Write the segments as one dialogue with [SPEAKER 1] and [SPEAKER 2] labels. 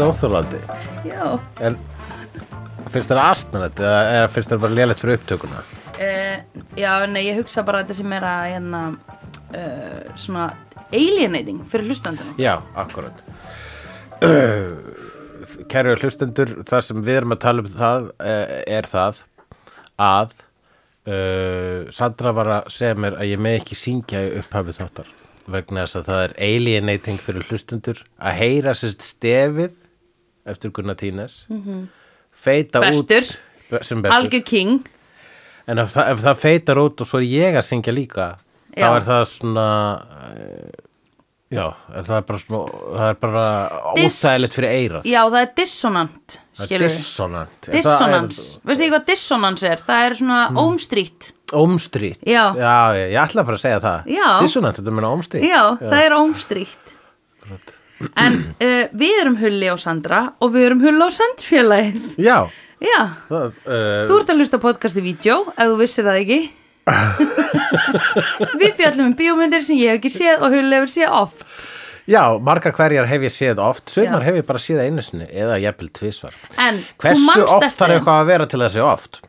[SPEAKER 1] óþólandi
[SPEAKER 2] Já,
[SPEAKER 1] En finnst þér astnalett eða, eða finnst þér bara lélegt fyrir upptökuna?
[SPEAKER 2] uh, já, nei, ég hugsa bara þetta sem er að, hérna, uh, svona alienating fyrir hlustandina.
[SPEAKER 1] Já, akkurat Kæru hlustendur, það sem við erum að tala um það eh, er það að uh, Sandra var að segja mér að ég með ekki syngja í upphafi þáttar vegna þess að það er alienating fyrir hlustendur að heyra sérst stefið eftir Gunnar Tínes feita
[SPEAKER 2] Bestur.
[SPEAKER 1] út sem bestur
[SPEAKER 2] Algjör king,
[SPEAKER 1] en ef, það- ef það feitar út og svo er ég að syngja líka þá
[SPEAKER 2] Já.
[SPEAKER 1] er það svona eh, já, er það er bara svona það er bara
[SPEAKER 2] Dis-
[SPEAKER 1] óþægilegt fyrir eirað
[SPEAKER 2] já, það er dissonant,
[SPEAKER 1] það er
[SPEAKER 2] skilur við.
[SPEAKER 1] dissonant En það er Hmm.
[SPEAKER 2] Dissonans, veistu ekki hvað dissonans er? Það er svona mm. ómstrýtt.
[SPEAKER 1] ómstrýtt
[SPEAKER 2] Já.
[SPEAKER 1] já, ég, ég ætla að fara að segja það
[SPEAKER 2] Já.
[SPEAKER 1] dissonant, þetta meina ómstrýtt
[SPEAKER 2] Já, það er ómstrýtt. En uh, við erum Hulli og Sandra og við erum Hulli og Sandrfélagið.
[SPEAKER 1] já
[SPEAKER 2] Já,
[SPEAKER 1] það, uh,
[SPEAKER 2] þú ert að hlusta á podcast í vídeo, ef þú vissir það ekki. við fjallum um bíómyndir sem ég hef ekki séð og Hulli hefur séð oft.
[SPEAKER 1] já, margar hverjar hef ég séð oft sumar
[SPEAKER 2] Já.
[SPEAKER 1] hef ég bara séð einu sinni eða jafnvel tvisvar
[SPEAKER 2] En þú
[SPEAKER 1] hversu
[SPEAKER 2] manst
[SPEAKER 1] oft
[SPEAKER 2] eftir
[SPEAKER 1] þarf eitthvað að vera til þessi oft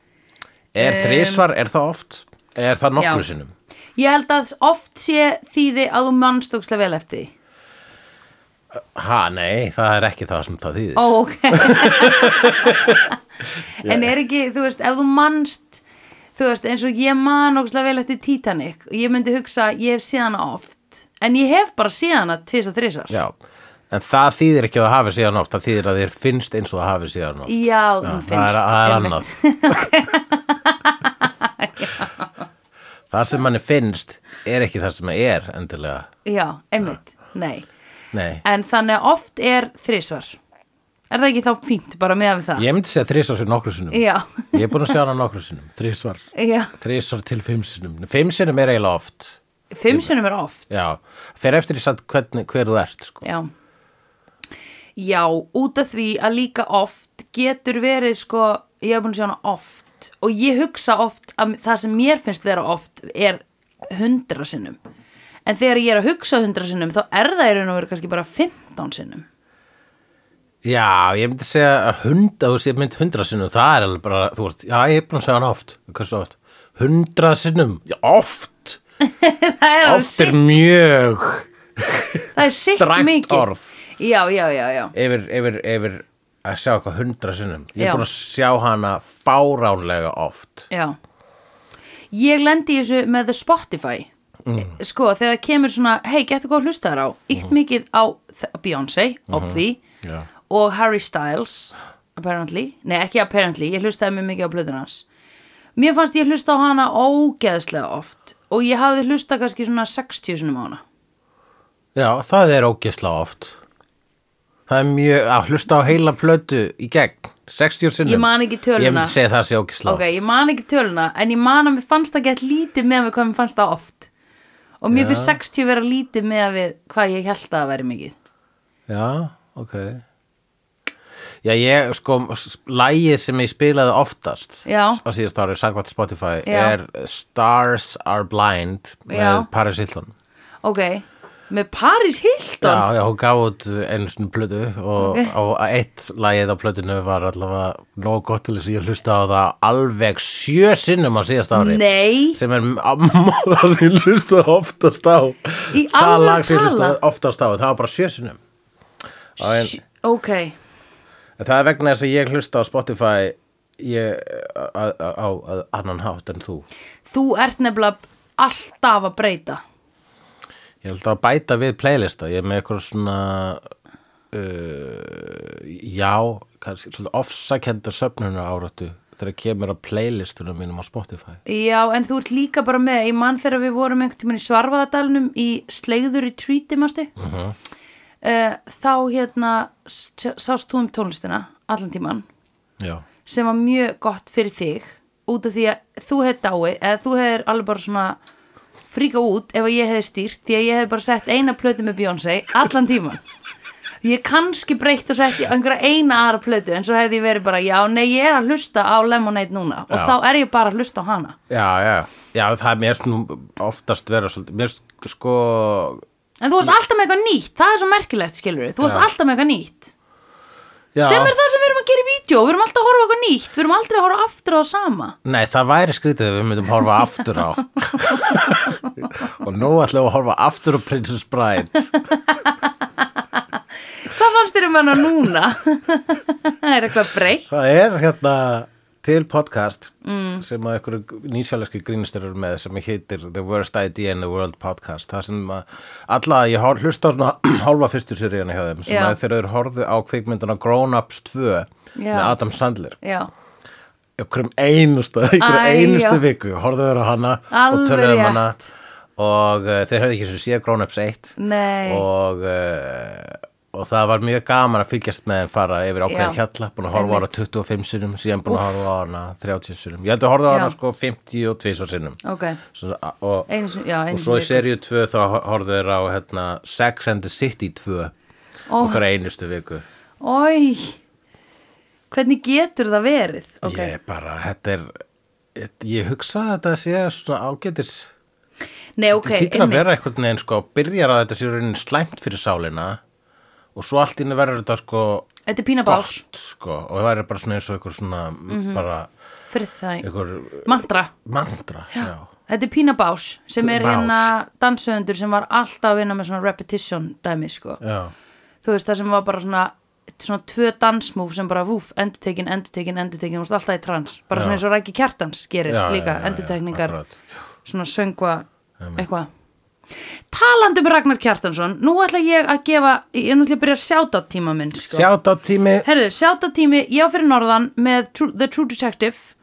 [SPEAKER 1] er um, þrisvar, er það oft er það nokkru
[SPEAKER 2] Já.
[SPEAKER 1] sinnum
[SPEAKER 2] Ég held að oft sé þýði að þú manst ókslega vel eftir því.
[SPEAKER 1] Ha, nei, það er ekki það sem það þýðir.
[SPEAKER 2] Ó, ok. en er ekki, þú veist, ef þú manst, þú veist, eins og ég man ókslega vel eftir Titanic, ég myndi hugsa, ég hef séð hana oft, en ég hef bara séð hana tvís og þrísar.
[SPEAKER 1] Já, en það þýðir ekki að það hafi síðan oft, það þýðir að þér finnst eins og það hafi síðan oft.
[SPEAKER 2] Já, hún finnst.
[SPEAKER 1] það er, það er
[SPEAKER 2] einmitt.
[SPEAKER 1] annað. það sem manni finnst er ekki það sem það er endilega.
[SPEAKER 2] Já, einmitt, nei.
[SPEAKER 1] Nei,
[SPEAKER 2] En þannig að oft er þrísar. Er það ekki þá fínt bara með við það?
[SPEAKER 1] ég myndi segja þrísvar fyrir nokkru sinnum.
[SPEAKER 2] Já,
[SPEAKER 1] Ég er búin að sjá hana nokkru sinnum, þrísvar.
[SPEAKER 2] já.
[SPEAKER 1] Þrísvar til fimm sinnum. Fimm sinnum er eiginlega oft.
[SPEAKER 2] Fimm sinnum er oft.
[SPEAKER 1] Já, fer eftir í satt hvernig, hver þú ert, sko.
[SPEAKER 2] Já. Já, út af því að líka oft getur verið sko, ég hef búin að sjá hana oft og ég hugsa oft að það sem mér finnst vera oft er hundra sinnum. En þegar ég er að hugsa hundra sinnum þá er það í raun og veru kannski bara 15 sinnum.
[SPEAKER 1] Já, ég myndi segja að hunda, þú sé mynd hundra sinnum, það er alveg bara, þú veist, já, ég er búin að segja hann oft, hversu oft, hundra sinnum, já, oft,
[SPEAKER 2] það er, alveg
[SPEAKER 1] oft er
[SPEAKER 2] sitt,
[SPEAKER 1] mjög
[SPEAKER 2] það er sitt
[SPEAKER 1] dræmt
[SPEAKER 2] mikið.
[SPEAKER 1] orð.
[SPEAKER 2] Já, já, já, já.
[SPEAKER 1] yfir, yfir, yfir að sjá eitthvað hundra sinnum. Ég
[SPEAKER 2] Já.
[SPEAKER 1] er búin að sjá hana fáránlega oft.
[SPEAKER 2] Já. Ég lendi í þessu með The Spotify.
[SPEAKER 1] Mm.
[SPEAKER 2] Sko, þegar kemur svona, hei, getur hvað að hlusta þér á? Ítt mikið á þ- Beyoncé,
[SPEAKER 1] Mhm.
[SPEAKER 2] mm
[SPEAKER 1] Já.
[SPEAKER 2] og Harry Styles apparently, nei ekki apparently ég hlustaði mjög mikið á blöðun hans mér fannst ég hlusta á hana ógeðslega oft og ég hafði hlusta kannski svona 60 sinum á hana
[SPEAKER 1] Já, það er ógisla oft. Það er mjög, að hlusta á heila plötu í gegn, 60 sinnum.
[SPEAKER 2] Ég man ekki töluna.
[SPEAKER 1] Ég myndi segja það sé ógisla
[SPEAKER 2] ok, ég man ekki töluna en ég man að mér fannst það gett lítið með við hvað mér fannst það oft og mér finnst 60 vera lítið með við hvað ég held að það væri mikið
[SPEAKER 1] Já, ok. Já, ég, sko, s- lagið sem ég spilaði oftast
[SPEAKER 2] Já.
[SPEAKER 1] á síðast ári, sagvært Spotify,
[SPEAKER 2] Já.
[SPEAKER 1] er Stars Are Blind
[SPEAKER 2] Já.
[SPEAKER 1] með Paris Hilton.
[SPEAKER 2] ok, með Paris Hilton
[SPEAKER 1] Já, já, hún gaf út einu svona plötu og,
[SPEAKER 2] Ok.
[SPEAKER 1] og eitt lagið á plötinu var allavega nóg gott til þess að ég hlusta á það alveg sjö sinnum á síðast ári.
[SPEAKER 2] nei,
[SPEAKER 1] Sem er m- það sem ég hlusta oftast á.
[SPEAKER 2] Í
[SPEAKER 1] Það
[SPEAKER 2] alvöru
[SPEAKER 1] lag sem ég hlusta
[SPEAKER 2] talað?
[SPEAKER 1] oftast á, það var bara sjö sinnum. en-
[SPEAKER 2] Sh- ok
[SPEAKER 1] En Það er vegna þess að ég hlusta á Spotify ég, á, á, á á annan hátt en þú.
[SPEAKER 2] þú ert nefnilega alltaf að breyta
[SPEAKER 1] Ég held að bæta við playlista. Ég er með eitthvað svona, uh, já, kannski svolítið ofsakenda söfnunar áratu þegar kemur að playlistunum mínum á Spotify.
[SPEAKER 2] Já, en þú ert líka bara með, ég mann þegar við vorum einhvern tímann í Svarfaðadalunum í Slegður Retreati, mástu? Uh þá hérna s- sást þú um tónlistina allan tímann
[SPEAKER 1] Já.
[SPEAKER 2] sem var mjög gott fyrir þig út af því að þú hefði dái eða þú hefðir alveg bara svona fríka út ef að ég hefði stýrt því að ég hefði bara sett eina plötu með Beyoncé allan tímann. Ég hef kannski breytt og sett í einhverja eina aðra plötu en svo hefði ég verið bara, já, nei, ég er að hlusta á Lemonade núna og
[SPEAKER 1] Já.
[SPEAKER 2] þá er ég bara að hlusta á hana.
[SPEAKER 1] Já, já. Já, það er mér nú oftast vera svolítið, mér sk- sko,
[SPEAKER 2] En þú varst alltaf með eitthvað nýtt, það er svo merkilegt skilur Þú varst
[SPEAKER 1] Já.
[SPEAKER 2] alltaf með eitthvað nýtt
[SPEAKER 1] Já.
[SPEAKER 2] sem er það sem við erum að gera í vídeo við erum alltaf að horfa á eitthvað nýtt, við erum aldrei að horfa aftur á það sama
[SPEAKER 1] Nei, það væri skrítið ef við myndum horfa aftur á og nú ætlum við að horfa aftur á Princess Bride
[SPEAKER 2] hvað fannst þér um hana núna? það er eitthvað breytt
[SPEAKER 1] það er hérna til podcast mm. sem að ykkur nýsjáleski grínistur eru með sem heitir The Worst Idea in the World podcast það sem að alla, ég hor- hlusta á svona hálfa fyrstu seríuna hjá þeim sem
[SPEAKER 2] Já.
[SPEAKER 1] að þeir eru horfðu á kvikmynduna Grown Ups 2
[SPEAKER 2] Já.
[SPEAKER 1] með Adam Sandler
[SPEAKER 2] já,
[SPEAKER 1] ykkurum einustu, ykkur
[SPEAKER 2] Æ,
[SPEAKER 1] einustu
[SPEAKER 2] já.
[SPEAKER 1] viku horfðu þeir á hana
[SPEAKER 2] Alveg
[SPEAKER 1] og töluðu um
[SPEAKER 2] rétt.
[SPEAKER 1] hana og uh, þeir höfðu ekki sem sé Grown Ups 1
[SPEAKER 2] nei
[SPEAKER 1] og uh, og það var mjög gaman að fylgjast með þeim fara yfir ákveðin
[SPEAKER 2] Já.
[SPEAKER 1] hjalla, búin að horfa á hana 25 sinnum, síðan búin að horfa á hana 30 sinnum, ég held að horfa á hana
[SPEAKER 2] Já.
[SPEAKER 1] sko 52 sinnum
[SPEAKER 2] ok,
[SPEAKER 1] svo, og,
[SPEAKER 2] einu sinni, já, einu
[SPEAKER 1] og svo í
[SPEAKER 2] viku.
[SPEAKER 1] seríu 2 þá horfðu þeir á hérna, Sex and the City 2
[SPEAKER 2] Ó.
[SPEAKER 1] okkur einustu viku
[SPEAKER 2] Ói, hvernig getur það verið? Ok,
[SPEAKER 1] ég er bara, þetta er ég- ég hugsa að þetta sé svona ágætis
[SPEAKER 2] Nei, ok,
[SPEAKER 1] þetta hlýtur að
[SPEAKER 2] einmitt.
[SPEAKER 1] vera einhvern veginn sko, byrjar að þetta sé raunin slæmt fyrir sálina og svo allt inni verður þetta sko
[SPEAKER 2] Þetta er pína bás
[SPEAKER 1] gott sko, og það væri bara svona eins og einhver svona
[SPEAKER 2] Mhm.
[SPEAKER 1] bara
[SPEAKER 2] fyrir það,
[SPEAKER 1] einhver
[SPEAKER 2] mantra
[SPEAKER 1] mantra já.
[SPEAKER 2] Þetta er Pína Bás sem er
[SPEAKER 1] Bás.
[SPEAKER 2] hérna dansöfundur sem var alltaf að vinna með svona repetition dæmi sko.
[SPEAKER 1] Já.
[SPEAKER 2] Þú veist það sem var bara svona svona tvö dansmúf sem bara vúf endurtekin, endurtekin, endurtekin og alltaf í trans bara svona eins og Rækki Kjartans gerir
[SPEAKER 1] Já, já,
[SPEAKER 2] líka
[SPEAKER 1] já, já,
[SPEAKER 2] endurtekningar, sko.
[SPEAKER 1] akkurat.
[SPEAKER 2] svona söngva eitthvað Talandi um Ragnar Kjartansson, nú ætla ég að gefa, ég nú ætla ég að byrja að sjáta tíma minn sko.
[SPEAKER 1] sjátt á tími
[SPEAKER 2] Herðu, sjáttatími, ég á fyrir norðan með True, The True Detective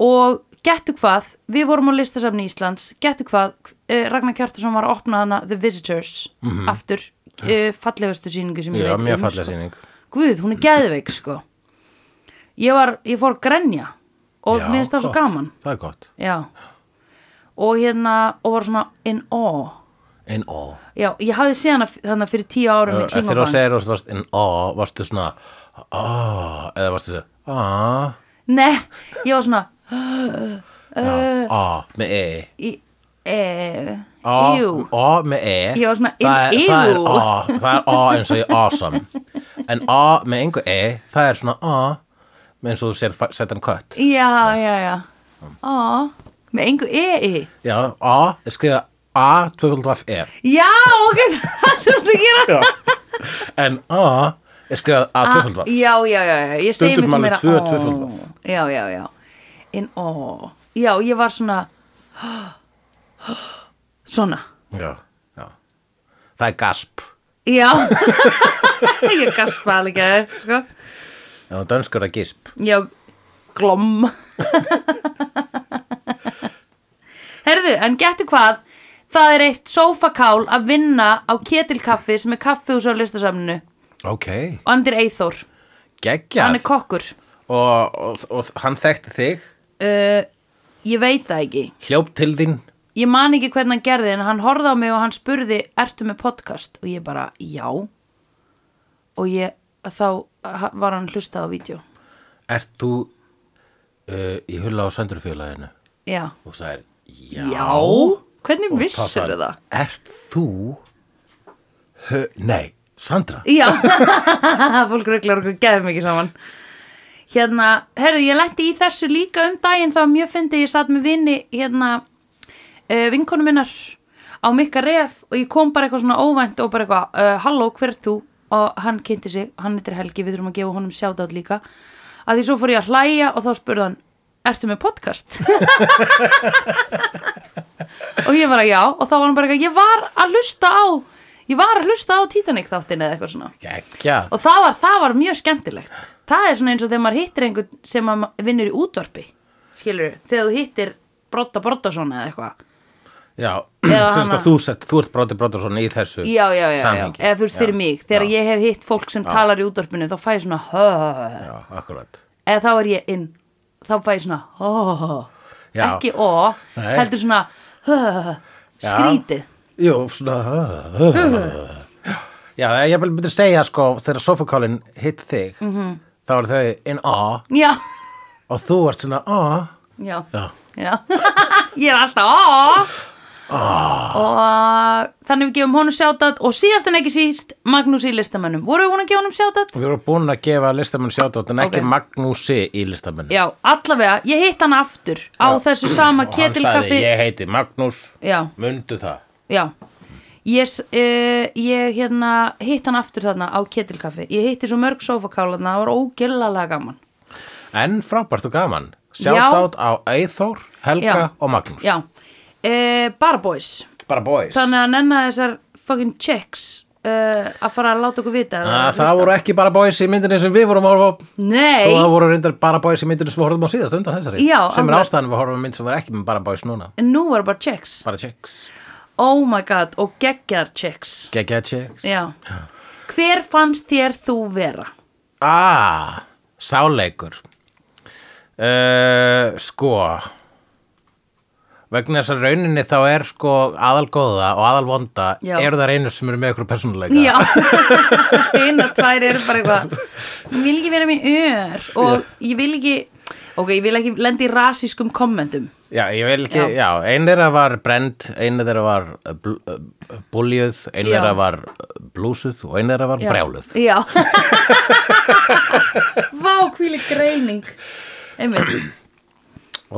[SPEAKER 2] og gettu hvað, við vorum á listasafni Íslands, gettu hvað, eh, Ragnar Kjartason var að opna hana The Visitors aftur, uh, fallegastu síningu sem ég
[SPEAKER 1] Mhm. já,
[SPEAKER 2] veit
[SPEAKER 1] mjög
[SPEAKER 2] um,
[SPEAKER 1] fallega
[SPEAKER 2] sko.
[SPEAKER 1] sýning
[SPEAKER 2] Guð, hún er geðveik, sko. Ég var, ég fór að grenja og
[SPEAKER 1] Já,
[SPEAKER 2] mér finnst það svo
[SPEAKER 1] gott.
[SPEAKER 2] gaman.
[SPEAKER 1] það er gott,
[SPEAKER 2] Já. Og hérna, og var svona in awe.
[SPEAKER 1] in awe
[SPEAKER 2] Já, ég hafði séð hana f- þarna fyrir tíu árum í
[SPEAKER 1] eftir að
[SPEAKER 2] Klingobann.
[SPEAKER 1] segja þú varst in awe varstu svona awe eða varstu awe
[SPEAKER 2] Nei, ég var svona,
[SPEAKER 1] awe með e
[SPEAKER 2] í- eh,
[SPEAKER 1] A,
[SPEAKER 2] jú.
[SPEAKER 1] A með E
[SPEAKER 2] Ég var svona,
[SPEAKER 1] það,
[SPEAKER 2] in-
[SPEAKER 1] er, það, er
[SPEAKER 2] ew.
[SPEAKER 1] A, það er A eins og ég awesome En A með engu E Það er svona A með eins og þú sér setan kött
[SPEAKER 2] Já, já, já. Á, með engu e, e-i.
[SPEAKER 1] Já, A er skrifa A 2F E
[SPEAKER 2] Já, ok, það sem þú ert að gera.
[SPEAKER 1] En A er skrifa A 2F
[SPEAKER 2] Já, já, já, já, ég segi
[SPEAKER 1] Stundum
[SPEAKER 2] miklu
[SPEAKER 1] alveg
[SPEAKER 2] meira
[SPEAKER 1] tvö
[SPEAKER 2] ó.
[SPEAKER 1] tvöföldvað.
[SPEAKER 2] Já, já, já. En ó, já, ég var svona, svona,
[SPEAKER 1] Já, já Það er gasp
[SPEAKER 2] já. ég gaspaði alveg að þetta, sko.
[SPEAKER 1] Já, dönskur er gisp
[SPEAKER 2] Já, glomm. Herðu, en getur hvað, það er eitt sófakál að vinna á ketilkaffi sem er kaffihús á listasafninu.
[SPEAKER 1] Ok,
[SPEAKER 2] og hann er Eithor, hann
[SPEAKER 1] geggjað
[SPEAKER 2] er kokkur
[SPEAKER 1] og, og, og hann þekkti þig
[SPEAKER 2] uh, ég veit það ekki
[SPEAKER 1] Hljóp til þín
[SPEAKER 2] ég man ekki hvernig hann gerði en hann horfði á mig og hann spurði ertu með podcast og ég bara já og ég þá ha- var hann hlustað á vídeo
[SPEAKER 1] Ert þú uh, í hulla á söndurfélaginu
[SPEAKER 2] já,
[SPEAKER 1] Og það er já
[SPEAKER 2] hvernig
[SPEAKER 1] Og
[SPEAKER 2] vissur
[SPEAKER 1] sagði,
[SPEAKER 2] það?
[SPEAKER 1] Ert þú Hö, Nei, Sandra
[SPEAKER 2] Já, fólk reglar okkur geðum ekki saman Hérna, herðu, ég lendi í þessu líka um daginn þá mjög fyndi ég satt með vini hérna, uh, vinkonu minnar á mikka ref og ég kom bara eitthvað svona óvænt og bara eitthvað, uh, halló, hver ert þú? Og hann kynnti sig, hann heitir Helgi, við þurfum að gefa honum sjátátt líka að því svo fór ég að hlæja og þá spurði hann Ertu með podcast? og ég bara já og þá var hann bara eitthvað, ég var að hlusta á ég var að hlusta á Titanic þáttin eða eitthvað svona
[SPEAKER 1] Gekja
[SPEAKER 2] og það var, það var mjög skemmtilegt það er svona eins og þegar maður hittir einhvern sem maður vinnur í útvarpi skilur þegar þú hittir Brotta Brottason eða eitthvað
[SPEAKER 1] Já,
[SPEAKER 2] Eða
[SPEAKER 1] semst
[SPEAKER 2] hana.
[SPEAKER 1] að þú, sett, þú ert Broddi Broddarsson í þessu
[SPEAKER 2] já, já, já, já.
[SPEAKER 1] samhengi.
[SPEAKER 2] eða þú veist fyrir mig þegar
[SPEAKER 1] já,
[SPEAKER 2] ég hef hitt fólk sem talar í útvarpinu þá fæ ég svona "Hö."
[SPEAKER 1] Já, akkurat
[SPEAKER 2] eða þá er ég inn þá fæ ég svona "Hö."
[SPEAKER 1] Já.
[SPEAKER 2] ekki ó,
[SPEAKER 1] Nei.
[SPEAKER 2] heldur svona "Hö."
[SPEAKER 1] Já.
[SPEAKER 2] skrítið
[SPEAKER 1] Jú, svona uh, uh. Já, ég vil myndi segja sko þegar sofakálinn hitt þig -hmm.
[SPEAKER 2] Mhm.
[SPEAKER 1] þá eru þau in a
[SPEAKER 2] já,
[SPEAKER 1] og þú ert svona a
[SPEAKER 2] já,
[SPEAKER 1] Já,
[SPEAKER 2] já. ég er alltaf ó
[SPEAKER 1] Ah.
[SPEAKER 2] og þannig við gefum honum sjátat og síðast en ekki síst Magnús í listamönnum voru við búin að gefa honum sjátat?
[SPEAKER 1] Við vorum búin að gefa listamenn sjátt en ekki
[SPEAKER 2] Ok.
[SPEAKER 1] Magnúsi í listamenn
[SPEAKER 2] Já, allavega, ég hitt hann aftur á þessu sama
[SPEAKER 1] og hann sagði
[SPEAKER 2] ketilkaffi
[SPEAKER 1] ég heiti Magnús
[SPEAKER 2] Já,
[SPEAKER 1] mundu það
[SPEAKER 2] já Ég, s- eh, ég hérna, hitt hann aftur þarna á ketilkaffi Ég hitti svo mörg sófakálarna, það var ógillalega gaman
[SPEAKER 1] en frábært og gaman
[SPEAKER 2] Já.
[SPEAKER 1] sjátt á Eithór, Helga
[SPEAKER 2] Já.
[SPEAKER 1] og Magnús
[SPEAKER 2] Já, e, bara boys
[SPEAKER 1] bara boys
[SPEAKER 2] Þannig að nenna þessar fucking checks uh, að fara að láta okkur vita
[SPEAKER 1] Að Ah, það voru ekki bara boys í myndinni sem við vorum að horfa á og það
[SPEAKER 2] Nei,
[SPEAKER 1] voru reyndar bara boys í myndinni sem við horfum á síðast undan þessari
[SPEAKER 2] Já,
[SPEAKER 1] sem er
[SPEAKER 2] alveg.
[SPEAKER 1] ástæðan við horfum á mynd sem var ekki með bara boys núna
[SPEAKER 2] nú voru bara checks
[SPEAKER 1] bara chicks,
[SPEAKER 2] Oh my god, og geggjar checks
[SPEAKER 1] gegja chicks
[SPEAKER 2] Já Hver fannst þér þú vera?
[SPEAKER 1] Ah, sáleikur uh, Sko vegna þess að rauninni þá er sko aðalgóða og aðalvonda
[SPEAKER 2] Já.
[SPEAKER 1] eru þar einu sem eru með ykkur persónuleika
[SPEAKER 2] Já Einn og tvær eru bara eitthvað Ég vil ekki vera mér ör Og ég vil ekki Ok, ég vil ekki lenda í rasískum kommentum
[SPEAKER 1] Já, ég vil ekki, já, ein þeirra var brend, ein þeirra var uh, bl uh, búljuð, ein
[SPEAKER 2] Já.
[SPEAKER 1] þeirra var uh, blúsuð og ein þeirra var
[SPEAKER 2] Já.
[SPEAKER 1] brjáluð.
[SPEAKER 2] Já Vá, hvíli greining Einmitt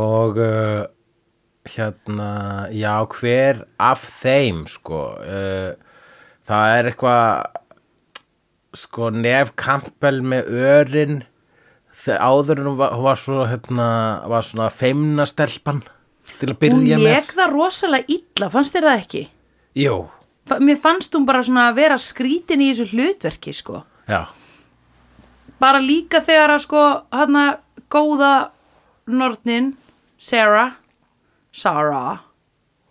[SPEAKER 1] Og uh, hérna, já, hver af þeim, sko, uh, það er eitthvað, sko, nef Campbell með örin, þegar áður en hún var, hún var svo, hérna, var svona feimna stelpan til að
[SPEAKER 2] Hún
[SPEAKER 1] byrja
[SPEAKER 2] leik
[SPEAKER 1] með.
[SPEAKER 2] það rosalega illa, fannst þér það ekki?
[SPEAKER 1] Jú,
[SPEAKER 2] Fa- Mér fannst hún bara svona að vera skrítin í þessu hlutverki, sko
[SPEAKER 1] já,
[SPEAKER 2] bara líka þegar að sko hana góða nortnin Sarah Sarah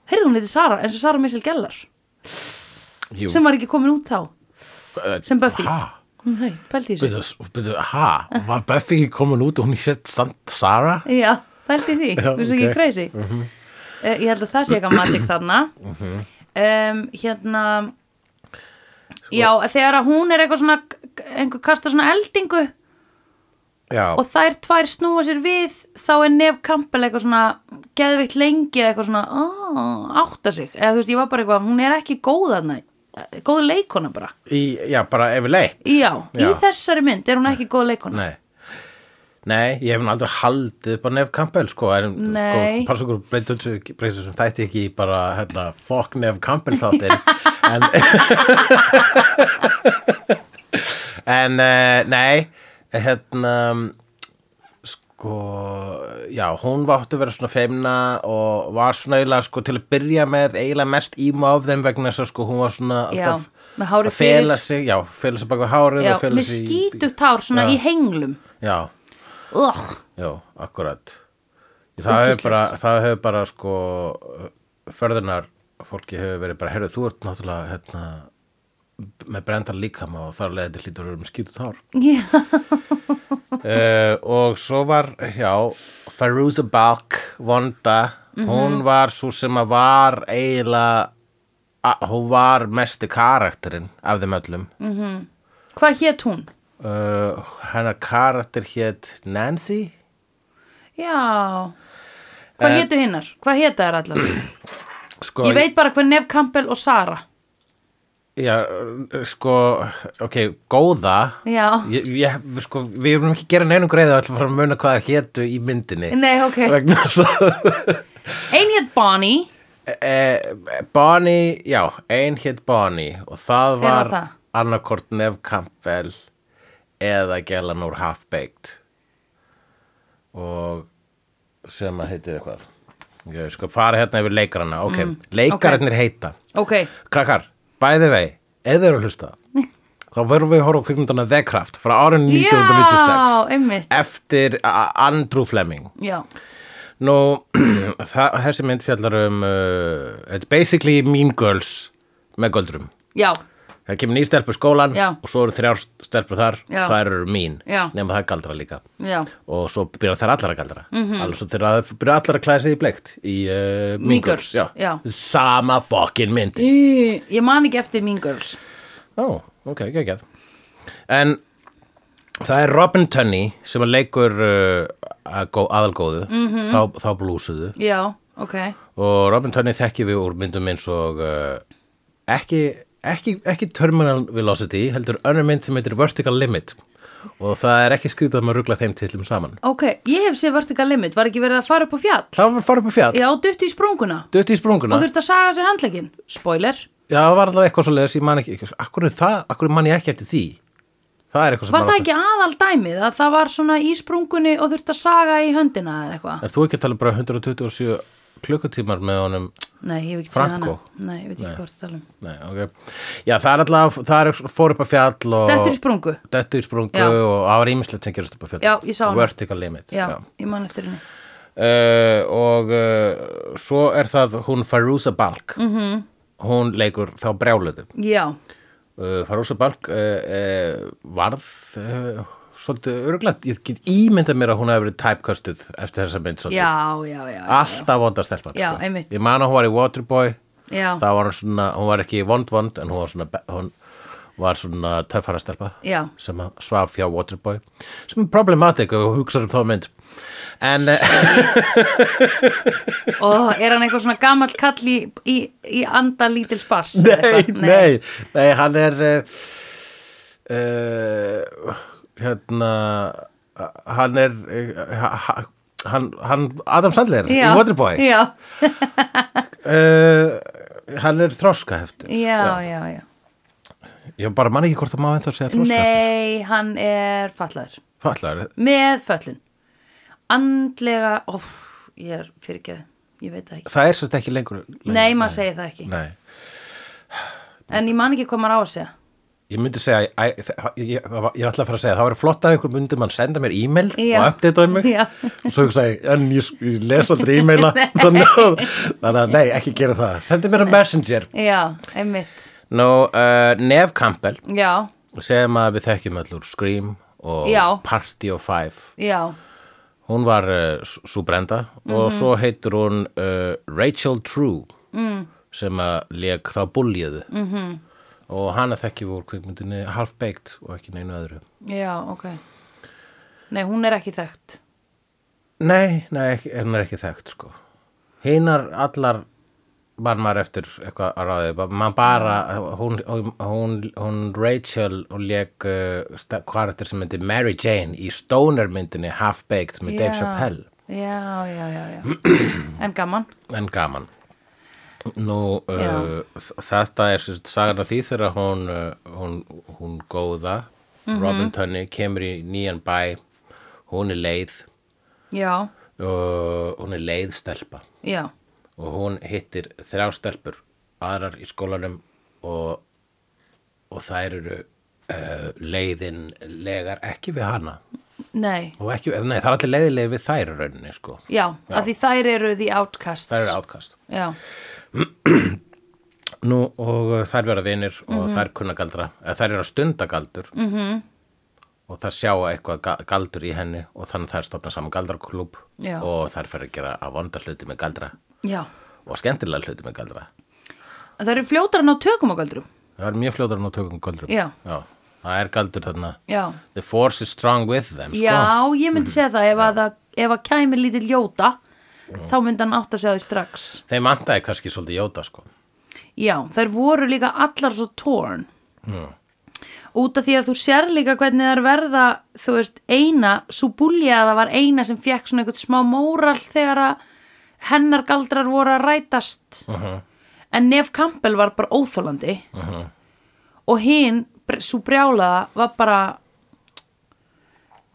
[SPEAKER 2] heyrðu hún heiti Sarah eins og Sarah Missel Gellar
[SPEAKER 1] jú. eh,
[SPEAKER 2] sem var ekki komin út þá sem Buffy.
[SPEAKER 1] Hæ?
[SPEAKER 2] nei, pældi í þessu
[SPEAKER 1] Byrðu, byrðu, ha, var Buffy ekki komin út og hún sett samt Sara?
[SPEAKER 2] já, pældi í því,
[SPEAKER 1] Já,
[SPEAKER 2] þú veist ekki
[SPEAKER 1] ok. Mhm.
[SPEAKER 2] crazy uh, ég held að það sé eitthvað magic þarna um, hérna já, þegar að hún er eitthvað svona einhver kastar svona eldingu
[SPEAKER 1] Já,
[SPEAKER 2] og þær tvær snúa sér við þá er Nef Campbell eitthvað svona geðveikt lengi eða eitthvað svona oh, átta sig, eða þú veist ég var bara eitthvað hún er ekki góð þarna eh, góð leikona bara,
[SPEAKER 1] í, já bara yfirleitt.
[SPEAKER 2] já, í
[SPEAKER 1] Já.
[SPEAKER 2] þessari mynd er hún ekki góð leikona,
[SPEAKER 1] Nei. Nei, ég hef nú aldrei haldið upp á Nef Campbell, sko, en
[SPEAKER 2] Nei.
[SPEAKER 1] sko, passugur breytur sem þætti ekki í bara, hérna, fuck Nef Campbell þáttir, en, en, uh, nei, hérna, sko, já, hún vátti að vera svona feimna og var svona eiginlega, sko, til að byrja með eiginlega mest íma af þeim vegna þess að, sko, hún var svona
[SPEAKER 2] Já, með hárið
[SPEAKER 1] að fela
[SPEAKER 2] fyrir.
[SPEAKER 1] sig, já, fela sig baka hárið
[SPEAKER 2] já,
[SPEAKER 1] og fela
[SPEAKER 2] með
[SPEAKER 1] sig
[SPEAKER 2] skítugt hár svona
[SPEAKER 1] Já.
[SPEAKER 2] í henglum
[SPEAKER 1] Já,
[SPEAKER 2] Ugh.
[SPEAKER 1] Já, akkurat Það hefur
[SPEAKER 2] Ógeðslegt.
[SPEAKER 1] bara, það hefur bara sko förðunar fólki hefur verið bara, heyrðu, þú ert náttúrulega hérna, b- með brendar líkama og þar leiði hlýtur um skýtut hár
[SPEAKER 2] Já.
[SPEAKER 1] uh, og svo var, já Farouza Balk, Vonda
[SPEAKER 2] Mhm.
[SPEAKER 1] hún var svo sem að var eiginlega a- hún var mesti karakterinn af þeim öllum
[SPEAKER 2] Mm. hvað hét hún?
[SPEAKER 1] uh, hennar karakter hét Nancy
[SPEAKER 2] já
[SPEAKER 1] Eh.
[SPEAKER 2] hvað hétu hinnar? hvað hétu þær allar?
[SPEAKER 1] sko,
[SPEAKER 2] ég veit bara hvað Nef Campbell og Sara
[SPEAKER 1] Já, sko, ok, góða
[SPEAKER 2] Já.
[SPEAKER 1] ég, ég, sko, Við erum ekki að gera neinum greiða ætlum bara að muna hvað það hétu í myndinni
[SPEAKER 2] nei, ok,
[SPEAKER 1] Vegna þess að
[SPEAKER 2] ein hét Bonnie
[SPEAKER 1] e, e, Bonnie, já, ein hétt Bonnie og það
[SPEAKER 2] Hver var
[SPEAKER 1] var
[SPEAKER 2] það?
[SPEAKER 1] annarkort Nef Campbell eða Gellan úr Half-Baked og sem að heitir eitthvað Ég sko, fara hérna yfir leikarana, ok
[SPEAKER 2] Mm,
[SPEAKER 1] Leikararnir heita
[SPEAKER 2] ok,
[SPEAKER 1] Krakkar, bæði vei, eða eru að hlusta þá verðum við að horfa á kvikmyndana The Craft frá árinu 1996
[SPEAKER 2] já, einmitt
[SPEAKER 1] eftir A- Andrew Fleming
[SPEAKER 2] já,
[SPEAKER 1] Nú, það, þessi mynd fjallar um uh, it's basically Mean Girls með göldrum
[SPEAKER 2] já,
[SPEAKER 1] það kemur ný stelpur í skólan
[SPEAKER 2] Já.
[SPEAKER 1] og svo eru þrjár stelpur þar
[SPEAKER 2] Já.
[SPEAKER 1] það eru mín,
[SPEAKER 2] Já.
[SPEAKER 1] nema það er galdra líka
[SPEAKER 2] já
[SPEAKER 1] og svo byrja þær allar að galdra mm
[SPEAKER 2] Mhm.
[SPEAKER 1] -hmm. alveg svo þeirra byrja allar að klæða sig í bleikt í uh, Mean
[SPEAKER 2] Mean
[SPEAKER 1] Girls
[SPEAKER 2] Girls, já.
[SPEAKER 1] sama fucking mynd
[SPEAKER 2] Ég man ekki eftir Mean Girls
[SPEAKER 1] Ó, ok, geggjað. En það er Robin
[SPEAKER 2] Mhm.
[SPEAKER 1] Tunney sem að leikur uh, að gó- aðalgóðu, þá, þá blúsuðu.
[SPEAKER 2] Já, ok,
[SPEAKER 1] og Robin Tunney þekkjum við úr myndum eins og uh, ekki, ekki, ekki Terminal Velocity, heldur önnur mynd sem heitir Vertical Limit og það er ekki skrítið að maður ruggla þeim tillum saman.
[SPEAKER 2] ok, ég hef séð vertical limit, var ekki verið að fara upp á fjall?
[SPEAKER 1] Það var að fara upp á fjall,
[SPEAKER 2] Já, dutt í sprunguna
[SPEAKER 1] dött í sprunguna,
[SPEAKER 2] og þurfti að saga sér handlegin, spoiler
[SPEAKER 1] já það var alltaf eitthvað svo leiðis, ég man ekki, akkur er það, akkur man ég ekki eftir því? Það er eitthvað sem
[SPEAKER 2] Var það ekki aðal dæmið að það var svona í sprungunni og þurfti að saga í höndina eða eitthvað?
[SPEAKER 1] Er þú ekki að tala um bara 127 klukkutímar með honum?
[SPEAKER 2] Nei, ég hef ekki séð hana.
[SPEAKER 1] Franco?
[SPEAKER 2] Nei, ég veit ekki hvað það tala um.
[SPEAKER 1] Nei, ok. Já, það er alltaf, það er fór upp á fjall og...
[SPEAKER 2] Dettur í sprungu.
[SPEAKER 1] Dettu í sprungu
[SPEAKER 2] Já.
[SPEAKER 1] og það var ímislegt sem gerast upp á fjall.
[SPEAKER 2] Já, ég sá hana.
[SPEAKER 1] Vertical limit.
[SPEAKER 2] Já, ég man eftir henni.
[SPEAKER 1] Uh, og uh, svo er það hún Farouza Balk. Mm -hmm.
[SPEAKER 2] Mhm.
[SPEAKER 1] Hún leikur þá brjáluðu.
[SPEAKER 2] Já,
[SPEAKER 1] Uh, Farouza Balk uh, uh, varð uh, svolítið örglætt. Ég get ímyndað mér að hún hefur verið typecastuð eftir þessa mynd svolítið.
[SPEAKER 2] já, já, já.
[SPEAKER 1] Alltaf vonda stelpa.
[SPEAKER 2] Já, einmitt.
[SPEAKER 1] Ég man að hún var í Waterboy.
[SPEAKER 2] Já,
[SPEAKER 1] það var hún svona, hún var ekki vond vond en hún var svona, be- hún var svona töffara stelpa
[SPEAKER 2] Já.
[SPEAKER 1] sem að svaf hjá Waterboy sem er problematic og hugsaður um þá mynd en eh,
[SPEAKER 2] og er hann eitthvað svona gamall kall í, í, í anda lítil spars?
[SPEAKER 1] nei, nei, nei, hann er uh, uh, hérna hann er eh, ha- ha- hann, hann Adam Sandler í Waterboy
[SPEAKER 2] Já,
[SPEAKER 1] uh, hann er þroskaheftur
[SPEAKER 2] já, já, já.
[SPEAKER 1] ég bara man ekki hvort það má ennþá segja þroskaheftur
[SPEAKER 2] Nei, hann er fallaður.
[SPEAKER 1] fallar,
[SPEAKER 2] Með föllun. Andlega, óf, ég er fyrirgeð, ég veit það ekki.
[SPEAKER 1] það er svolítið ekki lengur, lengur
[SPEAKER 2] Nei, maður segir það ekki.
[SPEAKER 1] Nei,
[SPEAKER 2] En ég man ekki hvað maður á að segja.
[SPEAKER 1] ég myndi segja, æ, þ- ég, ég, ég ætla að fara að segja, það væri flott að ykkur myndi mann senda mér e-mail
[SPEAKER 2] Já.
[SPEAKER 1] og updataði mig
[SPEAKER 2] Já.
[SPEAKER 1] og svo ég sagði, en ég, s- ég les aldrei e-maila, þannig að, þannig að nei, ekki gera það, sendi mér að messenger.
[SPEAKER 2] Já, einmitt.
[SPEAKER 1] Nú, uh, Nef Campbell,
[SPEAKER 2] Já,
[SPEAKER 1] sem að við þekkjum öll úr Scream og
[SPEAKER 2] Já.
[SPEAKER 1] Party of Five,
[SPEAKER 2] já,
[SPEAKER 1] hún var uh, sú brenda og svo heitur hún uh, Rachel True mm. sem að leik þá búljöðu mm -hmm. og hana þekkjum við úr kvikmyndinni Half Baked og ekki neinu öðru.
[SPEAKER 2] já, ok. Nei, hún er ekki þekkt.
[SPEAKER 1] Nei, nei, ekki- hún er ekki þekkt sko. Hinar allar var maður eftir eitthvað að ráði Ba- maður bara, hún, hún, hún Rachel, hún leik uh, karakter sem myndi Mary Jane í Stoner myndinni Half Baked með Dave
[SPEAKER 2] Já.
[SPEAKER 1] Chappelle
[SPEAKER 2] Já, já, já, já. En gaman.
[SPEAKER 1] en gaman nú uh,
[SPEAKER 2] Já.
[SPEAKER 1] þ- þetta er sérst sagan af því þegar hún, uh, hún, hún góða Robin Tunney kemur í nýjan bæ hún er leið
[SPEAKER 2] Já,
[SPEAKER 1] uh, hún er leið stelpa
[SPEAKER 2] já,
[SPEAKER 1] og hún hittir þrjá stelpur aðrar í skólanum og, og þær eru uh, leiðin legar ekki við hana
[SPEAKER 2] nei.
[SPEAKER 1] og ekki, nei, það er allir leiðilegir við þær í rauninni sko,
[SPEAKER 2] Já, já. að því þær eru the outcasts.
[SPEAKER 1] þær eru átkast
[SPEAKER 2] Já,
[SPEAKER 1] Nú, og uh, þær vera vinir og
[SPEAKER 2] Mhm.
[SPEAKER 1] þær kunna galdra, eða þær eru að stunda galdur -hmm. og þær sjá eitthvað ga- galdur í henni og þannig þær stofna saman galdraklúb
[SPEAKER 2] Já.
[SPEAKER 1] og þær fer að gera að vonda hluti með galdra
[SPEAKER 2] já.
[SPEAKER 1] og skemmtilega hluti með galdra.
[SPEAKER 2] Það eru fljótar en á tökum á galdrum.
[SPEAKER 1] Það er mjög fljótar en á tökum galdrum.
[SPEAKER 2] Já.
[SPEAKER 1] það er galdur þarna.
[SPEAKER 2] Já,
[SPEAKER 1] The force is strong with them, sko.
[SPEAKER 2] já, ég myndi segja það ef að, það, ef að kæmi lítið ljóta, þá myndi hann átt að segja því strax.
[SPEAKER 1] Þeim andaði kannski svolítið jóta, sko.
[SPEAKER 2] Já, þær voru líka allar svo torn. Út af því að þú sér líka hvernig þær verða, þú veist, eina, svo búlja að það var eina sem fekk svona eitthvað smá móral þegar að hennar galdrar voru að rætast. En Nef Campbell var bara óþólandi og hinn, svo brjálaða, var bara,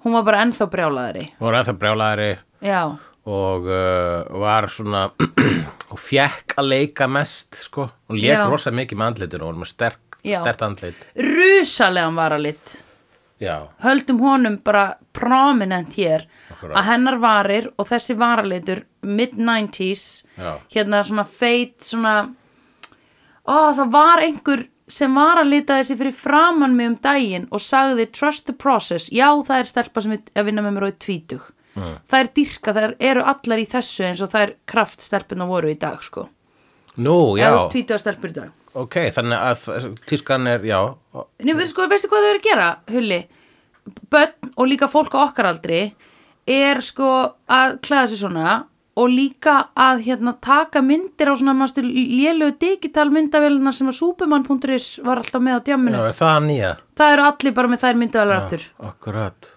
[SPEAKER 2] hún var bara ennþá brjálaðari.
[SPEAKER 1] Hún var ennþá brjálæðari
[SPEAKER 2] Já,
[SPEAKER 1] og uh, var svona og fjekk að leika mest, sko. Hún leik
[SPEAKER 2] Já.
[SPEAKER 1] rosa mikið með andlitinu, hún var með sterk,
[SPEAKER 2] Já.
[SPEAKER 1] stert andlit.
[SPEAKER 2] rusalega varalit.
[SPEAKER 1] Já,
[SPEAKER 2] höldum honum bara prominent hér
[SPEAKER 1] Akkurat.
[SPEAKER 2] að hennar varir og þessi varalitur mid-90s
[SPEAKER 1] Já.
[SPEAKER 2] hérna svona feit svona ó það var einhver sem varalitaði sig fyrir framann mig um daginn og sagði trust the process já það er stelpa sem er að vinna með mér og er tvítug mm. það er dýrka, það eru allar í þessu eins og það er kraftstelpuna voru í dag sko,
[SPEAKER 1] nú,
[SPEAKER 2] eða þú
[SPEAKER 1] já,
[SPEAKER 2] veist tvítuga stelpur í dag
[SPEAKER 1] ok, þannig að uh, tískan er, já,
[SPEAKER 2] Nei, veistu, sko, veistu hvað þau eru að gera, Hulli? Bönn og líka fólk á okkar aldri er sko að klæða sér svona og líka að hérna, taka myndir á svona mástu lélögu digital myndavélina sem að superman.is var alltaf með á
[SPEAKER 1] Já,
[SPEAKER 2] djamminu
[SPEAKER 1] er það nýja?
[SPEAKER 2] það eru allir bara með þær myndavélar aftur
[SPEAKER 1] Akkurat.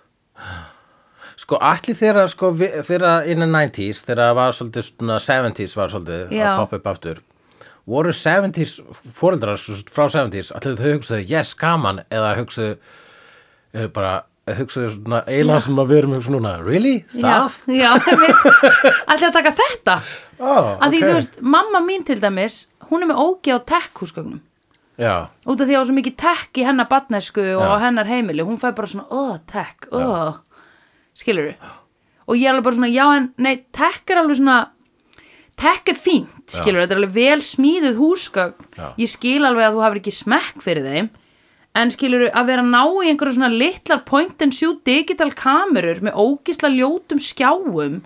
[SPEAKER 1] Sko, allir þeirra, sko, vi- þeirra in the 90s, þeirra það var svolítið svona 70s var svolítið
[SPEAKER 2] Já.
[SPEAKER 1] að poppa upp aftur. Voru 70s, fóreldrar frá 70s, allir þau hugsaðu, yes, gaman, eða hugsaðu, eh, bara, hugsaðu svona eiginlega sem að við erum hugsaðu núna, really? Það?
[SPEAKER 2] Já, já allir að taka þetta
[SPEAKER 1] Oh,
[SPEAKER 2] að því þú veist, mamma mín til dæmis hún er með ógi á tech-húsgögnum
[SPEAKER 1] Já,
[SPEAKER 2] út af því að það var svo mikið tech í hennar batnesku og
[SPEAKER 1] Já.
[SPEAKER 2] á hennar heimili, hún fær bara svona oh, tech, oh, skilur og ég er alveg bara svona, já en nei, tech er alveg svona tech er fínt, skilur þetta er alveg vel smíðuð húsgögn
[SPEAKER 1] Já.
[SPEAKER 2] ég skil alveg að þú hafir ekki smekk fyrir þeim en skilur að vera að ná í einhverju svona litlar point and shoot digital kamerur með ógisla ljótum skjáum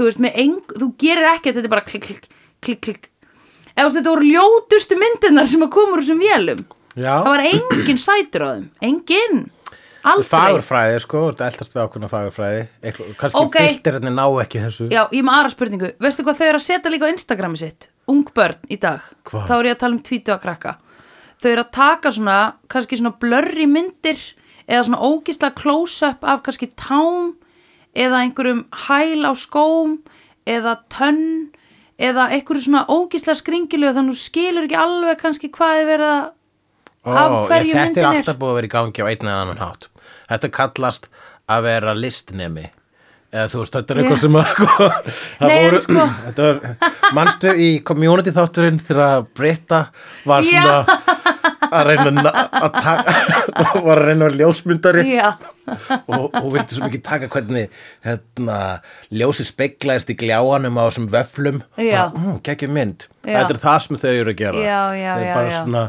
[SPEAKER 2] þú veist, með eng, þú gerir ekkert þetta er bara klikk, klikk, klikk, klikk eða þú veist, þetta voru ljótustu myndirnar sem að koma úr þessum vélum
[SPEAKER 1] já.
[SPEAKER 2] það var engin sætur á þeim, engin aldrei,
[SPEAKER 1] Fagurfræði, sko, þú ert eldast við ákveðna fagurfræði. Eitthvað, kannski
[SPEAKER 2] Ok.
[SPEAKER 1] okay. filterinni ná ekki þessu.
[SPEAKER 2] já, ég er með aðra spurningu veistu hvað þau eru að setja líka á Instagrami sitt ung börn í dag,
[SPEAKER 1] Hvað?
[SPEAKER 2] þá er ég að tala um tvítu að krakka, þau eru að taka svona kannski svona blurri myndir eða svona ógisla close-up af kannski tám eða einhverjum hæl á skóm eða tönn eða einhverju svona ógisla skringilegu þannig að þú skilur ekki alveg kannski hvað er verið að
[SPEAKER 1] Ó,
[SPEAKER 2] af
[SPEAKER 1] ég-
[SPEAKER 2] hverju
[SPEAKER 1] Þetta
[SPEAKER 2] myndin
[SPEAKER 1] er
[SPEAKER 2] er.
[SPEAKER 1] alltaf búið að vera í gangi á einn eða annan hátt. Þetta kallast að vera listnemi. Eða þú veist, þetta er eitthvað
[SPEAKER 2] Já.
[SPEAKER 1] sem að... sko, það
[SPEAKER 2] Nei, en sko-
[SPEAKER 1] þetta var, manstu í community þátturinn þegar Britta var
[SPEAKER 2] Já.
[SPEAKER 1] svona að reyna að ná- að taka... var að reyna að vera ljósmyndari
[SPEAKER 2] Já,
[SPEAKER 1] og hún vildi svo mikið taka hvernig hérna, ljósi speglaðist í gljáanum á þessum vöflum
[SPEAKER 2] Já.
[SPEAKER 1] bara, mm, geggjum mynd,
[SPEAKER 2] Já.
[SPEAKER 1] þetta er það sem þau eru að gera
[SPEAKER 2] Já, já,
[SPEAKER 1] Þau
[SPEAKER 2] já,
[SPEAKER 1] bara
[SPEAKER 2] já.
[SPEAKER 1] svona,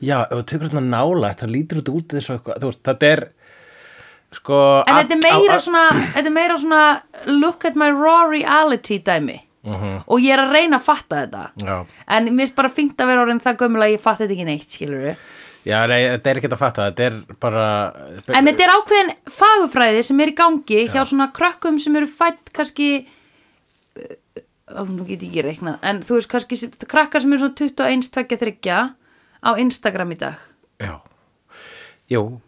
[SPEAKER 1] já, ef þú tekur þetta nála það lítur þetta út þess að eitthvað þú veist, þetta er sko,
[SPEAKER 2] en
[SPEAKER 1] all-
[SPEAKER 2] þetta er meira
[SPEAKER 1] á- á-
[SPEAKER 2] svona þetta er meira svona look at my raw reality dæmi
[SPEAKER 1] Mhm.
[SPEAKER 2] og ég er að reyna að fatta þetta
[SPEAKER 1] Já.
[SPEAKER 2] en mér finnst bara fínt að vera orðin það gömul að ég fatta þetta ekki neitt, skilur við
[SPEAKER 1] já, nei, þetta er ekki að fatta þetta er bara
[SPEAKER 2] en þetta er ákveðin fagufræði sem er í gangi hjá svona krökkum sem eru fætt kannski uh, nú get ég ekki reiknað en þú veist kannski s- krakkar sem eru svona 21, 23 á Instagram í dag
[SPEAKER 1] já, jú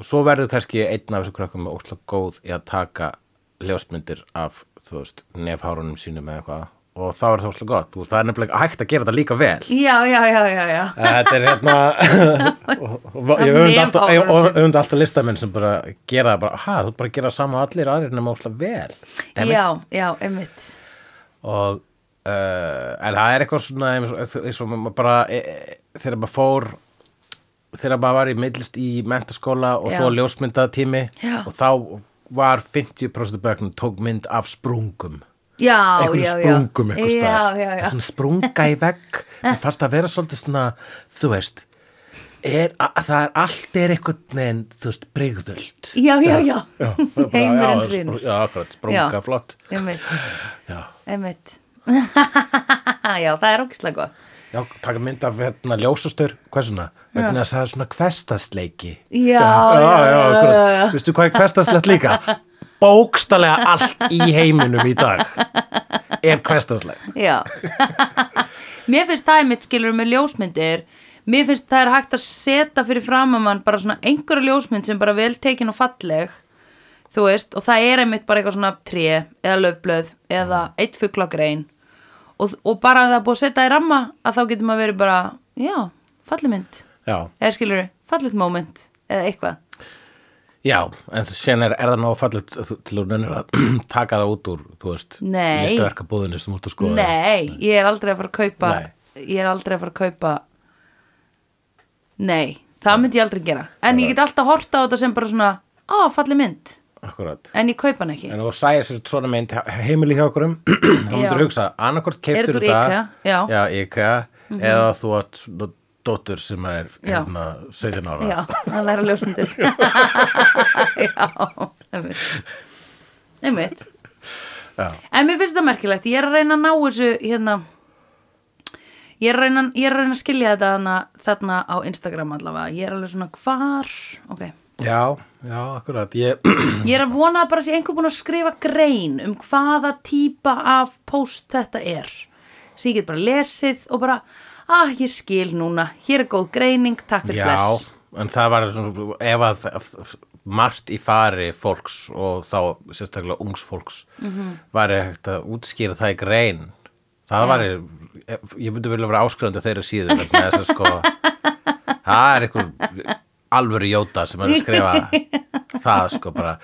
[SPEAKER 1] og svo verður kannski einn af þessum krökkum óslega góð í að taka ljósmyndir af, þú veist, nefhárunum sínum eða eitthvað og þá er það óslega gott, þú veist, það er nefnilega hægt að gera þetta líka vel
[SPEAKER 2] já, já, já, já, já
[SPEAKER 1] Þetta er hérna og- og- ég öfund alltaf, ég öfund alltaf listamenn sem bara gera það bara, ha, þú ert bara að gera sama og allir aðrir nema óslega vel Damn it.
[SPEAKER 2] já, já, einmitt
[SPEAKER 1] og uh, en það er eitthvað svona eins og- eins og maður bara e, e, þegar maður fór þegar maður var í millist í mentaskóla og
[SPEAKER 2] Já.
[SPEAKER 1] svo ljósmyndatími
[SPEAKER 2] Já.
[SPEAKER 1] og þá var 50% bögnum tók mynd af sprungum
[SPEAKER 2] já, já,
[SPEAKER 1] einhverjum
[SPEAKER 2] já.
[SPEAKER 1] sprungum einhvers
[SPEAKER 2] já,
[SPEAKER 1] staðar.
[SPEAKER 2] já, Eh. já.
[SPEAKER 1] það sem sprunga í vegg það fannst að vera svolítið svona þú veist er, að, það er allt er einhvern veginn þú veist breyðöld
[SPEAKER 2] já, já, já, heimurinn
[SPEAKER 1] já,
[SPEAKER 2] rinur
[SPEAKER 1] já, akkurat, sprunga,
[SPEAKER 2] Já.
[SPEAKER 1] flott
[SPEAKER 2] einmitt,
[SPEAKER 1] já.
[SPEAKER 2] einmitt já, það er ógislega gott
[SPEAKER 1] já, taka mynd af hérna ljósastur hversuna, vegna þess að það er svona kvestasleiki
[SPEAKER 2] Já,
[SPEAKER 1] já,
[SPEAKER 2] já,
[SPEAKER 1] já,
[SPEAKER 2] já,
[SPEAKER 1] akkurat.
[SPEAKER 2] já, já.
[SPEAKER 1] veistu hvað er kvestaslegt líka bókstallega allt í heiminum í dag er kvestaslegt
[SPEAKER 2] já mér finnst það einmitt skilur með ljósmyndir mér finnst það er hægt að setja fyrir framamann bara svona einhverja ljósmynd sem bara vel tekin og falleg þú veist, og það er einmitt bara eitthvað svona tré eða löfblöð eða eitt fuglagrein og, og bara að það er búið að setja í ramma að þá getur maður verið bara, já, falleg mynd
[SPEAKER 1] já
[SPEAKER 2] eða skilur, fallegt moment eða eitthvað
[SPEAKER 1] Já, en sen er, er það nóg fallið til að nönnir að taka það út úr, þú veist,
[SPEAKER 2] Nei.
[SPEAKER 1] listaverka búðinu sem út að skoða.
[SPEAKER 2] Nei, ég er aldrei að fara að kaupa
[SPEAKER 1] Nei.
[SPEAKER 2] Ég er aldrei að fara að kaupa Nei, það myndi ég aldrei gera En ég get alltaf horta á þetta sem bara svona Á, falli mynd
[SPEAKER 1] Akkurat.
[SPEAKER 2] En ég kaupa hann ekki
[SPEAKER 1] En þú sæði sér svona mynd heimili hjá okkurum, þá myndur
[SPEAKER 2] Já.
[SPEAKER 1] hugsa, annarkort
[SPEAKER 2] Er
[SPEAKER 1] keiftur
[SPEAKER 2] þetta úr IKEA? Já. Mhm.
[SPEAKER 1] Já, IKEA, eða þú átt svona dóttur sem er
[SPEAKER 2] Já.
[SPEAKER 1] hérna 17 ára.
[SPEAKER 2] Já, að læra ljósmyndir Já, einmitt Einmitt
[SPEAKER 1] Já.
[SPEAKER 2] En mér finnst þetta merkilegt, ég er að reyna að ná þessu hérna Ég er að reyna, ég er að, reyna að skilja þetta þarna, þarna á Instagram allavega Ég er alveg svona hvar Ok,
[SPEAKER 1] Já, já, akkurat Ég,
[SPEAKER 2] Ég er að vona að bara sé einhver búin að skrifa grein um hvaða típa af post þetta er. Svo ég get bara lesið og bara, ah, ég skil núna, hér er góð greining, takk fyrir
[SPEAKER 1] já
[SPEAKER 2] bless.
[SPEAKER 1] En það var svona, ef að að- margt í fari fólks og þá sérstaklega ungs fólks
[SPEAKER 2] Mhm.
[SPEAKER 1] væri hægt að útskýra það í grein það væri, ég myndi vilja vera áskrifandi á þeirra síðu vegna þess að sko það er einhver alvöru jóta sem er að skrifa það sko bara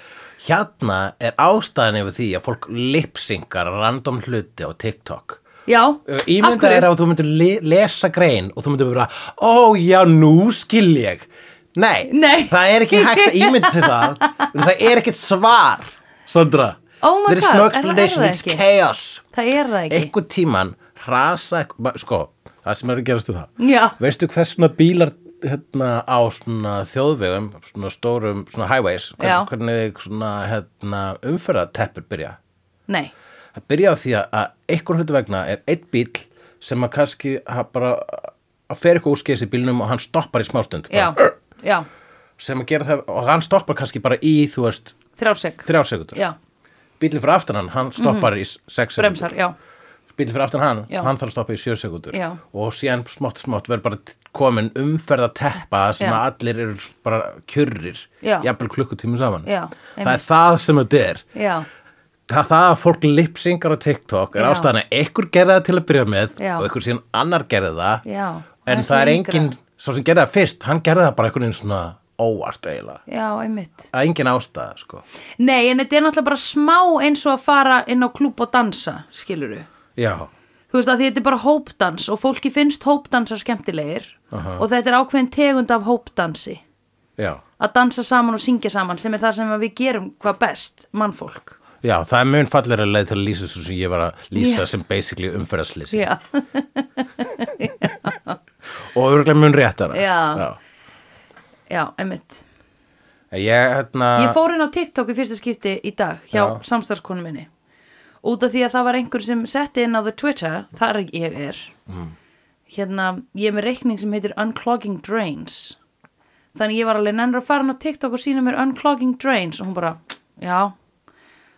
[SPEAKER 1] hérna er ástæðan yfir því að fólk lipsingar random hluti á TikTok
[SPEAKER 2] Já,
[SPEAKER 1] Uh,
[SPEAKER 2] af
[SPEAKER 1] Ímynda
[SPEAKER 2] hverju?
[SPEAKER 1] er að þú myndir le lesa grein og þú myndir bara, ó já, nú skil ég. Nei,
[SPEAKER 2] Nei.
[SPEAKER 1] það er ekki hægt að ímynda sér það, en það er ekkert svar, Sandra.
[SPEAKER 2] Oh my
[SPEAKER 1] There is
[SPEAKER 2] God,
[SPEAKER 1] no
[SPEAKER 2] er það- er það
[SPEAKER 1] explanation, it's
[SPEAKER 2] ekki?
[SPEAKER 1] chaos.
[SPEAKER 2] Það er það ekki.
[SPEAKER 1] Einhver tíman hrasa, ekk- ma- sko, það sem er að gerast er það.
[SPEAKER 2] Já,
[SPEAKER 1] Veistu hvers svona bílar hérna, á svona þjóðvegum, svona stórum, svona highways,
[SPEAKER 2] Já.
[SPEAKER 1] hvern, hvernig svona hérna, umferðateppur byrja?
[SPEAKER 2] nei,
[SPEAKER 1] að byrja á því að- að einhver hlutu vegna er einn bíl sem að kannski að bara að fer eitthvað úr skeis í bílnum og hann stoppar í smástund
[SPEAKER 2] já,
[SPEAKER 1] bara,
[SPEAKER 2] já,
[SPEAKER 1] sem að gera það og hann stoppar kannski bara í þú veist
[SPEAKER 2] þrjásek,
[SPEAKER 1] þrjá sekundur
[SPEAKER 2] já, Mhm.
[SPEAKER 1] bílinn fyrir aftan hann, hann stoppar í s- sex sekundur
[SPEAKER 2] bremsar, já,
[SPEAKER 1] bílinn fyrir aftan hann,
[SPEAKER 2] Já.
[SPEAKER 1] hann þarf að stoppa í sjö sekundur
[SPEAKER 2] Já.
[SPEAKER 1] og síðan smátt smátt verður bara komin umferð að teppa sem
[SPEAKER 2] Já.
[SPEAKER 1] að allir eru bara kjurrir
[SPEAKER 2] Já.
[SPEAKER 1] jafnvel klukkutími saman
[SPEAKER 2] Já,
[SPEAKER 1] það er
[SPEAKER 2] einmitt.
[SPEAKER 1] það sem þetta er
[SPEAKER 2] já,
[SPEAKER 1] það, það að fólk lipsingar á TikTok er
[SPEAKER 2] Já.
[SPEAKER 1] ástæðan að einhver gerði það til að byrja með
[SPEAKER 2] Já.
[SPEAKER 1] og einhver síðan annar gerði það
[SPEAKER 2] Já,
[SPEAKER 1] en
[SPEAKER 2] aðeins
[SPEAKER 1] það er
[SPEAKER 2] lengra.
[SPEAKER 1] enginn, svo sem gerði það fyrst hann gerði það bara einhvern veginn svona óvart eiginlega,
[SPEAKER 2] já, einmitt.
[SPEAKER 1] að engin ástæða sko.
[SPEAKER 2] Nei, en þetta er náttúrulega bara smá eins og að fara inn á klúb og dansa, skilurðu?
[SPEAKER 1] já,
[SPEAKER 2] þú veist að því þetta er bara hópdans og fólki finnst hópdansar skemmtilegir
[SPEAKER 1] Aha.
[SPEAKER 2] og þetta er ákveðin tegund af hópdansi
[SPEAKER 1] já,
[SPEAKER 2] að dansa saman og syngja saman sem er það sem að við gerum hvað best, mannfólk
[SPEAKER 1] já það er mun fallir að leið til að lýsa svo sem ég var að lýsa
[SPEAKER 2] Já.
[SPEAKER 1] sem basically umferðarslýsi
[SPEAKER 2] já.
[SPEAKER 1] og örgulega mun réttara
[SPEAKER 2] Já. já, einmitt
[SPEAKER 1] En Ég, hérna,
[SPEAKER 2] ég fór inn á TikTok í fyrsta skipti í dag hjá
[SPEAKER 1] Já.
[SPEAKER 2] samstarfskonu minni út af því að það var einhver sem setti inn á the Twitter þar ég er
[SPEAKER 1] Mm.
[SPEAKER 2] hérna, ég er með reikning sem heitir Unclogging Drains þannig ég var alveg nennur að fara inn á TikTok og sína mér Unclogging Drains og hún bara, já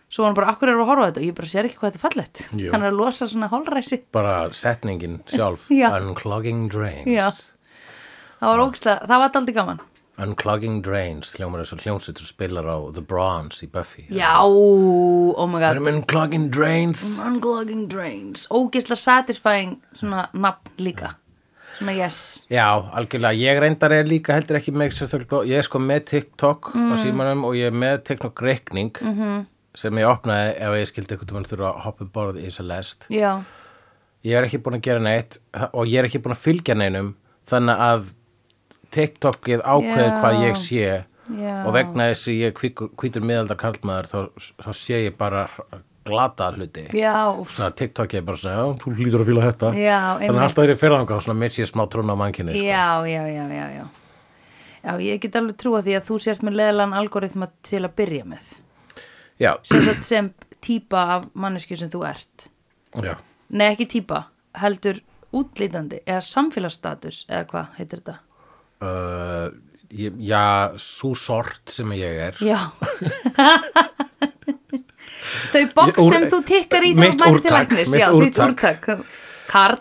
[SPEAKER 2] svo var hún bara, akkur erum við að horfa á þetta og ég bara sér ekki hvað þetta er fallegt
[SPEAKER 1] Jú.
[SPEAKER 2] hann er að losa svona holræsi
[SPEAKER 1] bara setningin sjálf
[SPEAKER 2] Já.
[SPEAKER 1] unclogging drains
[SPEAKER 2] Já. það var ógstlega, það var aldrei gaman
[SPEAKER 1] unclogging drains hljómar þess að hljómsveitur spilar á The Bronze í Buffy
[SPEAKER 2] já, oh my god
[SPEAKER 1] erum unclogging drains
[SPEAKER 2] Unclogging Drains Ógisla satisfying svona nafn líka Svona yes
[SPEAKER 1] Já, algjörlega, ég reyndar er líka heldur ekki með sérstaklega, ég er sko með TikTok á
[SPEAKER 2] Mm.
[SPEAKER 1] símanum og ég er með TikTok reikning
[SPEAKER 2] Mhm.
[SPEAKER 1] -hmm. sem ég opnaði ef ég skildi eitthvað mann þurfa að hoppa um borð í þess að lest.
[SPEAKER 2] Já,
[SPEAKER 1] Ég er ekki búin að gera neitt og ég er ekki búin að fylgja neinum þannig að TikTokið ákveður
[SPEAKER 2] Já.
[SPEAKER 1] hvað ég sé
[SPEAKER 2] Já.
[SPEAKER 1] og vegna þess að ég er hvíkur- hvítur miðaldar karlmaður þá, þá sé ég bara glata hluti.
[SPEAKER 2] já, úff.
[SPEAKER 1] Svona TikTok er bara svona, já, þú lítur að fíla þetta.
[SPEAKER 2] Já,
[SPEAKER 1] Þannig að
[SPEAKER 2] einmitt.
[SPEAKER 1] alltaf þegar ég fer þangað, svona missi ég smá trún á sko. manginni.
[SPEAKER 2] já, já, já, já, já Já, ég get alveg trúa því að þú sért með leðlan algoritma til að byrja með
[SPEAKER 1] Já,
[SPEAKER 2] sem, sagt sem típa af mannesku sem þú ert
[SPEAKER 1] já.
[SPEAKER 2] Nei, ekki típa, heldur útlítandi eða samfélagsstatus eða hvað heitir þetta
[SPEAKER 1] Uh, ég- já, svo sort sem ég er.
[SPEAKER 2] Já Þau box
[SPEAKER 1] Ég- úr-
[SPEAKER 2] sem þú tikkar í
[SPEAKER 1] mitt
[SPEAKER 2] þegar þú mæri til
[SPEAKER 1] úrtak,
[SPEAKER 2] læknis
[SPEAKER 1] mitt
[SPEAKER 2] Já, þitt
[SPEAKER 1] úrtak.
[SPEAKER 2] úrtak Karl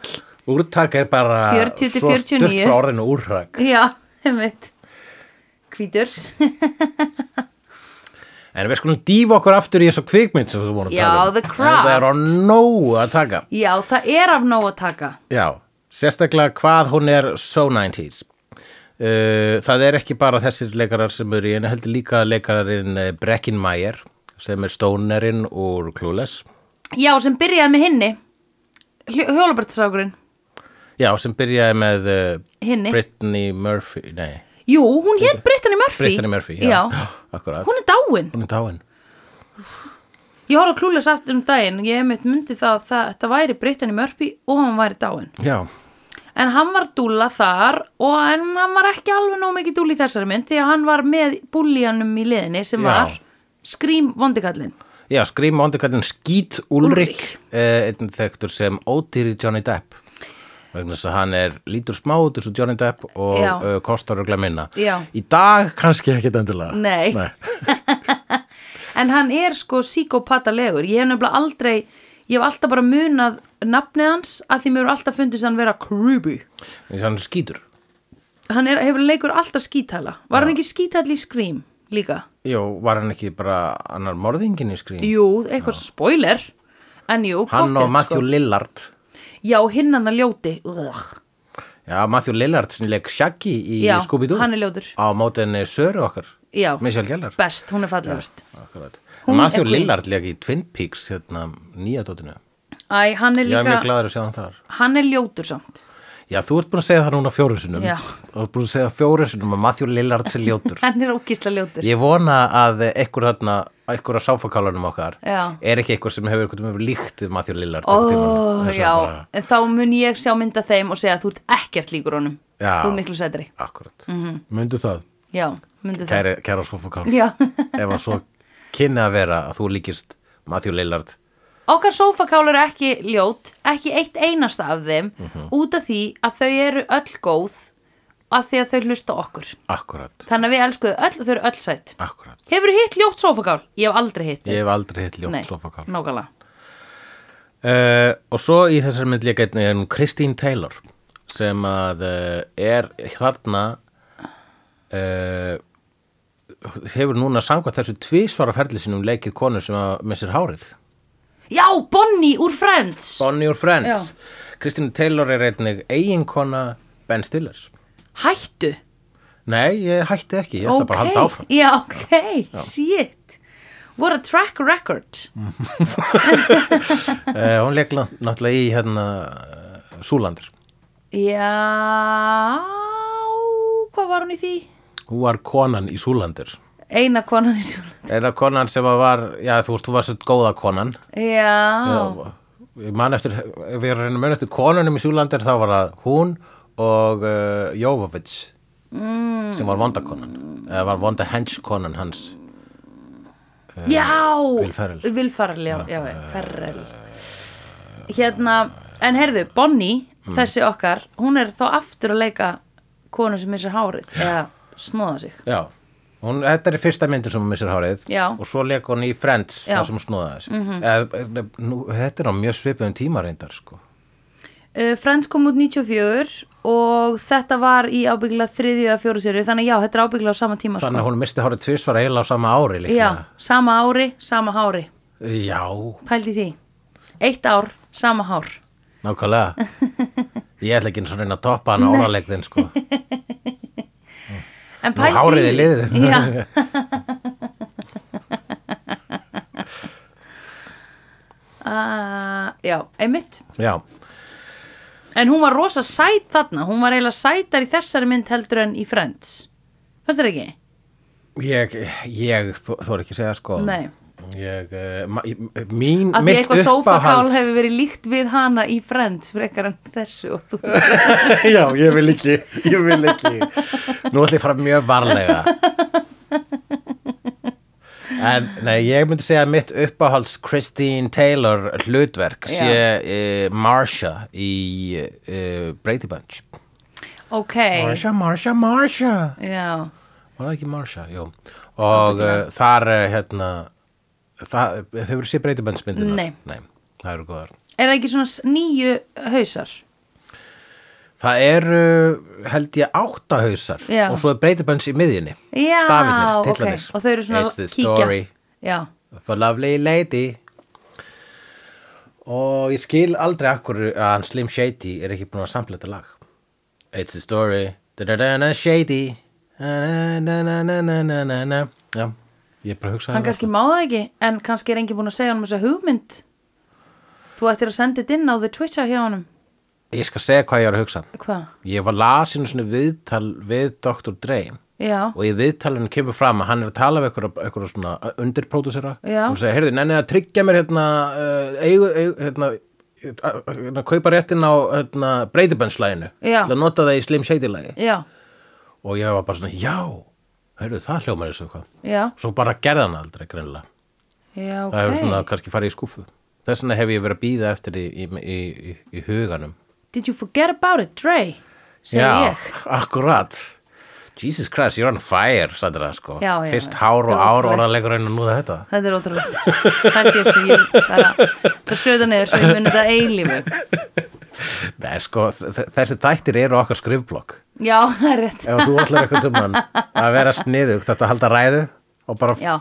[SPEAKER 1] Úrtak er bara
[SPEAKER 2] 40 til
[SPEAKER 1] svo stutt
[SPEAKER 2] 49.
[SPEAKER 1] frá orðinu úrtak.
[SPEAKER 2] Já, einmitt Hvítur
[SPEAKER 1] En við skulum dýfa okkur aftur í þessu kvikmynd sem þú voru að
[SPEAKER 2] Já,
[SPEAKER 1] tala um.
[SPEAKER 2] The
[SPEAKER 1] En
[SPEAKER 2] Craft.
[SPEAKER 1] Það er á nógu að taka.
[SPEAKER 2] Já, það er af nóg að taka
[SPEAKER 1] Já, sérstaklega hvað hún er so 90s. Uh, það er ekki bara þessir leikarar sem eru í henni, heldur líka leikararinn eh, Breckin Meyer sem er stónerinn úr Clueless.
[SPEAKER 2] Já, sem byrjaði með hinni Hjólabartsákurinn
[SPEAKER 1] Já, sem byrjaði með uh,
[SPEAKER 2] Hinni.
[SPEAKER 1] Brittany Murphy, nei,
[SPEAKER 2] Jú, hún hétt Brittany Murphy
[SPEAKER 1] Brittany Murphy, já, akkurat.
[SPEAKER 2] Hún er dáin
[SPEAKER 1] Hún er dáin.
[SPEAKER 2] Ég horf að klúlega satt um daginn Ég hef mitt myndi það að það- þetta væri Brittany Murphy og hann væri dáin
[SPEAKER 1] Já,
[SPEAKER 2] En hann var dúlla þar og en hann var ekki alveg nóg mikið dúll í þessari mynd því að hann var með búlíjanum í liðinni sem
[SPEAKER 1] Já.
[SPEAKER 2] var skrím vondikallin
[SPEAKER 1] já skrýma ondur kallinn Skít Ulrik,
[SPEAKER 2] Ulrik.
[SPEAKER 1] eh, einn þekktur sem ódýri Johnny Depp. vegna þess að hann er lítur smá út eins og Johnny Depp og
[SPEAKER 2] Já.
[SPEAKER 1] uh, kostar örugglega minna
[SPEAKER 2] Já.
[SPEAKER 1] í dag kannski ekkit endilega
[SPEAKER 2] Nei.
[SPEAKER 1] Nei.
[SPEAKER 2] En hann er sko psíkopatalegur. Ég hef nefnilega aldrei, ég hef alltaf bara munað nafnið hans að því mér hefur alltaf fundist hann vera creepy.
[SPEAKER 1] Þannig að hann er skítur
[SPEAKER 2] Hann er, hefur leikur alltaf skítala. Var hann ekki skítall í Scream líka?
[SPEAKER 1] Jó, var hann ekki bara annar morðingin í skrýn
[SPEAKER 2] Jú, eitthvað spoiler. En jú,
[SPEAKER 1] Hann og
[SPEAKER 2] pottet,
[SPEAKER 1] Matthew Lillard
[SPEAKER 2] Já, hinn hann að ljóti. Ugh.
[SPEAKER 1] Já, Matthew Lillard sem leik Shaggy í
[SPEAKER 2] Já,
[SPEAKER 1] Scooby-Doo
[SPEAKER 2] hann er ljótur.
[SPEAKER 1] Á mótinni Söru okkar
[SPEAKER 2] Já.
[SPEAKER 1] Michelle Gellar
[SPEAKER 2] Best, hún er fallegust.
[SPEAKER 1] Akkurat.
[SPEAKER 2] Hún
[SPEAKER 1] Matthew
[SPEAKER 2] er queen.
[SPEAKER 1] Lillard leik í Twin Peaks hérna, nýja dótinu
[SPEAKER 2] Æ, hann er
[SPEAKER 1] Ég er mjög
[SPEAKER 2] líka,
[SPEAKER 1] glaður að sjá hann þar
[SPEAKER 2] hann er ljótur samt.
[SPEAKER 1] Já, þú ert búin að segja það núna fjóru sinum
[SPEAKER 2] Já.
[SPEAKER 1] Þú ert búin að segja fjóru sinum að Matthew Lillard sé ljótur
[SPEAKER 2] Hann er ókísla ljótur.
[SPEAKER 1] Ég vona að ekkur þarna ekkur af sáfakálanum okkar
[SPEAKER 2] Já.
[SPEAKER 1] er ekki ekkur sem hefur eitthvað með líkt við Matthew Lillard
[SPEAKER 2] Ó,
[SPEAKER 1] einhvern tímann. Þess að
[SPEAKER 2] já,
[SPEAKER 1] bara,
[SPEAKER 2] en þá mun ég sjá mynda þeim og segja að þú ert ekkert líkur honum
[SPEAKER 1] Já.
[SPEAKER 2] Þú ert miklu sætari
[SPEAKER 1] Akkurat, mm -hmm. myndu það
[SPEAKER 2] Já, myndu það
[SPEAKER 1] kæra, kæra sofakál
[SPEAKER 2] Mhm. Já.
[SPEAKER 1] ef að svo kynni að vera að þú líkist Matthew Lillard
[SPEAKER 2] Okkar sófakálur er ekki ljót, ekki eitt einasta af þeim
[SPEAKER 1] Mhm.
[SPEAKER 2] út af því að þau eru öll góð af því að þau hlusta á okkur
[SPEAKER 1] Akkurat,
[SPEAKER 2] Þannig að við elskuðu öll og þau eru öll sætt
[SPEAKER 1] akkurat
[SPEAKER 2] Hefur hitt ljótt sófakál? Ég hef aldrei hitt
[SPEAKER 1] Ég hef aldrei hitt
[SPEAKER 2] Nei,
[SPEAKER 1] ljótt sofakál
[SPEAKER 2] nákvæmlega
[SPEAKER 1] Uh, og svo í þessar mynd líka einnig er hún Christine Taylor sem að uh, er hérna uh, hefur núna samkvæmt þessu tvísvara ferli sínum leikið konu sem að missir hárið
[SPEAKER 2] Já, Bonnie úr Friends
[SPEAKER 1] Bonnie og Friends Christine Taylor er einnig eiginkona Ben Stillers
[SPEAKER 2] Hættu
[SPEAKER 1] Nei, ég hætti ekki, ég ætla bara að halda áfram
[SPEAKER 2] Já, ok, shit What a track record
[SPEAKER 1] Mm. uh, Hún leik ná- náttúrulega í hérna uh, Súlandir
[SPEAKER 2] Já, hvað var hún í því?
[SPEAKER 1] Hún var konan í Súlandir
[SPEAKER 2] Eina konan í Súland.
[SPEAKER 1] Eða konan sem að var, já þú veist, hún var svo góða konan
[SPEAKER 2] Já,
[SPEAKER 1] ég man eftir, ef ég er að reyna að muna eftir konunum í Sjúlandir þá var það hún og uh, Jóvovits mm. sem var vondakonan eða var vonda henskonan hans
[SPEAKER 2] já,
[SPEAKER 1] eh, Will Ferrell. eh,
[SPEAKER 2] Will Ferrell, já, já, Ferrell. Hérna, en heyrðu, Bonnie,
[SPEAKER 1] Mm.
[SPEAKER 2] þessi okkar, hún er þá aftur að leika konu sem missir hárið, eða snóða sig.
[SPEAKER 1] já, hún, þetta er í fyrsta myndin sem hún missir hárið
[SPEAKER 2] Já.
[SPEAKER 1] og svo leik hún í Friends
[SPEAKER 2] Já. Mhm.
[SPEAKER 1] þar sem hún snúðaði sig mm -hmm. eða, nú, þetta er á mjög svipum tímareindar sko.
[SPEAKER 2] Uh, Friends kom út 94 og þetta var í ábyggilega þriðju að fjóru sérju, þannig að já, þetta er ábyggilega á sama tíma.
[SPEAKER 1] þannig að hún misti hárið tvisvar eiginlega á sama ári
[SPEAKER 2] sko. Já,
[SPEAKER 1] líklega.
[SPEAKER 2] sama ári, sama hári.
[SPEAKER 1] já,
[SPEAKER 2] Pældi því. Eitt ár, sama hár.
[SPEAKER 1] nákvæmlega ég ætla ekki eins og reyna að toppa hann á áralegðin sko.
[SPEAKER 2] En
[SPEAKER 1] Nú, hárið er liðið.
[SPEAKER 2] Já, uh, já, einmitt
[SPEAKER 1] já,
[SPEAKER 2] En hún var rosa sæt þarna Hún var eiginlega sætar í þessari mynd heldur en í Friends Fannst þér ekki?
[SPEAKER 1] Ég, ég þó, þóra ekki að segja sko
[SPEAKER 2] Nei.
[SPEAKER 1] Ég, eh, ma- ég- mín,
[SPEAKER 2] Af því
[SPEAKER 1] mitt
[SPEAKER 2] eitthvað sófakál
[SPEAKER 1] uppáhalds
[SPEAKER 2] hefur verið líkt við hana í Friends frekar en þessu og þú
[SPEAKER 1] Já, ég vil ekki, ég vil ekki Nú ætlum ég að fara mjög varlega En, nei, ég myndi segja að mitt uppáhalds Christine Taylor hlutverk
[SPEAKER 2] Já.
[SPEAKER 1] sé uh, Marsha í uh, Brady Bunch
[SPEAKER 2] Ok,
[SPEAKER 1] Marsha, Marsha, Marsha
[SPEAKER 2] já
[SPEAKER 1] Var það ekki Marsha, jú Og uh, þar, uh, hérna það, þau verið sé Brady Bunch myndina
[SPEAKER 2] Nei.
[SPEAKER 1] Nei, það eru góðar
[SPEAKER 2] Er það ekki svona s- nýju hausar?
[SPEAKER 1] Það eru, held ég, átta hausar
[SPEAKER 2] Já.
[SPEAKER 1] og svo er breytibönns í miðjunni.
[SPEAKER 2] Já,
[SPEAKER 1] Stafirnir,
[SPEAKER 2] ok
[SPEAKER 1] titlanir.
[SPEAKER 2] Og þau eru svona
[SPEAKER 1] It's the
[SPEAKER 2] kíkja
[SPEAKER 1] story
[SPEAKER 2] Já,
[SPEAKER 1] of a lovely lady. Og ég skil aldrei akkur að hann Slim Shady er ekki búin að sampla þetta lag. It's the story, da-da-da-da, Shady, da-da-da-da-da-da-da-da. Já, ég bara um hugsaði
[SPEAKER 2] Hann kannski má það ekki, en kannski er enginn búin að segja honum þessa hugmynd. Þú ættir að senda þetta inn á the Twitter hjá honum.
[SPEAKER 1] Ég skal segja hvað ég var að hugsa.
[SPEAKER 2] Hvað?
[SPEAKER 1] Ég var lasinu svona viðtal við Dr. Dre.
[SPEAKER 2] Já,
[SPEAKER 1] og í viðtalinu kemur fram að hann er að tala við eitthvað, eitthvað svona undirpródusera
[SPEAKER 2] Já.
[SPEAKER 1] og segja, heyrðu, nenni að tryggja mér hérna, uh, eigu, eigu, hérna, hérna, hérna kaupa réttin á hérna, breytibönnslæginu
[SPEAKER 2] Já.
[SPEAKER 1] að nota það í Slim Shady lægi
[SPEAKER 2] já,
[SPEAKER 1] og ég var bara svona, já heyrðu, það hljómar þessu eitthvað
[SPEAKER 2] já,
[SPEAKER 1] svo bara gerði hann aldrei greinlega
[SPEAKER 2] já, ok.
[SPEAKER 1] það hefur svona kannski farið í skúfu þess vegna hef ég verið að býða eftir í, í, í, í, í huganum
[SPEAKER 2] Did you forget about it, Dre? Segir
[SPEAKER 1] Já,
[SPEAKER 2] ég
[SPEAKER 1] akkurat Jesus Christ, you're on fire, Sandra, sko
[SPEAKER 2] Já, já,
[SPEAKER 1] Fyrst
[SPEAKER 2] já.
[SPEAKER 1] hár og
[SPEAKER 2] Þetta er
[SPEAKER 1] ár
[SPEAKER 2] ótrúlegt.
[SPEAKER 1] orðalegur en nú þetta
[SPEAKER 2] Þetta er ótrúlegt Held ég sem ég bara Það skrifa þetta niður svo ég muni þetta eilífu
[SPEAKER 1] Nei, sko, þ- þ- þessi þættir eru okkar skrifblokk
[SPEAKER 2] Já, það er rétt
[SPEAKER 1] Ef þú ætlar eitthvað tumann að vera sniðugt þetta halda ræðu og bara,
[SPEAKER 2] Já,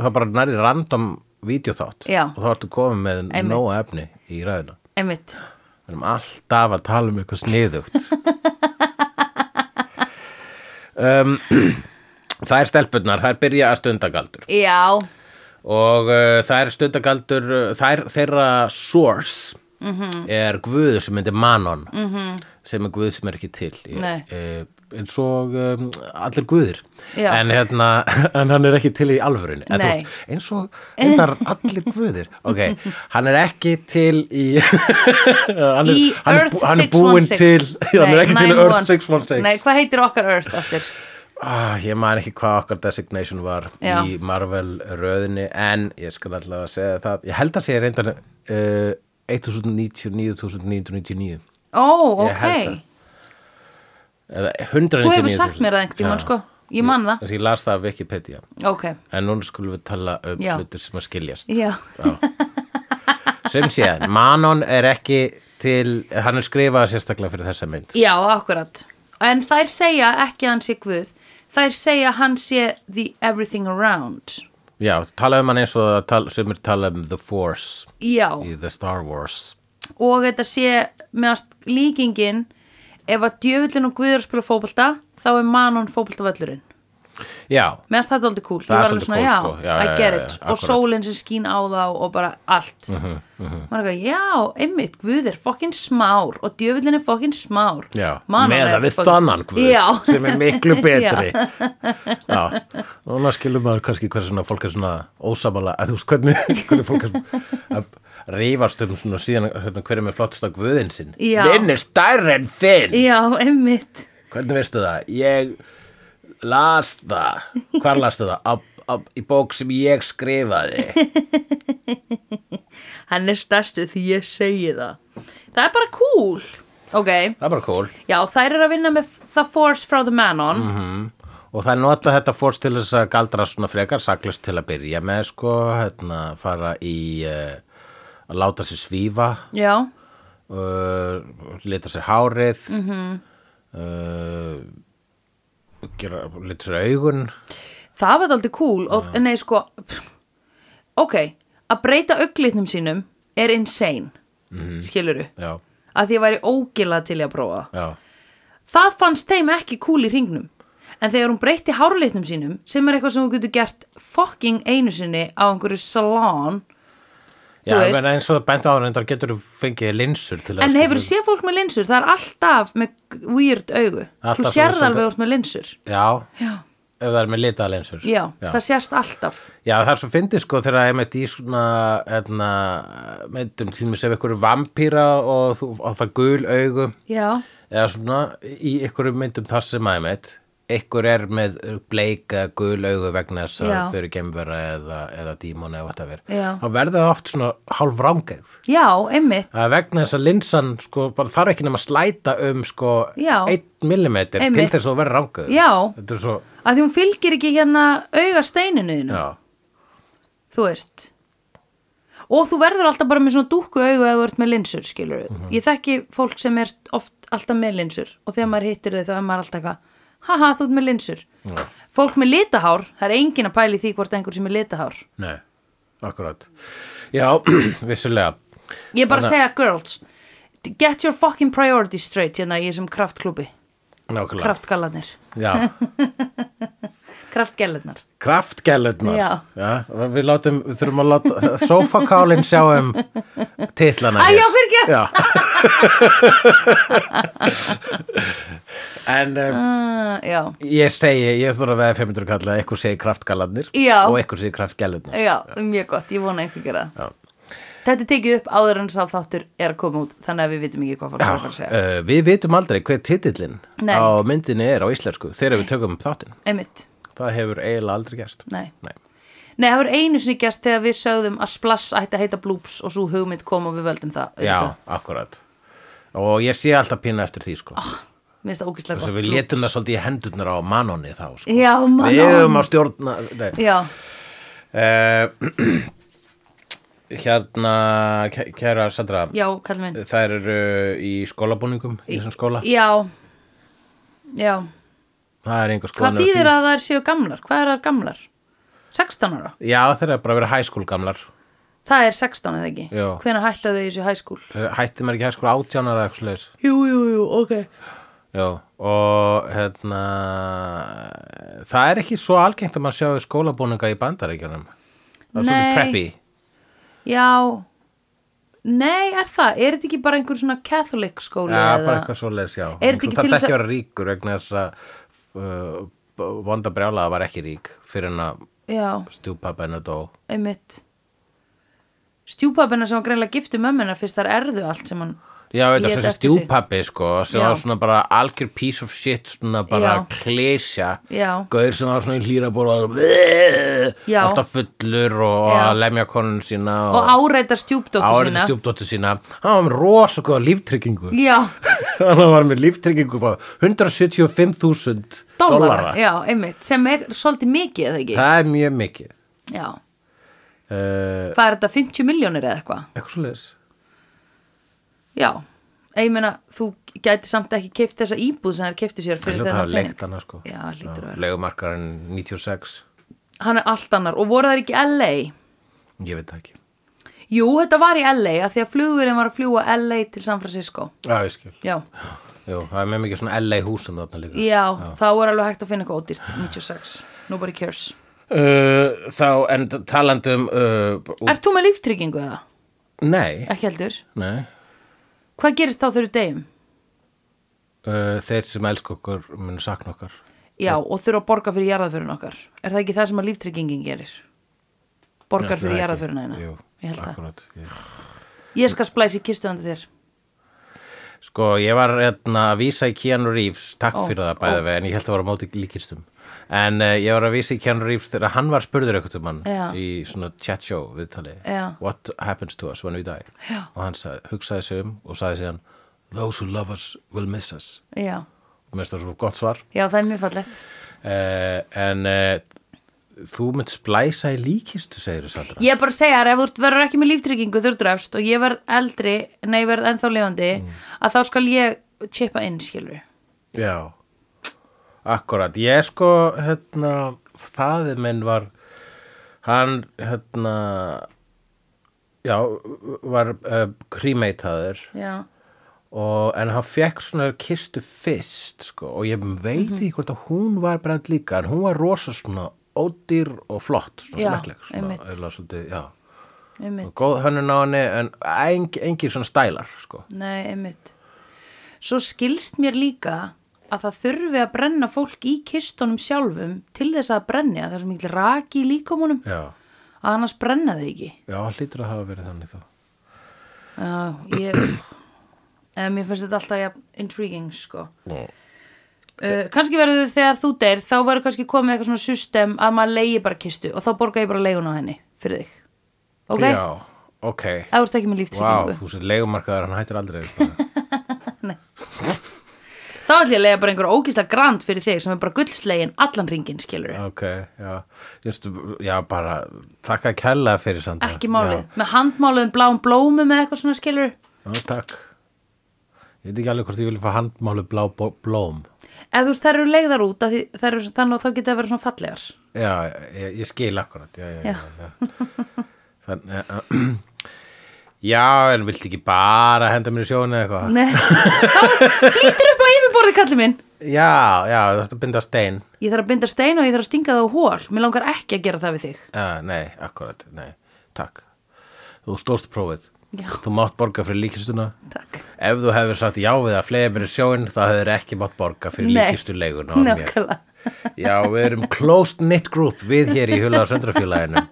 [SPEAKER 1] það bara nærði random videóþátt
[SPEAKER 2] Já.
[SPEAKER 1] og þá ertu komið með
[SPEAKER 2] Einmitt.
[SPEAKER 1] nóg efni í ræðuna
[SPEAKER 2] einmitt
[SPEAKER 1] Við erum alltaf að tala um eitthvað sniðugt. um, það er stelpunnar, það er byrja að stunda galdur.
[SPEAKER 2] Já,
[SPEAKER 1] Og uh, það er stunda galdur, uh, það er þeirra source
[SPEAKER 2] Mhm.
[SPEAKER 1] er guður sem heitir Manon, -hmm. sem er guð sem er ekki til.
[SPEAKER 2] Nei.
[SPEAKER 1] Eh, eins og um, allir guðir.
[SPEAKER 2] Já.
[SPEAKER 1] En, hérna, en hann er ekki til í alvörunni. En þú
[SPEAKER 2] Nei.
[SPEAKER 1] veist, Eins og endar allir guðir. Ok, hann er ekki til í... hann er,
[SPEAKER 2] í
[SPEAKER 1] hann er
[SPEAKER 2] Earth
[SPEAKER 1] bú- hann er
[SPEAKER 2] 616
[SPEAKER 1] búinn til- hann er ekki til
[SPEAKER 2] 911.
[SPEAKER 1] Earth 616
[SPEAKER 2] Nei, hvað heitir okkar Earth aftur?
[SPEAKER 1] ah, ég man ekki hvað okkar designation var
[SPEAKER 2] Já.
[SPEAKER 1] í Marvel röðinni en ég skal allavega segja það ég held að segja reyndar uh, 1099.999 Ég
[SPEAKER 2] Ó, ok
[SPEAKER 1] held það. eða
[SPEAKER 2] Þú
[SPEAKER 1] 199.000
[SPEAKER 2] hefur sagt mér það einhvern tímann,
[SPEAKER 1] Já.
[SPEAKER 2] sko Ég man það,
[SPEAKER 1] Þess að ég las það af Wikipedia
[SPEAKER 2] ok
[SPEAKER 1] en núna skulum við tala um
[SPEAKER 2] Já.
[SPEAKER 1] hlutur sem að skiljast
[SPEAKER 2] Já,
[SPEAKER 1] sem séð, Manon er ekki til, hann er skrifað sérstaklega fyrir þessa mynd
[SPEAKER 2] Já, akkurat En þær segja ekki að hann sé guð Þær segja að hann sé the everything around
[SPEAKER 1] já, tala um hann eins og tal, sem er tala um The Force
[SPEAKER 2] Já,
[SPEAKER 1] í The Star Wars
[SPEAKER 2] og þetta sé meðast líkingin ef að djöfullin og guður spila fótbolta þá er manon fótboltavöllurinn
[SPEAKER 1] já,
[SPEAKER 2] meðast þetta er aldrei cool Ég
[SPEAKER 1] Það er
[SPEAKER 2] var alveg
[SPEAKER 1] svolítið cool,
[SPEAKER 2] já,
[SPEAKER 1] sko. Já,
[SPEAKER 2] I
[SPEAKER 1] já, já,
[SPEAKER 2] get
[SPEAKER 1] já,
[SPEAKER 2] it og
[SPEAKER 1] akkurat. Mhm,
[SPEAKER 2] sólinn sem skín á þá og bara allt uh -huh, já, einmitt, guð er fokkin smár og djöfullin er fokkin smár
[SPEAKER 1] Já,
[SPEAKER 2] Manon
[SPEAKER 1] meða
[SPEAKER 2] er
[SPEAKER 1] við
[SPEAKER 2] fucking-
[SPEAKER 1] þannan guð
[SPEAKER 2] já,
[SPEAKER 1] sem er miklu betri Já, núna skilur maður kannski hvers svona fólk er svona ósamala að þú veist hvernig, hvernig fólk er svona að rífast um svona síðan hérna, hver er með flottasta guðin sinn
[SPEAKER 2] Já.
[SPEAKER 1] Minn er stærri en þinn
[SPEAKER 2] já, einmitt
[SPEAKER 1] Hvernig veistu það? Ég las það Hvar lastu það? Á, á, í bók sem ég skrifaði
[SPEAKER 2] hann er stærstu því ég segi það það er bara cool ok,
[SPEAKER 1] Það er bara cool
[SPEAKER 2] já, þær eru að vinna með the force from the manon
[SPEAKER 1] Og það nota þetta fórst til þess að galdra svona frekar saklust til að byrja með sko, hérna, fara í uh, að láta sér svífa,
[SPEAKER 2] já,
[SPEAKER 1] uh, lita sér hárið, mm -hmm. uh, gera, lita sér augun.
[SPEAKER 2] Það var aldrei cool og, Nei, sko pff, Ok, að breyta auglitnum sínum er insane mm -hmm. Skiluru
[SPEAKER 1] Já,
[SPEAKER 2] Að því ég væri ógilað til í að prófa það.
[SPEAKER 1] já,
[SPEAKER 2] Það fannst þeim ekki cool í hringnum En þegar hún breytti hárlitnum sínum sem er eitthvað sem hún getur gert fucking einu sinni á einhverju salon
[SPEAKER 1] já
[SPEAKER 2] veist.
[SPEAKER 1] en eins og það bent á reyndar getur þú fengið linsur til að
[SPEAKER 2] En
[SPEAKER 1] sko-
[SPEAKER 2] hefur séð fólk með linsur? Það er alltaf með weird augu
[SPEAKER 1] Alltaf
[SPEAKER 2] Þú
[SPEAKER 1] svona
[SPEAKER 2] sérð alveg
[SPEAKER 1] svolítið-
[SPEAKER 2] úr með linsur
[SPEAKER 1] Já,
[SPEAKER 2] Já,
[SPEAKER 1] ef það er með lita linsur.
[SPEAKER 2] já, það sést alltaf
[SPEAKER 1] Já, það er svo fyndið sko þegar ég meitt í svona hérna, meitum til mér sem einhverju vampíra og þú og fær gul augu
[SPEAKER 2] Já,
[SPEAKER 1] eða svona í einhverju myndum þar sem að ég meitt einhver er með bleika gul augu vegna þess að
[SPEAKER 2] Já.
[SPEAKER 1] þau eru gemvera eða, eða dímon eða whatever
[SPEAKER 2] Já.
[SPEAKER 1] þá verður það oft svona hálf rángegð
[SPEAKER 2] já, einmitt
[SPEAKER 1] það er vegna þess að linsan sko bara þarf ekki nema að slæta um sko
[SPEAKER 2] Já.
[SPEAKER 1] 1 mm til
[SPEAKER 2] Einmitt.
[SPEAKER 1] þess að þú verður rángegð
[SPEAKER 2] Já.
[SPEAKER 1] þetta er svo,
[SPEAKER 2] að því hún fylgir ekki hérna auga steininuðinu,
[SPEAKER 1] já,
[SPEAKER 2] þú veist og þú verður alltaf bara með svona dúkku augu ef þú ert með linsur, skilur við
[SPEAKER 1] Mhm.
[SPEAKER 2] ég þekki fólk sem er oft alltaf með linsur og þegar maður hittir þau þá er maður alltaf eitthvað haha, þú ert með linsur
[SPEAKER 1] Já.
[SPEAKER 2] fólk með litahár, það er engin að pæli því hvort einhver sem er litahár
[SPEAKER 1] nei, akkurat já, vissulega
[SPEAKER 2] ég er bara að segja, girls get your fucking priorities straight hérna í þessum kraftklúbi,
[SPEAKER 1] Nákvæmlega.
[SPEAKER 2] kraftgallarnir
[SPEAKER 1] Já,
[SPEAKER 2] kraftgellarnar,
[SPEAKER 1] kraftgælunar.
[SPEAKER 2] Já.
[SPEAKER 1] við látum, við þurfum að láta sofakálinn sjá um titlana.
[SPEAKER 2] Æ,
[SPEAKER 1] hér.
[SPEAKER 2] já, fyrirgefðu.
[SPEAKER 1] Já. en um,
[SPEAKER 2] uh, já,
[SPEAKER 1] ég segi, ég þurfa að veða 500 kalla að ykkur segi kraftgælunar
[SPEAKER 2] Já.
[SPEAKER 1] og ykkur segi kraftgælunar.
[SPEAKER 2] já, mjög gott, ég vona einhver gera það
[SPEAKER 1] Já.
[SPEAKER 2] Þetta er tekið upp áður en sá þáttur er að koma út þannig að við vitum ekki hvað fólk er að fara að segja.
[SPEAKER 1] Uh, við vitum aldrei hver titillin
[SPEAKER 2] Nei.
[SPEAKER 1] á myndinni er á íslensku þegar við tökum upp þáttinn.
[SPEAKER 2] Einmitt,
[SPEAKER 1] Það hefur eiginlega aldrei gerst.
[SPEAKER 2] nei.
[SPEAKER 1] Nei.
[SPEAKER 2] Nei, það voru einu sinni gæst þegar við sögðum að Splash ætti að heita Bloops og svo hugmynd kom og við völdum það.
[SPEAKER 1] Já, akkurat og ég sé alltaf pínu eftir því sko oh,
[SPEAKER 2] Mér finnst það ógislega gott
[SPEAKER 1] við
[SPEAKER 2] plús.
[SPEAKER 1] letum það svolítið í hendurnar á manonni þá sko.
[SPEAKER 2] Já, Manon.
[SPEAKER 1] við hefum að stjórna nei.
[SPEAKER 2] Já,
[SPEAKER 1] uh, hérna kæ- kæra Sandra
[SPEAKER 2] já, kallum minn
[SPEAKER 1] þær eru í skólabúningum í þessum skóla
[SPEAKER 2] Já, já
[SPEAKER 1] það er einhver
[SPEAKER 2] Hvað
[SPEAKER 1] skoðan
[SPEAKER 2] þýðir að þær séu gamlar? Hvað er þær gamlar? 16 ára?
[SPEAKER 1] já þeir eru bara að vera hæskúl gamlar
[SPEAKER 2] Það er 16 eða ekki?
[SPEAKER 1] Já.
[SPEAKER 2] Hvenær hætta þau í þessu hæskúl?
[SPEAKER 1] Eh, hætti maður ekki hæskúl átjánara eitthvað slags
[SPEAKER 2] Jú, jú, jú, ok
[SPEAKER 1] Já, og hérna það er ekki svo algengt að maður sjá skólabúninga í bandaríkjunum það er
[SPEAKER 2] Nei.
[SPEAKER 1] svolítið preppy
[SPEAKER 2] Já Nei, er það? Er þetta ekki bara einhver svona Catholic skóli?
[SPEAKER 1] Já,
[SPEAKER 2] eða-
[SPEAKER 1] bara eitthvað svo leys, já
[SPEAKER 2] Er þetta ekki til
[SPEAKER 1] Það
[SPEAKER 2] þess
[SPEAKER 1] ekki
[SPEAKER 2] að-
[SPEAKER 1] að vera ríkur vegna þess að uh, b- vonda brjálaða var ekki rík fyrir en að
[SPEAKER 2] Já,
[SPEAKER 1] stjúpappa hennar dó
[SPEAKER 2] einmitt Stjúpapinna sem var greinlega giftu mömmunar fyrst þar erðu allt sem hann
[SPEAKER 1] Já, veit
[SPEAKER 2] Lét
[SPEAKER 1] það, þessi
[SPEAKER 2] eftir sig.
[SPEAKER 1] stjúpappi sko sem
[SPEAKER 2] Já.
[SPEAKER 1] var svona bara algjör piece of shit svona bara
[SPEAKER 2] Já.
[SPEAKER 1] klesja
[SPEAKER 2] Já.
[SPEAKER 1] Gauður sem var svona í hlýra bóla og
[SPEAKER 2] Já.
[SPEAKER 1] alltaf fullur og
[SPEAKER 2] Já.
[SPEAKER 1] að lemja konun sína
[SPEAKER 2] og áreitar stjúpdóttu
[SPEAKER 1] árið
[SPEAKER 2] sína
[SPEAKER 1] stjúpdóttu sína hann var með rosa góða líftryggingu
[SPEAKER 2] Já,
[SPEAKER 1] hann var með líftryggingu bara 175.000 dollara
[SPEAKER 2] dólara Já, einmitt, sem er svolítið mikið eða ekki
[SPEAKER 1] það er mjög mikið
[SPEAKER 2] Já,
[SPEAKER 1] uh,
[SPEAKER 2] hvað er þetta 50 miljónir eða eitthvað?
[SPEAKER 1] eitthvað svo leis
[SPEAKER 2] Já, ég meina þú gæti samt ekki keift þessa íbúð sem þær keiftu sér
[SPEAKER 1] það
[SPEAKER 2] fyrir
[SPEAKER 1] hljóta að
[SPEAKER 2] þennan
[SPEAKER 1] hafa leikt
[SPEAKER 2] pening
[SPEAKER 1] hana sko
[SPEAKER 2] Já, hlýtur að vera.
[SPEAKER 1] legumarkarinn 96
[SPEAKER 2] Hann er allt annar og voru þær ekki í LA?
[SPEAKER 1] ég veit það ekki
[SPEAKER 2] Jú, þetta var í LA að því að flugurinn var að fljúa LA til San Francisco
[SPEAKER 1] já, ég skil
[SPEAKER 2] Já,
[SPEAKER 1] Jú, það er með mikið svona LA húsum þarna líka
[SPEAKER 2] já, þá er alveg hægt að finna eitthvað ódýrt 96, nobody cares
[SPEAKER 1] uh, þá en talandi um uh, út...
[SPEAKER 2] Ert þú með líftryggingu eða?
[SPEAKER 1] nei,
[SPEAKER 2] Ekki heldur
[SPEAKER 1] nei.
[SPEAKER 2] Hvað gerist þá þegar þú deyjum?
[SPEAKER 1] Uh, þeir sem elsku okkur mun sakna okkar
[SPEAKER 2] Já, og þurfa að borga fyrir jarðaförun okkar Er það ekki það sem að líftryggingin gerir?
[SPEAKER 1] Ætli
[SPEAKER 2] Borgar
[SPEAKER 1] það
[SPEAKER 2] fyrir
[SPEAKER 1] ekki?
[SPEAKER 2] jarðaföruna hérna
[SPEAKER 1] Jú,
[SPEAKER 2] Ég held það
[SPEAKER 1] akkurat, ég...
[SPEAKER 2] Ég skal splæsi kistu handa þér
[SPEAKER 1] Sko, ég var hérna að vísa í Keanu Reeves, takk
[SPEAKER 2] Ó,
[SPEAKER 1] fyrir það bæði við, en ég held að voru á móti líkistum. En uh, ég var að vísa í Keanu Reeves þegar hann var spurður eitthvað um hann
[SPEAKER 2] Já.
[SPEAKER 1] í svona chat show viðtali.
[SPEAKER 2] Já.
[SPEAKER 1] What happens to us when we die?
[SPEAKER 2] Já.
[SPEAKER 1] Og hann sagði, hugsaði sig um og sagði síðan, those who love us will miss us.
[SPEAKER 2] Já,
[SPEAKER 1] Og mér finnst það svo gott svar.
[SPEAKER 2] já það er mjög fallegt
[SPEAKER 1] Uh, en uh, þú mynd splæsa í líkistu, segir þú Sandra.
[SPEAKER 2] Ég er bara að segja þér, ef þú ert- verður ekki með líftryggingu þegar þú drefst og ég verð eldri, nei, ég verð ennþá lifandi að þá skal ég chipa inn, skilur
[SPEAKER 1] Já, akkurat. Ég sko, hérna, faðið minn var, hann, hérna, já, var uh, krímeitaður
[SPEAKER 2] Já,
[SPEAKER 1] og, en hann fekk svona kistu fyrst, sko, og ég veit
[SPEAKER 2] Mhm.
[SPEAKER 1] ekki hvort að hún var brend líka, en hún var rosa svona ódýr og flott, svona
[SPEAKER 2] Já,
[SPEAKER 1] smekkleg, svona,
[SPEAKER 2] einmitt.
[SPEAKER 1] eða svolítið, já.
[SPEAKER 2] einmitt
[SPEAKER 1] Góð hönnun á henni, en eng, engir svona stælar, sko.
[SPEAKER 2] Nei, einmitt Svo skilst mér líka að það þurfi að brenna fólk í kistunum sjálfum til þess að það brenni að það er svo mikil raki í líkamunum
[SPEAKER 1] Já,
[SPEAKER 2] að annars brenna þau ekki
[SPEAKER 1] já, hlýtur að hafa verið þannig þá.
[SPEAKER 2] Já, ég en mér finnst þetta alltaf ja, intriguing sko
[SPEAKER 1] Já.
[SPEAKER 2] Uh, kannski verður þegar þú deyr þá verður kannski komið eitthvað svona system að maður leiði bara kistu og þá borga ég bara leiguna á henni fyrir þig ok?
[SPEAKER 1] Já, ok.
[SPEAKER 2] Ef þú ert ekki með
[SPEAKER 1] Vá,
[SPEAKER 2] líftryggingu
[SPEAKER 1] þú sér leigumarkaður, hann hættir aldrei bara.
[SPEAKER 2] þá ætlum ég að leiða bara einhverja ógislega grant fyrir þig sem er bara guldslegin allan ringin skilur
[SPEAKER 1] Ok, já Just, Já, bara, þakka kella fyrir Sandra
[SPEAKER 2] ekki málið, með handmáluðum bláum blómum eða eitthvað svona skilur
[SPEAKER 1] Já, já takk Ég veit ekki alveg hvort ég vil fá handmálu blá bó- blóm
[SPEAKER 2] ef þú veist þær eru leiðar út af því, þær eru, svo- þannig að þá geta að vera svona fallegar
[SPEAKER 1] Já, ég, ég skil akkurat Já, já, já, já. Þannig, Já, en viltu ekki bara henda mér í sjónu eða eitthvað?
[SPEAKER 2] Nei. þá flýtur upp á yfirborði kallið minn
[SPEAKER 1] Já, já, þú ætti að binda á stein
[SPEAKER 2] ég þarf að binda stein og ég þarf að stinga það á hól mér langar ekki að gera það við þig
[SPEAKER 1] Já, nei, akkurat, nei, takk Þú stóðst prófið
[SPEAKER 2] Já.
[SPEAKER 1] Þú mátt borga fyrir líkistuna
[SPEAKER 2] takk
[SPEAKER 1] Ef þú hefur sagt já við að flega mér í sjóin þá hefur ekki mátt borga fyrir
[SPEAKER 2] Nei.
[SPEAKER 1] líkistu leiguna á mér.
[SPEAKER 2] nákvæmlega
[SPEAKER 1] Já, við erum closed knit group við hér í Hula og Söndrafélaginu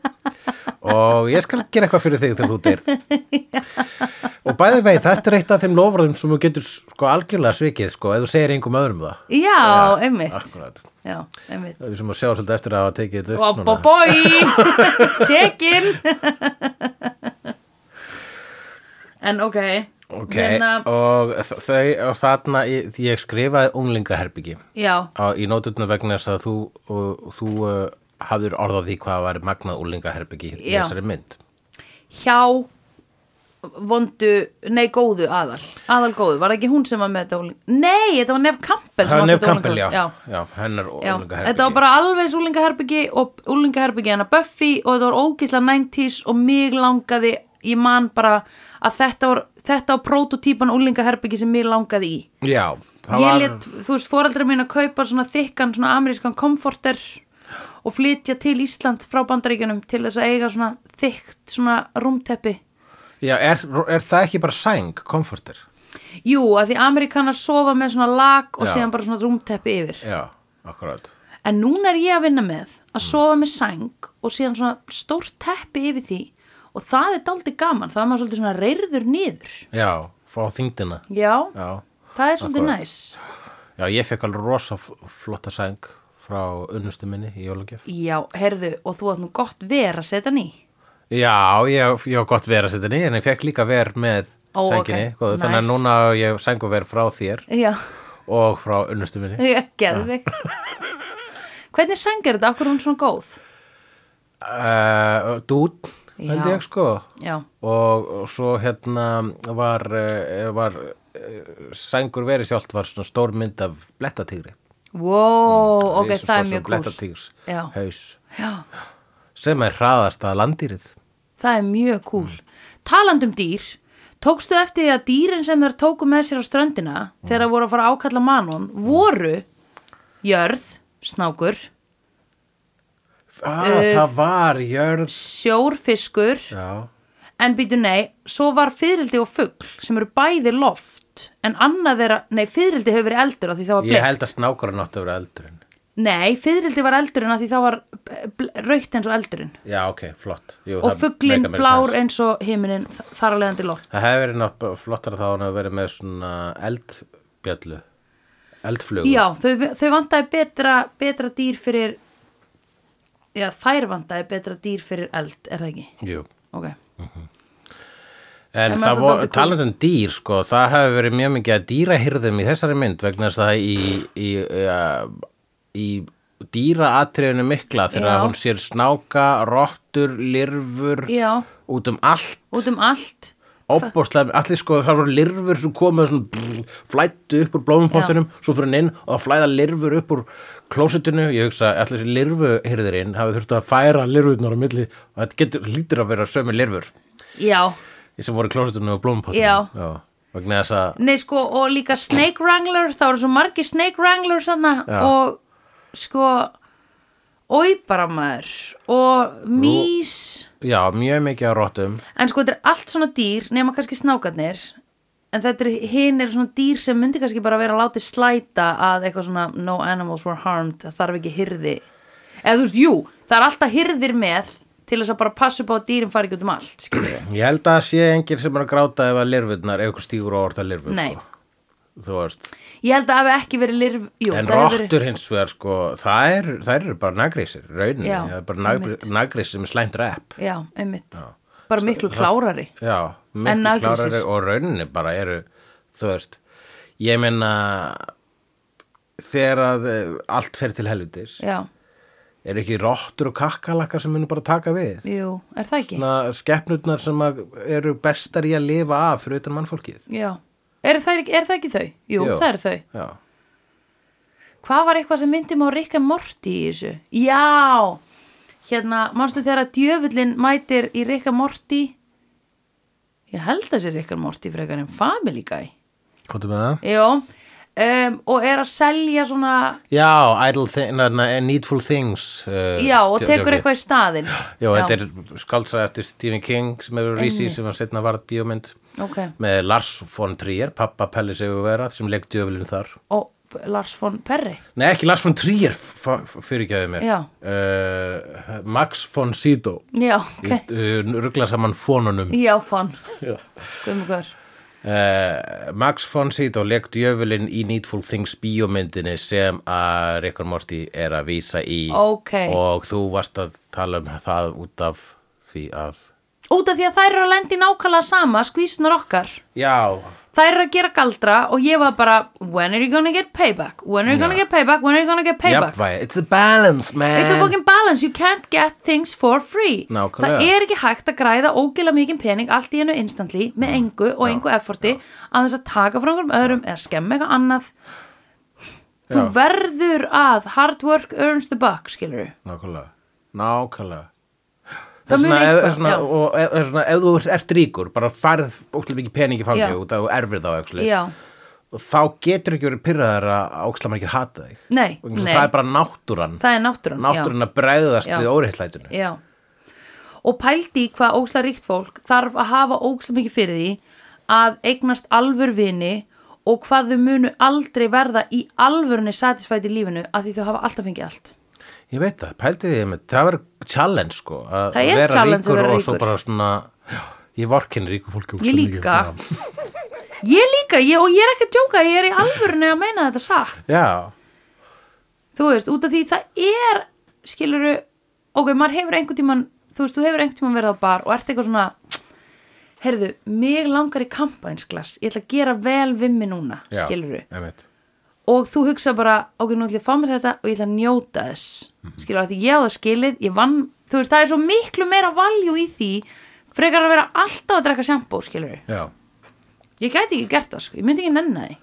[SPEAKER 1] og ég skal gera eitthvað fyrir þig þegar þú dyrð. Og bæði vei, þetta er eitt af þeim lofröðum sem þú getur sko algjörlega svikið sko ef þú segir engum öðrum það.
[SPEAKER 2] já, einmitt
[SPEAKER 1] Akkurat.
[SPEAKER 2] já, einmitt
[SPEAKER 1] Það er sem að sjá svolítið eftir að hafa tekið þetta upp núna.
[SPEAKER 2] Boboi, tekin en ok
[SPEAKER 1] Ok,
[SPEAKER 2] Hérna-
[SPEAKER 1] og þ- þau og þarna í, því ég skrifaði unglingaherbyggi
[SPEAKER 2] já,
[SPEAKER 1] á, í nótutna vegna þess að þú, og, þú uh, hafður orðað því hvað var magnað unglingaherbyggi í
[SPEAKER 2] Já.
[SPEAKER 1] þessari mynd.
[SPEAKER 2] hjá vondu, nei góðu aðal aðal góðu, var það ekki hún sem var með þetta úling- nei, þetta var Nef Campbell sem
[SPEAKER 1] Það var
[SPEAKER 2] átti
[SPEAKER 1] nefn
[SPEAKER 2] þetta
[SPEAKER 1] Campbell, já.
[SPEAKER 2] úlinga-
[SPEAKER 1] já. hennar
[SPEAKER 2] Já,
[SPEAKER 1] unglingaherbyggi.
[SPEAKER 2] þetta var bara alveg úlingaherbyggi og úlingaherbyggi hennar Buffy og þetta var ógislega 90s og mig langaði, ég man bara að þetta var, þetta var prototípan úlingaherbyggi sem mig langaði í
[SPEAKER 1] Já, það
[SPEAKER 2] ég
[SPEAKER 1] var...
[SPEAKER 2] let, þú veist, foreldrar mín að kaupa svona þykkan, svona amerískan komforter og flytja til Ísland frá bandaríkjunum til þess að eiga svona þykkt svona rúmteppi
[SPEAKER 1] Já, er, er það ekki bara sæng, komforter?
[SPEAKER 2] Jú, að því Ameríkanar sofa með svona lag og
[SPEAKER 1] Já.
[SPEAKER 2] síðan bara svona rúmteppi yfir
[SPEAKER 1] Já, akkurát.
[SPEAKER 2] En núna er ég að vinna með að sofa með sæng og síðan svona stórt teppi yfir því og það er daldið gaman, það er maður svolítið svona reyrður niður.
[SPEAKER 1] Já, fá þyngdina.
[SPEAKER 2] Já,
[SPEAKER 1] Já.
[SPEAKER 2] það er svolítið
[SPEAKER 1] Akkurat.
[SPEAKER 2] næs.
[SPEAKER 1] Já, ég fekk alveg rosa f- flotta sæng frá unnustu minni í jólagjöf.
[SPEAKER 2] Já, herðu, og þú átt nú gott ver að setja hann í.
[SPEAKER 1] Já, ég, ég á gott vera að setja henni, en ég fekk líka ver með
[SPEAKER 2] Ó, ok.
[SPEAKER 1] sænginni. góðu. Þannig að
[SPEAKER 2] Nice.
[SPEAKER 1] núna á ég sængu ver frá þér
[SPEAKER 2] Já,
[SPEAKER 1] og frá unnustu minni.
[SPEAKER 2] ég gerði veikt. Hvernig sæng er þetta? Akkur er hún svona góð?
[SPEAKER 1] Uh, dún, held
[SPEAKER 2] Já.
[SPEAKER 1] ég sko.
[SPEAKER 2] Já,
[SPEAKER 1] Og, og svo hérna var, uh, var uh, sængur verið sjálft var svona stór mynd af blettatígri.
[SPEAKER 2] wow, ok, það er mjög cool.
[SPEAKER 1] Blettatígrs
[SPEAKER 2] Já.
[SPEAKER 1] haus
[SPEAKER 2] Já,
[SPEAKER 1] sem er hraðasta landýrið.
[SPEAKER 2] það er mjög cool. Talandi um dýr, tókstu eftir því að dýrin sem þeir tóku með sér á ströndina þegar þeir voru að fara að ákalla manon voru jörð, snákur,
[SPEAKER 1] Ah,
[SPEAKER 2] Eh,
[SPEAKER 1] það var jörð.
[SPEAKER 2] sjórfiskur,
[SPEAKER 1] Já,
[SPEAKER 2] en býtu nei, svo var fyrildi og fugl sem eru bæði loft, en annað þeirra, nei, fyrildi hefur verið eldur af því það var
[SPEAKER 1] ég
[SPEAKER 2] bleik.
[SPEAKER 1] held að snákurinn átti að vera eldurinn.
[SPEAKER 2] Nei, fyrildi var eldurinn af því það var raukt eins og eldurinn.
[SPEAKER 1] Já, ok, flott. Jú,
[SPEAKER 2] Og
[SPEAKER 1] það
[SPEAKER 2] fuglinn
[SPEAKER 1] meikar meira
[SPEAKER 2] blár
[SPEAKER 1] sens.
[SPEAKER 2] eins og himinin þar að leiðandi loft.
[SPEAKER 1] Það hefur verið náttúrulega flottara þá en að vera með svona eldbjallu, eldflugu.
[SPEAKER 2] Já, þau, þau vantaði betra, betra dýr fyrir Já, þær vantaði betra dýr fyrir eld, er það ekki?
[SPEAKER 1] Jú.
[SPEAKER 2] Ok,
[SPEAKER 1] En
[SPEAKER 2] En mér
[SPEAKER 1] það
[SPEAKER 2] finnst
[SPEAKER 1] voru,
[SPEAKER 2] þetta dálítið
[SPEAKER 1] talandi um dýr, sko, það hefur verið mjög mikið að dýrahyrðum í þessari mynd vegna þess að í, í, í, í dýraatriðinu mikla þegar
[SPEAKER 2] Já.
[SPEAKER 1] hún sér snáka, rottur, lirfur,
[SPEAKER 2] Já.
[SPEAKER 1] út um allt.
[SPEAKER 2] út um allt
[SPEAKER 1] Óbúrslega, allir sko, það voru lirfur sem komu svona brr, flættu upp úr blómumpottunum, svo fyrir hann inn og það flæða lirfur upp úr klósitinu, ég hugsa allir þessi lirfuhyrðirinn hafi þurft að færa lirfurnar á milli og þetta getur, lítur að vera sömu lirfur
[SPEAKER 2] Já,
[SPEAKER 1] sem voru í klósitinu og blómumpottunum
[SPEAKER 2] Já.
[SPEAKER 1] vegna þess að,
[SPEAKER 2] nei sko, og líka Snake Wrangler, það voru svo margi Snake Wrangler sanna
[SPEAKER 1] Já.
[SPEAKER 2] og sko óibaramaður og mís
[SPEAKER 1] já, mjög mikið á rottum
[SPEAKER 2] en sko þetta er allt svona dýr nema kannski snákarnir en þetta er hinn er svona dýr sem myndi kannski bara vera að láti slæta að eitthvað svona no animals were harmed, það þarf ekki hirði eða þú veist, jú, það er alltaf hirðir með til þess að bara passa upp á að dýrin fari ekki út um allt skilurðu.
[SPEAKER 1] ég held að það sé enginn sem er að gráta ef að lirfurnar, ef eitthvað stígur á orta lirfur
[SPEAKER 2] Nei.
[SPEAKER 1] sko. þú veist,
[SPEAKER 2] ég held að það hafi ekki verið lirf jú,
[SPEAKER 1] en
[SPEAKER 2] það hefur verið-
[SPEAKER 1] rottur hins vegar sko, það er, þær eru bara nagrísir rauninni,
[SPEAKER 2] Já,
[SPEAKER 1] það er bara
[SPEAKER 2] einmitt.
[SPEAKER 1] nagrísir sem er slæmt rep
[SPEAKER 2] já, einmitt, bara miklu klárari
[SPEAKER 1] Já,
[SPEAKER 2] En
[SPEAKER 1] miklu
[SPEAKER 2] nagrísir.
[SPEAKER 1] klárari og rauninni bara eru, þú veist, ég meina þegar að eh, allt fer til helvitis,
[SPEAKER 2] já,
[SPEAKER 1] eru ekki rottur og kakkalakkar sem munu bara taka við?
[SPEAKER 2] jú, er það ekki
[SPEAKER 1] Svona skeppnurnar Hérna, sem að eru bestar í að lifa af fyrir utan mannfólkið.
[SPEAKER 2] já, er það, er það ekki þau jú,
[SPEAKER 1] Jú.
[SPEAKER 2] það eru þau
[SPEAKER 1] Já,
[SPEAKER 2] Hvað var eitthvað sem myndi mig á Rick and Morty í þessu? Já! Hérna, manstu þegar að djöfullin mætir í Rick and Morty? Ég held að þessi Rick and Morty frekar en Family Guy.
[SPEAKER 1] komdu með það.
[SPEAKER 2] Jó, um, og er að selja svona,
[SPEAKER 1] Já, idle thing, na, na, needful things. Uh,
[SPEAKER 2] já, og
[SPEAKER 1] djó-
[SPEAKER 2] tekur
[SPEAKER 1] djókið.
[SPEAKER 2] eitthvað í staðinn.
[SPEAKER 1] Já, þetta er skaldsa eftir Stephen King sem hefur rísi sem að setna varð bíómynd
[SPEAKER 2] Ok,
[SPEAKER 1] með Lars von Trier, pappa Pelli Sigurvera sem leik djöfulinn þar.
[SPEAKER 2] og B- Lars von Perry.
[SPEAKER 1] Nei, ekki Lars von Trier, fyrirgæði mér.
[SPEAKER 2] Já.
[SPEAKER 1] Uh, Max von Sydow.
[SPEAKER 2] Já,
[SPEAKER 1] Okay.
[SPEAKER 2] ok.
[SPEAKER 1] Uh, ruggla saman fónunum.
[SPEAKER 2] Já, von.
[SPEAKER 1] Já.
[SPEAKER 2] Guðmur hver.
[SPEAKER 1] Uh, Max von Sydow leik djöfulinn í Needful Things bíómyndinni sem að Rick and Morty er að vísa í.
[SPEAKER 2] Ok.
[SPEAKER 1] Og þú varst að tala um það út af því að
[SPEAKER 2] út af því að þær eru að lendi nákvæmlega sama skvísunar okkar
[SPEAKER 1] Já,
[SPEAKER 2] þær eru að gera galdra og ég var bara when are you gonna get payback, when are you gonna
[SPEAKER 1] Já.
[SPEAKER 2] get payback when are you gonna get payback
[SPEAKER 1] jafnvægi, it's a balance man
[SPEAKER 2] It's a fucking balance, you can't get things for free
[SPEAKER 1] Nákvæmlega.
[SPEAKER 2] Það er ekki hægt að græða ógila mikið pening allt í hennu instantly með engu og engu efforti að þess að taka frá einhverjum öðrum eða skemma eitthvað annað Þú
[SPEAKER 1] Já.
[SPEAKER 2] verður að hard work earns the buck, skilur
[SPEAKER 1] Nákvæmlega, nákvæmlega
[SPEAKER 2] Það
[SPEAKER 1] Þess
[SPEAKER 2] mun
[SPEAKER 1] vegna, ef-
[SPEAKER 2] eitthvað,
[SPEAKER 1] er svona,
[SPEAKER 2] já.
[SPEAKER 1] og ef- er svona, ef þú ert ríkur, bara farð ókslega mikið peningi
[SPEAKER 2] Já.
[SPEAKER 1] fangja út af og erfir þá actually,
[SPEAKER 2] Já,
[SPEAKER 1] og þá getur ekki verið pyrraðar að ókslega margir hata þig
[SPEAKER 2] Nei,
[SPEAKER 1] Vegna þess að
[SPEAKER 2] nei.
[SPEAKER 1] það er bara náttúran
[SPEAKER 2] það er náttúran
[SPEAKER 1] náttúran að bregðast
[SPEAKER 2] Já.
[SPEAKER 1] við óreittlætinu
[SPEAKER 2] Já Og pældi í hvað óksla ríkt fólk þarf að hafa óksla mikið fyrir því að eignast alvör vini og hvað þau munu aldrei verða í alvörunni satisfætt í lífinu að því þau hafa alltaf fengið allt.
[SPEAKER 1] ég veit það, pældi því með, það var challenge sko, að
[SPEAKER 2] Það er
[SPEAKER 1] vera
[SPEAKER 2] challenge að
[SPEAKER 1] ríkur
[SPEAKER 2] vera
[SPEAKER 1] og svo
[SPEAKER 2] ríkur.
[SPEAKER 1] bara svona já, ég vorkinn ríku fólki um ókslega
[SPEAKER 2] Ég líka. Ég líka, ég, og ég er ekki að djóka, ég er í alvörunni að meina þetta satt.
[SPEAKER 1] já,
[SPEAKER 2] Þú veist, út af því það er, skiluru, ok, maður hefur einhvern tíman, þú veist, þú hefur einhvern tíman verið á bar og ert eitthvað svona, heyrðu, mig langar í kampænsglas, ég ætla að gera vel við mig núna,
[SPEAKER 1] já,
[SPEAKER 2] skiluru.
[SPEAKER 1] einmitt.
[SPEAKER 2] og þú hugsa bara, ok, nú ætlum ég að fá mér þetta og ég ætla að njóta þess
[SPEAKER 1] Mhm.
[SPEAKER 2] skilur að því ég á það skilið, ég vann þú veist, það er svo miklu meira valjú í því frekar að vera alltaf að drekka sjampó skilur,
[SPEAKER 1] já
[SPEAKER 2] ég gæti ekki gert það sko, ég myndi ekki nenni því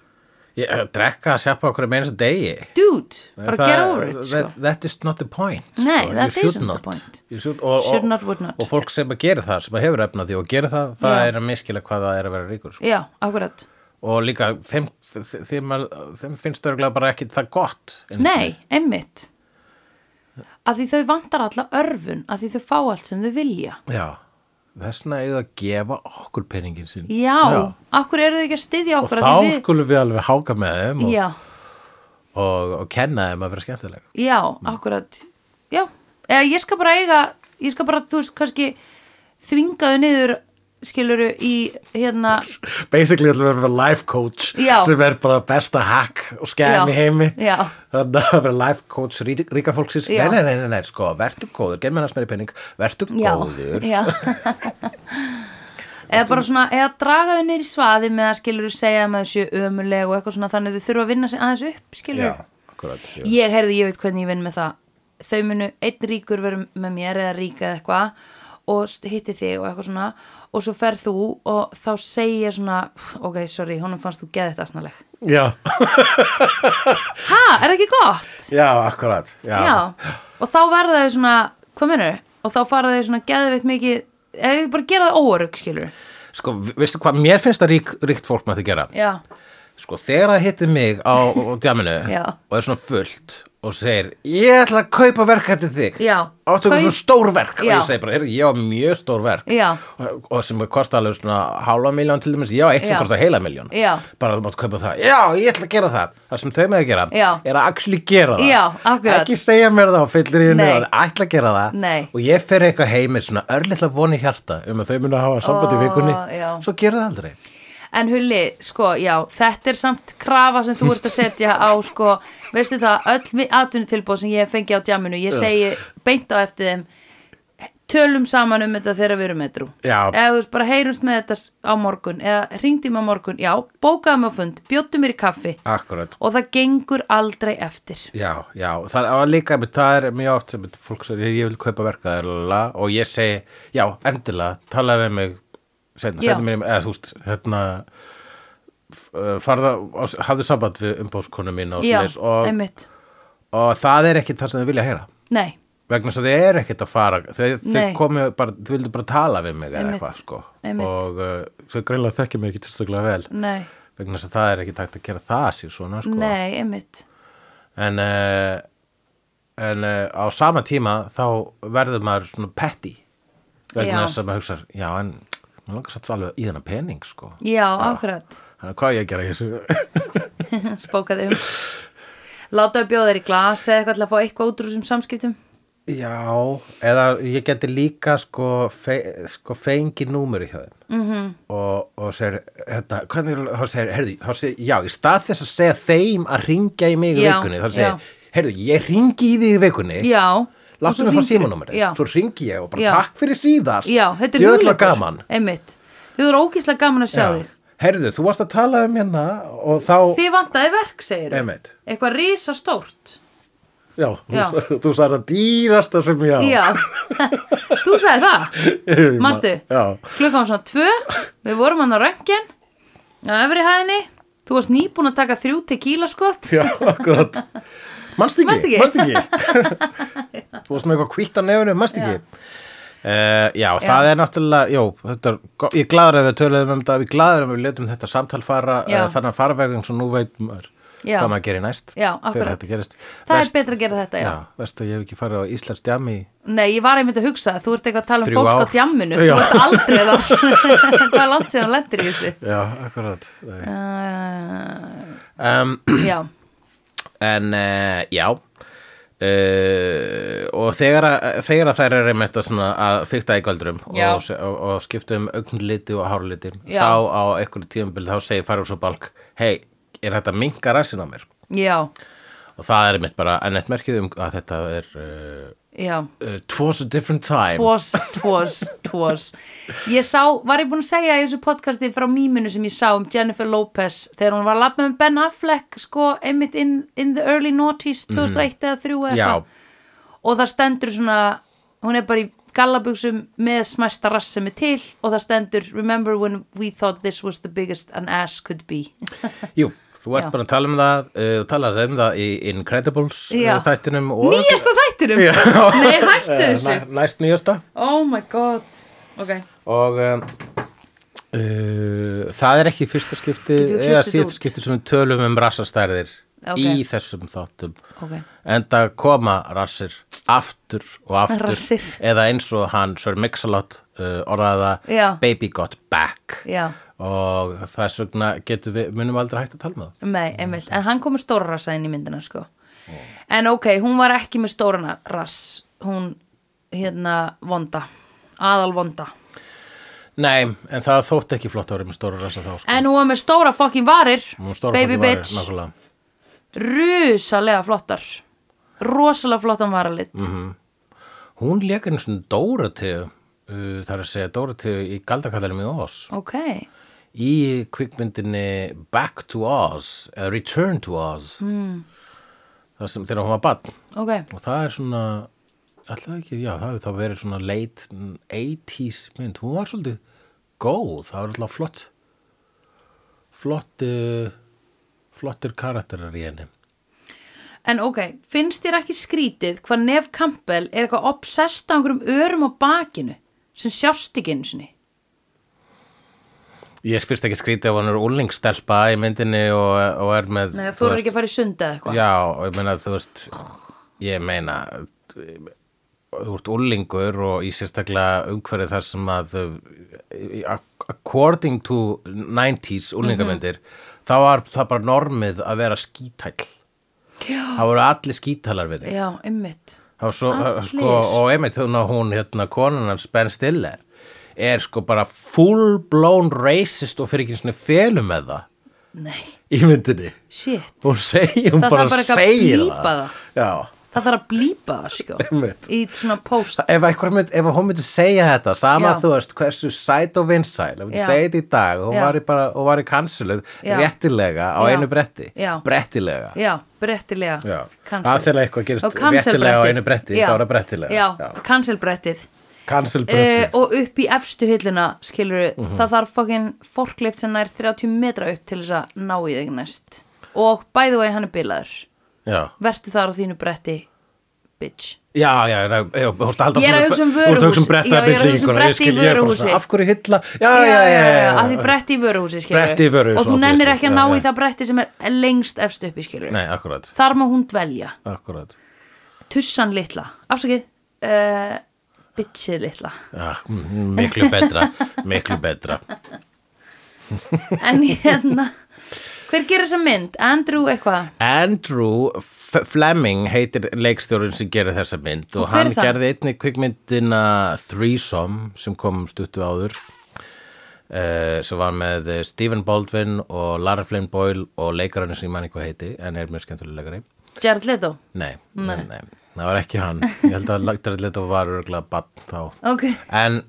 [SPEAKER 1] ég, að drekka að sjappa okkur með eins að degi
[SPEAKER 2] dude, bara
[SPEAKER 1] Það-
[SPEAKER 2] get over it sko.
[SPEAKER 1] that, that is not the point
[SPEAKER 2] Nei,
[SPEAKER 1] sko.
[SPEAKER 2] that
[SPEAKER 1] You should
[SPEAKER 2] isn't the
[SPEAKER 1] not.
[SPEAKER 2] point.
[SPEAKER 1] You should, og,
[SPEAKER 2] Should
[SPEAKER 1] og,
[SPEAKER 2] not, would not.
[SPEAKER 1] og fólk sem að gera það, sem að hefur efnað því og gera það, það
[SPEAKER 2] Já.
[SPEAKER 1] er að miskila hvað það er að vera ríkur sko.
[SPEAKER 2] já, akkurat
[SPEAKER 1] og líka þeim, þeim, að- þeim finnst örgulega bara ekki það gott einu sinni.
[SPEAKER 2] nei, einmitt að því þau vantar alla örfun að því þau fá allt sem þau vilja
[SPEAKER 1] já, þessna eigum við að gefa okkur peningin sinn
[SPEAKER 2] já, akkur eru þau ekki að styðja
[SPEAKER 1] og þá
[SPEAKER 2] okkur
[SPEAKER 1] sko-
[SPEAKER 2] að því
[SPEAKER 1] skulum við alveg háka með þeim
[SPEAKER 2] við...
[SPEAKER 1] og,
[SPEAKER 2] já,
[SPEAKER 1] og, og kenna þeim að vera skemmtilega
[SPEAKER 2] Já,
[SPEAKER 1] Hm.
[SPEAKER 2] akkurat Já, eða ég skal bara eiga ég skal bara, þú veist, kannski þvingaðu niður, skiluru í hérna,
[SPEAKER 1] basically ætlum við að vera life coach
[SPEAKER 2] Já.
[SPEAKER 1] sem er bara besta hack og skæm
[SPEAKER 2] Já.
[SPEAKER 1] í heimi
[SPEAKER 2] Já.
[SPEAKER 1] þannig að vera life coach rí, ríka fólksins
[SPEAKER 2] Já.
[SPEAKER 1] nei, nei, nei, nei, nei, sko, vertu góður, gerð mér hans meiri penning vertu
[SPEAKER 2] já,
[SPEAKER 1] góður
[SPEAKER 2] já. eða bara svona, eða dragaðu niður í svaði með að skiluru segja með þessu ömuleg og eitthvað svona þannig að þau þurfa að vinna sig aðeins upp, skiluru
[SPEAKER 1] akkurat, já.
[SPEAKER 2] ég heyrði, ég veit hvernig ég vinn með það þau munu, einn ríkur verður með mér eða ríka eða eitthvað og st- hitti þig og eitthvað svona og svo ferð þú og þá segi ég svona ok, sorry, honum fannst þú geðið þetta asnaleg
[SPEAKER 1] já,
[SPEAKER 2] ha, er ekki gott?
[SPEAKER 1] já, akkurat já,
[SPEAKER 2] og þá verða þau svona, hvað mennur? og þá fara þau svona geðið veit mikið eða þau bara gera það óörug, skilur
[SPEAKER 1] sko, vi- veistu hvað, mér finnst það rík, ríkt fólk með það gera
[SPEAKER 2] já,
[SPEAKER 1] sko, þegar það hittir mig á, á djaminu
[SPEAKER 2] Já.
[SPEAKER 1] og er svona fullt og segir, ég ætla að kaupa verk eftir þig
[SPEAKER 2] Já.
[SPEAKER 1] áttu
[SPEAKER 2] Kaup-
[SPEAKER 1] eitthvað svona stór verk og
[SPEAKER 2] Já.
[SPEAKER 1] ég segi bara, heyrðu, ég á mjög stór verk
[SPEAKER 2] Já.
[SPEAKER 1] og, og sem kosta alveg svona hálfa miljón til dæmis, ég á eitt sem
[SPEAKER 2] Já.
[SPEAKER 1] kosta heila miljón
[SPEAKER 2] Já.
[SPEAKER 1] bara þú mátt kaupa það, já, ég ætla að gera það það sem þau með að gera,
[SPEAKER 2] Já.
[SPEAKER 1] er að actually gera það
[SPEAKER 2] Já, akkurat.
[SPEAKER 1] ekki segja mér það á fyllir í hennu
[SPEAKER 2] Nei.
[SPEAKER 1] að ætla að gera það
[SPEAKER 2] Nei.
[SPEAKER 1] og ég fer eitthvað heimir svona örlitla voni hjarta um að þau munu að hafa sambandi í
[SPEAKER 2] Ó,
[SPEAKER 1] vikunni
[SPEAKER 2] já.
[SPEAKER 1] svo gera það aldrei
[SPEAKER 2] En Hulli, sko, já, þetta er samt krafa sem þú ert að setja á, sko, veistu það, öll atvinnutilbóð sem ég hef fengið á djáminu, ég segi beint á eftir þeim, tölum saman um þetta þegar við erum með trú.
[SPEAKER 1] Já.
[SPEAKER 2] Eða þú veist, bara heyrumst með þetta s- á morgun, eða hringdi mig á morgun, já, bókaðum á fund, bjóttum mér í kaffi
[SPEAKER 1] akkurat
[SPEAKER 2] og það gengur aldrei eftir.
[SPEAKER 1] Já, já, það er líka, einmitt, það er mjög oft sem fólk segir, ég vil kaupa verka þér lala, og ég segi, já, endilega, talaði við mig, setna,
[SPEAKER 2] Já.
[SPEAKER 1] setna mér, eða þú veist, hérna, f- uh, farða, á- hafðu samband við umbóðskonu mín og
[SPEAKER 2] Já,
[SPEAKER 1] svoleiðis og,
[SPEAKER 2] einmitt.
[SPEAKER 1] og það er ekkit það sem þau vilja heyra,
[SPEAKER 2] Nei,
[SPEAKER 1] vegna þess að þau er ekkit að fara, þau, þau
[SPEAKER 2] Nei.
[SPEAKER 1] komu bara, þau vildu bara tala við mig eða
[SPEAKER 2] Einmitt,
[SPEAKER 1] eitthvað, sko,
[SPEAKER 2] einmitt.
[SPEAKER 1] og uh, þau greinlega þekki mig ekki tilstaklega vel,
[SPEAKER 2] nei,
[SPEAKER 1] vegna þess að það er ekkit hægt að gera það sér svona, sko
[SPEAKER 2] nei, einmitt.
[SPEAKER 1] en, uh, en uh, á sama tíma þá verður maður svona petty
[SPEAKER 2] Já.
[SPEAKER 1] vegna þess að maður hugsa já en maður langar satt alveg í þennan pening sko
[SPEAKER 2] Já, akkurat.
[SPEAKER 1] þannig að hvað á ég að gera í þessu
[SPEAKER 2] spókaði um látaðu bjóða þér í glas eða eitthvað til að fá eitthvað út úr þessum samskiptum
[SPEAKER 1] já eða ég geti líka sko, fe, sko fengi númuri hjá þeim mm
[SPEAKER 2] Mhm.
[SPEAKER 1] -hmm. og, og segir hérna, hvernig, þá segir, heyrðu, þá segir já, í stað þess að segja þeim að ringja í mig í
[SPEAKER 2] Já,
[SPEAKER 1] vikunni, þá
[SPEAKER 2] já.
[SPEAKER 1] segir, heyrðu, ég ringi í þig í vikunni
[SPEAKER 2] já,
[SPEAKER 1] láttu mig að
[SPEAKER 2] svo
[SPEAKER 1] fá
[SPEAKER 2] hringirðu.
[SPEAKER 1] símanúmerið,
[SPEAKER 2] Já.
[SPEAKER 1] svo ringi ég og bara
[SPEAKER 2] Já.
[SPEAKER 1] takk fyrir síðast
[SPEAKER 2] Já, þetta er
[SPEAKER 1] Djöfull var
[SPEAKER 2] hugleikur.
[SPEAKER 1] gaman
[SPEAKER 2] Einmitt. Þetta er ógíslega gaman að sjá
[SPEAKER 1] Já.
[SPEAKER 2] þig.
[SPEAKER 1] Herðu, þú varst að tala um hérna og þá,
[SPEAKER 2] Þið vantaði verk, segir
[SPEAKER 1] einmitt
[SPEAKER 2] Eitthvað risa stórt.
[SPEAKER 1] Já,
[SPEAKER 2] Já.
[SPEAKER 1] þú, þú sagði það dýrasta sem ég á
[SPEAKER 2] Já. Þú sagði það.
[SPEAKER 1] Ég man-
[SPEAKER 2] Manstu?
[SPEAKER 1] Já,
[SPEAKER 2] Klukkan var svona tvö, við vorum hann á röngin, á efri hæðinni, þú varst nýbúin að taka þrjú tequila sko. skott.
[SPEAKER 1] já, akkurat Manst ekki,
[SPEAKER 2] Manstu ekki?
[SPEAKER 1] manst ekki Þú varst með eitthvað kvítt á nefnum, manst ekki Uh, já, það er náttúrulega, jú, þetta er, go- ég er glaður að við töluðum um þetta, við glaður að við letum þetta samtal fara,
[SPEAKER 2] Já.
[SPEAKER 1] uh, þannig að farvegum svo nú veit maður
[SPEAKER 2] Já.
[SPEAKER 1] hvað maður gerir næst
[SPEAKER 2] Já,
[SPEAKER 1] þegar
[SPEAKER 2] akkurat.
[SPEAKER 1] þetta gerist.
[SPEAKER 2] Það
[SPEAKER 1] Verst-
[SPEAKER 2] er betra að gera þetta, já.
[SPEAKER 1] Já, veistu, ég hef ekki farið á Íslands djami í
[SPEAKER 2] Nei, ég var einmitt að hugsa, þú ert eitthvað að tala um
[SPEAKER 1] Þrjú
[SPEAKER 2] fólk á
[SPEAKER 1] ár.
[SPEAKER 2] djamminu,
[SPEAKER 1] Já.
[SPEAKER 2] þú ert aldrei þar. Hvað er langt sem hann lendir í þessu?
[SPEAKER 1] Já, akkurat
[SPEAKER 2] Uh,
[SPEAKER 1] um,
[SPEAKER 2] já,
[SPEAKER 1] En uh, já uh, Og þegar að, þegar að þær eru einmitt að, svona, að fykta í göldrum og,
[SPEAKER 2] Já.
[SPEAKER 1] og, og skipta um augnliti og hárliti
[SPEAKER 2] Já.
[SPEAKER 1] þá á einhverju tímabil þá segir farið svo balk Hei, er þetta minka ræsin á mér?
[SPEAKER 2] já,
[SPEAKER 1] Og það er einmitt bara ennett merkið um að þetta er uh,
[SPEAKER 2] já.
[SPEAKER 1] uh, Twas a different time
[SPEAKER 2] Tvós, tvós, tvós Ég sá, var ég búin að segja í þessu podcasti frá mýminu sem ég sá um Jennifer Lopez þegar hún var að labba með Ben Affleck sko, einmitt in, in the early noughties 2001 eða 3
[SPEAKER 1] Mhm.
[SPEAKER 2] eða
[SPEAKER 1] Já,
[SPEAKER 2] eitthvað og það stendur svona hún er bara í gallabuxum með smæsta rass sem er til og það stendur Remember when we thought this was the biggest an ass could be
[SPEAKER 1] jú Þú ert
[SPEAKER 2] Já.
[SPEAKER 1] bara að tala um það, uh, þú talaði um það í Incredibles uh,
[SPEAKER 2] Já.
[SPEAKER 1] þættinum og
[SPEAKER 2] Nýjasta þættinum?
[SPEAKER 1] Já.
[SPEAKER 2] Nei, hættu
[SPEAKER 1] Eh,
[SPEAKER 2] þessu
[SPEAKER 1] næ- Næst nýjasta
[SPEAKER 2] Oh my god Ok,
[SPEAKER 1] og um, uh, það er ekki fyrsta skipti
[SPEAKER 2] Getum við klippt
[SPEAKER 1] eða
[SPEAKER 2] þetta
[SPEAKER 1] síðasta
[SPEAKER 2] út?
[SPEAKER 1] skipti sem við tölum um rassastærðir
[SPEAKER 2] Ok.
[SPEAKER 1] í þessum þáttum
[SPEAKER 2] ok
[SPEAKER 1] en það koma rassir aftur og aftur
[SPEAKER 2] Rassir.
[SPEAKER 1] eða eins og hann Sir Mix-a-Lot uh, orðaða
[SPEAKER 2] Já.
[SPEAKER 1] Baby Got Back
[SPEAKER 2] Já.
[SPEAKER 1] og þess vegna getum við, munum aldrei hægt að tala með það
[SPEAKER 2] Nei, einmitt, en hann kom með stóra rassa inn í myndina sko. En ok, hún var ekki með stóra rass Hún, hérna, vonda Aðal vonda
[SPEAKER 1] Nei, en það þótt ekki flott árið með stóra rassa þá sko.
[SPEAKER 2] En hún var með stóra fokkin varir
[SPEAKER 1] Hún stóra
[SPEAKER 2] Baby
[SPEAKER 1] fólki varir,
[SPEAKER 2] bitch,
[SPEAKER 1] nákvæmlega.
[SPEAKER 2] rusalega flottar Rosalega flottan varalit
[SPEAKER 1] Mhm. Hún lék einu svona Dóratíu, uh, það er að segja Dóratíu í galdakallinum í Oz.
[SPEAKER 2] Ok,
[SPEAKER 1] Í kvikmyndinni Back to Oz, eða Return to Oz, mm.
[SPEAKER 2] Hmm.
[SPEAKER 1] það sem þegar hún var bann.
[SPEAKER 2] ok
[SPEAKER 1] Og það er svona, alltaf ekki, já, það hefur þá verið svona late 80s mynd. Hún var svolítið góð, það var alltaf flott, flott, uh, flottir karakterar í henni.
[SPEAKER 2] En ok, finnst þér ekki skrítið hvað Nef Campbell er eitthvað obsessed á einhverjum örum á bakinu sem sjást ekki einu sinni
[SPEAKER 1] Ég spyrst ekki skrítið ef hann er úlingstelpa í myndinni og, og er með...
[SPEAKER 2] Nei,
[SPEAKER 1] þú
[SPEAKER 2] þú er
[SPEAKER 1] veist,
[SPEAKER 2] ekki að fara í sunda eða eitthvað
[SPEAKER 1] Já, og ég meina, þú veist, ég meina, þú ert úlingur og í sérstaklega umhverfið þar sem að, uh, according to 90s
[SPEAKER 2] Mhm.
[SPEAKER 1] úlingamyndir, þá var það bara normið að vera skítæll.
[SPEAKER 2] Já.
[SPEAKER 1] Það voru allir skítalar við þig.
[SPEAKER 2] Já, einmitt
[SPEAKER 1] Það var svo,
[SPEAKER 2] Allir.
[SPEAKER 1] sko, og einmitt hún, hún hérna, konan hans Ben Stiller er sko bara full blown racist og fyrir ekki svona felum með það
[SPEAKER 2] Nei
[SPEAKER 1] í myndinni
[SPEAKER 2] Shit,
[SPEAKER 1] hún segir, hún
[SPEAKER 2] Það
[SPEAKER 1] bara,
[SPEAKER 2] þarf bara ekki að
[SPEAKER 1] segir
[SPEAKER 2] blípa það.
[SPEAKER 1] Já,
[SPEAKER 2] það þarf að blípa það sko
[SPEAKER 1] Einmitt.
[SPEAKER 2] í svona post
[SPEAKER 1] ef, einhver mynd, ef hún myndi segja þetta sama
[SPEAKER 2] Já.
[SPEAKER 1] þú veist hversu sæt og vinsæl ef hún myndi
[SPEAKER 2] Já.
[SPEAKER 1] segja þetta í dag og hún
[SPEAKER 2] Já.
[SPEAKER 1] var í, bara, og var í kansiluð
[SPEAKER 2] Já.
[SPEAKER 1] réttilega á
[SPEAKER 2] Já.
[SPEAKER 1] einu bretti
[SPEAKER 2] Já. Eh,
[SPEAKER 1] brettilega
[SPEAKER 2] Já, brettilega
[SPEAKER 1] Já.
[SPEAKER 2] Cancel.
[SPEAKER 1] Að þegar eitthvað gerist
[SPEAKER 2] Og cancel
[SPEAKER 1] réttilega á
[SPEAKER 2] brettið.
[SPEAKER 1] einu bretti,
[SPEAKER 2] Já.
[SPEAKER 1] þá er það brettilega.
[SPEAKER 2] Já,
[SPEAKER 1] Já.
[SPEAKER 2] cancelbrettið
[SPEAKER 1] kansilbretti
[SPEAKER 2] uh, og upp í efstu hylluna skilur
[SPEAKER 1] Mhm.
[SPEAKER 2] það þarf fokkin forklift sem nær 30 metra upp til þess að ná í þig næst og by the way hann er bilaður
[SPEAKER 1] Já,
[SPEAKER 2] vertu þar á þínu bretti bitch
[SPEAKER 1] já, já, já, já þú ert halda
[SPEAKER 2] Ég er að hugsa um vöruhús.
[SPEAKER 1] Þú ert að hugsa um bretta
[SPEAKER 2] Já, ég er að hugsa um
[SPEAKER 1] byllinguna,
[SPEAKER 2] bretti í
[SPEAKER 1] skil, ég er bara
[SPEAKER 2] vöruhúsi.
[SPEAKER 1] svona, Af hverju hylla? Já, já, já, já, já,
[SPEAKER 2] að því bretti í vöruhúsi skilur
[SPEAKER 1] Bretti í vöruhúsi,
[SPEAKER 2] og þú nennir
[SPEAKER 1] obviously.
[SPEAKER 2] ekki að
[SPEAKER 1] Já,
[SPEAKER 2] ná í
[SPEAKER 1] já.
[SPEAKER 2] það bretti sem er lengst efst upp í skilur
[SPEAKER 1] Nei, akkurat,
[SPEAKER 2] þar má hún dvelja
[SPEAKER 1] akkurat
[SPEAKER 2] tussan litla afsakið uh, bitchið litla
[SPEAKER 1] já, mm, Miklu betra, miklu betra
[SPEAKER 2] en hérna hver gerir þessa mynd? Andrew eitthvað
[SPEAKER 1] Andrew F Fleming heitir leikstjórinn sem gerir þessa mynd og,
[SPEAKER 2] Og hver er
[SPEAKER 1] hann
[SPEAKER 2] það?
[SPEAKER 1] gerði einnig kvikmyndina Threesome sem kom um stuttu áður uh, sem var með eh, Stephen Baldwin og Lara Flynn Boyle og leikarinn sem ég manni hvað heiti en er mjög skemmtilega leikari
[SPEAKER 2] Jared Leto
[SPEAKER 1] Nei,
[SPEAKER 2] Nei.
[SPEAKER 1] nei, nei, það var ekki hann Ég held að Jared Leto var örgulega bann þá
[SPEAKER 2] ok,
[SPEAKER 1] En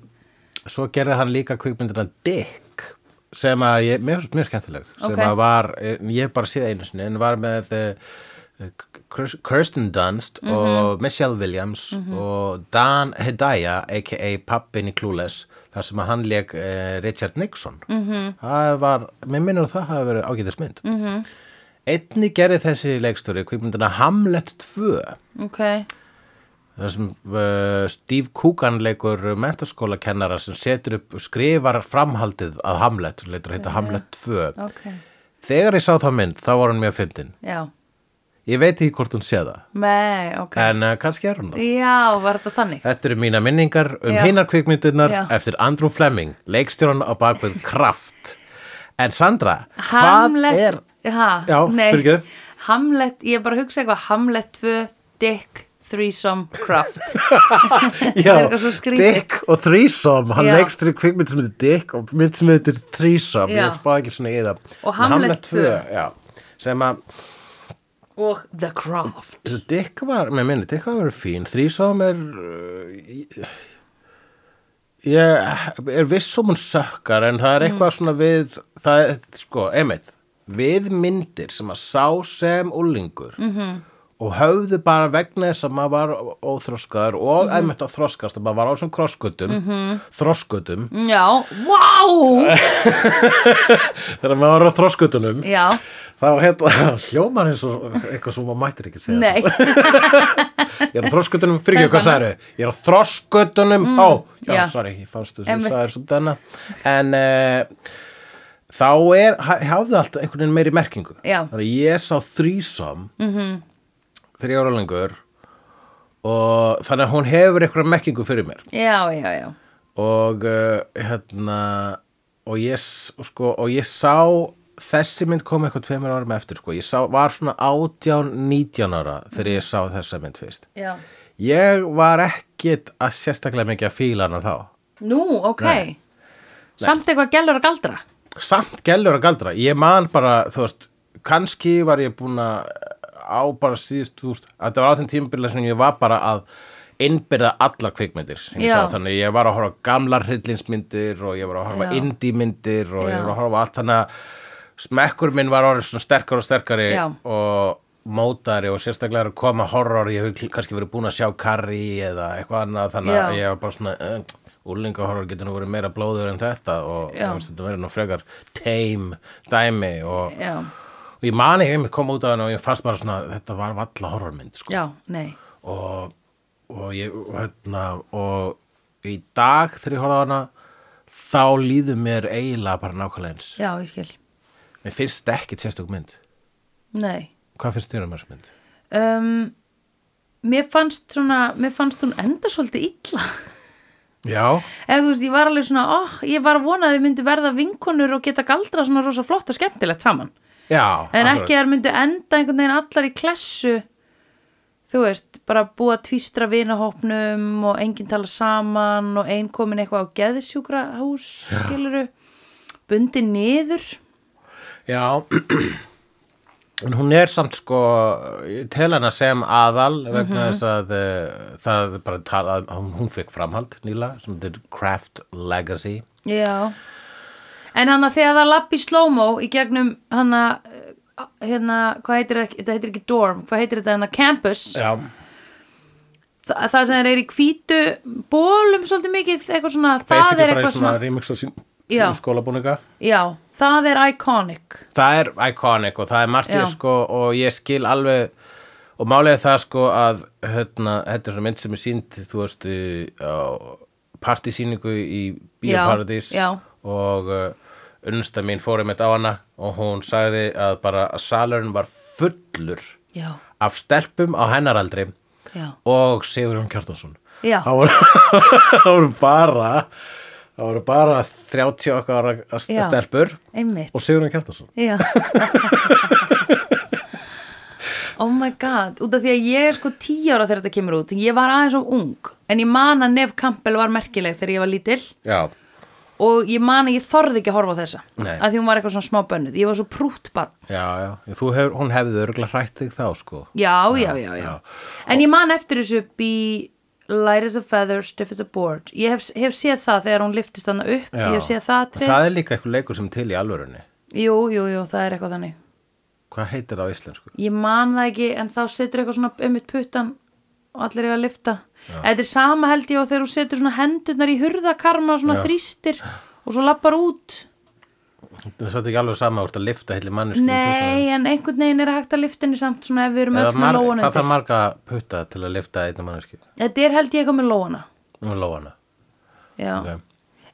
[SPEAKER 1] svo gerði hann líka kvikmyndina Dick sem að ég, mjög, mjög skemmtileg sem
[SPEAKER 2] Ok.
[SPEAKER 1] að var, ég hef bara séð einu sinni en var með uh, Kirsten Dunst og Michelle Williams og Dan Hedaya aka pappin í Clueless þar sem að hann leik uh, Richard Nixon -hmm. það var, mér minnur að það hafi verið ágætismynd mm -hmm. einni gerði þessi leikstúri kvikmyndina Hamlet 2
[SPEAKER 2] ok
[SPEAKER 1] þar sem uh, Steve Coogan leikur mentaskóla kennara sem setur upp skrifar framhaldið að Hamlet, hún leitur að
[SPEAKER 2] Mhm.
[SPEAKER 1] heita Hamlet 2
[SPEAKER 2] ok,
[SPEAKER 1] þegar ég sá það mynd, þá var hún mjög fyndin
[SPEAKER 2] já
[SPEAKER 1] ég veit ekki hvort hún sé það
[SPEAKER 2] mei, ok
[SPEAKER 1] en uh, kannski er hún það
[SPEAKER 2] já, var þetta þannig
[SPEAKER 1] Þetta eru mína minningar um
[SPEAKER 2] Já.
[SPEAKER 1] hinar kvikmyndirnar
[SPEAKER 2] Já.
[SPEAKER 1] eftir Andrew Fleming, leikstjórn á bakvið kraft. En Sandra,
[SPEAKER 2] Hamlet,
[SPEAKER 1] hvað er...
[SPEAKER 2] ha,
[SPEAKER 1] Já,
[SPEAKER 2] nei.
[SPEAKER 1] fyrirgefðu.
[SPEAKER 2] Hamlet, ég er bara að hugsa eitthvað Hamlet 2, Dick, Threesome, Craft
[SPEAKER 1] Já,
[SPEAKER 2] er eitthvað svo skrítið.
[SPEAKER 1] Dick og Threesome, hann
[SPEAKER 2] Já.
[SPEAKER 1] leikstjórn kvikmynd sem heitir Dick og mynd sem heitir Threesome,
[SPEAKER 2] Já.
[SPEAKER 1] ég spá ekki svona í það.
[SPEAKER 2] Og
[SPEAKER 1] En
[SPEAKER 2] Hamlet 2.
[SPEAKER 1] Já, sem að
[SPEAKER 2] og The Craft
[SPEAKER 1] Svo Dick var, með minni, Dick var verið fín Þrísom er uh, ég- ég er viss um hún sökkar en það er eitthvað svona við það er, sko, einmitt við myndir sem að sá sem úlingur -hmm. og höfðu bara vegna þess að maður var óþroskaður og einmitt að þroskast að maður var á þessum krosskutum mm -hmm. þroskutum,
[SPEAKER 2] já, wow
[SPEAKER 1] þegar maður var á þroskutunum
[SPEAKER 2] já,
[SPEAKER 1] þá hérna, hljómar eins og eitthvað sem maður mættir ekki segja
[SPEAKER 2] nei
[SPEAKER 1] Ég er á þroskutunum, fyrir ekki hvað sagðu Ég er á þroskutunum, ó, já,
[SPEAKER 2] Mm, já.
[SPEAKER 1] sorry, ég fannst þess að
[SPEAKER 2] Einmitt.
[SPEAKER 1] það er svona þarna En uh, þá er, ha- hafði allt einhvern veginn meiri merkingu
[SPEAKER 2] Já.
[SPEAKER 1] Þannig að ég sá þrísom mm
[SPEAKER 2] Mhm.
[SPEAKER 1] -hmm. Þegar ég var lengur Og þannig að hún hefur einhverja merkingu fyrir mér
[SPEAKER 2] já, já, já,
[SPEAKER 1] og uh, hérna og ég, s- og sko, og ég sá þessi mynd kom eitthvað tveimur árum eftir sko. ég sá, var svona 18-19 ára þegar ég sá þessa mynd fyrst
[SPEAKER 2] já
[SPEAKER 1] ég var ekkit að sérstaklega mikið að fíla hana þá
[SPEAKER 2] nú, ok samt eitthvað gælur að galdra
[SPEAKER 1] samt gellur að galdra ég man bara, þú veist, kannski var ég búin að á bara síðust, þú veist, að þetta var á þeim tímabila sem ég var bara að innbyrða allar kvikmyndir sem ég
[SPEAKER 2] Já.
[SPEAKER 1] sá, þannig ég var að horfa á gamlar hryllinsmyndir og ég var að horfa
[SPEAKER 2] Já.
[SPEAKER 1] indímyndir og
[SPEAKER 2] Já.
[SPEAKER 1] ég var að horfa á allt þannig að smekkur minn var orðið svona sterkar og sterkari
[SPEAKER 2] Já.
[SPEAKER 1] og mótari og sérstaklega er að koma horror, ég hef kannski verið búin að sjá karri eða eitthvað annað þannig að
[SPEAKER 2] Já.
[SPEAKER 1] ég var bara svona uh, úlingahorror getur nú verið meira blóður en þetta og
[SPEAKER 2] Já.
[SPEAKER 1] þú veist, þetta verið nú frekar tame dæmi og,
[SPEAKER 2] já,
[SPEAKER 1] og ég mani ég einmitt kom út af hann og ég fannst bara svona þetta var valla horrormynd sko.
[SPEAKER 2] já, nei
[SPEAKER 1] og, og ég og hérna, og í dag þegar ég horfði á hana þá líður mér eiginlega bara nákvæmlega eins
[SPEAKER 2] já, ég skil,
[SPEAKER 1] mér finnst þetta ekkit sérstök mynd
[SPEAKER 2] nei
[SPEAKER 1] hvað finnst þér um þessu mynd?
[SPEAKER 2] um, mér fannst svona mér fannst hún enda svolítið illa
[SPEAKER 1] já,
[SPEAKER 2] eða þú veist, ég var alveg svona oh, ég var að vona að þið myndu verða vinkonur og geta galdra svona rosa flott og skemmtilegt saman
[SPEAKER 1] já
[SPEAKER 2] en
[SPEAKER 1] akkurat.
[SPEAKER 2] ekki að þær myndu enda einhvern veginn allar í klessu þú veist, bara búa að tvístra vinahópnum og enginn tala saman og einn komin eitthvað á geðsjúkra hús skiluru, bundi niður
[SPEAKER 1] Já, en hún er samt sko, ég tel hana sem aðal vegna
[SPEAKER 2] Mhm.
[SPEAKER 1] þess að uh, það er bara talað, hún, hún fekk framhald nýla, sem þetta er Craft Legacy.
[SPEAKER 2] já en hann að þegar það lapp í slow-mo í gegnum hann að hérna, hvað heitir þetta, þetta heitir ekki dorm hvað heitir þetta hann að campus
[SPEAKER 1] Já.
[SPEAKER 2] Þa, það sem þeir eru í hvítu bólum svolítið mikið, eitthvað svona það
[SPEAKER 1] Basically
[SPEAKER 2] er
[SPEAKER 1] bara í
[SPEAKER 2] eitthvað
[SPEAKER 1] svona
[SPEAKER 2] svona,
[SPEAKER 1] remix á sín,
[SPEAKER 2] Já.
[SPEAKER 1] sín skólabúninga.
[SPEAKER 2] já, það er iconic
[SPEAKER 1] Það er iconic og það er margt
[SPEAKER 2] Já.
[SPEAKER 1] ég sko og ég skil alveg og málega það sko að hérna, þetta er svona mynd sem er sínd þú veist í- á partísýningu í Bíóparadís
[SPEAKER 2] Já, já.
[SPEAKER 1] og uh, unnsta mín fór einmitt á hana og hún sagði að bara að salurinn var fullur
[SPEAKER 2] já,
[SPEAKER 1] af stelpum á hennaraldri
[SPEAKER 2] já
[SPEAKER 1] og Sigurjón Kjartansson
[SPEAKER 2] Já.
[SPEAKER 1] það voru, það voru bara það voru bara 30 okkar ára að-
[SPEAKER 2] Já.
[SPEAKER 1] stelpur
[SPEAKER 2] Einmitt.
[SPEAKER 1] og Sigurjón Kjartansson
[SPEAKER 2] Já. oh my god, út af því að ég er sko tíu ára þegar þetta kemur út, ég var aðeins og ung, en ég man að Nef Campbell var merkileg þegar ég var lítil
[SPEAKER 1] já
[SPEAKER 2] og ég man að ég þorði ekki að horfa á þessa
[SPEAKER 1] Nei.
[SPEAKER 2] að því hún var eitthvað svona smá bönnuð ég var svo prútt bann
[SPEAKER 1] já, já, þú hefur, hún hefði örgulega hrætt þig þá sko
[SPEAKER 2] já, já, já, já.
[SPEAKER 1] já.
[SPEAKER 2] en ég man eftir þessu upp í light as a feather, stiff as a board ég hef, hef séð það þegar hún liftist hann upp
[SPEAKER 1] já.
[SPEAKER 2] ég hef séð það tré
[SPEAKER 1] Það er líka eitthvað leikur sem er til í alvörunni
[SPEAKER 2] jú, jú, jú, það er eitthvað þannig
[SPEAKER 1] Hvað heitir það á íslensku?
[SPEAKER 2] ég man það ekki en þá setur eitthvað svona um mitt puttan og allir eiga að lifta þetta er sama held ég og þegar hún setur svona hendurnar í hurðakarma og svona
[SPEAKER 1] Já.
[SPEAKER 2] þrýstir og svo lappar út
[SPEAKER 1] Það er svolítið ekki alveg sama úr að lifta heilir manneski
[SPEAKER 2] nei, en einhvern veginn er hægt að lifta henni samt svona ef við erum öll með
[SPEAKER 1] Hvað
[SPEAKER 2] lóan
[SPEAKER 1] þarf
[SPEAKER 2] undir
[SPEAKER 1] marga putta til að lifta einna manneski?
[SPEAKER 2] þetta er held ég eitthvað með lóana
[SPEAKER 1] Nú er lóana
[SPEAKER 2] já
[SPEAKER 1] Ok.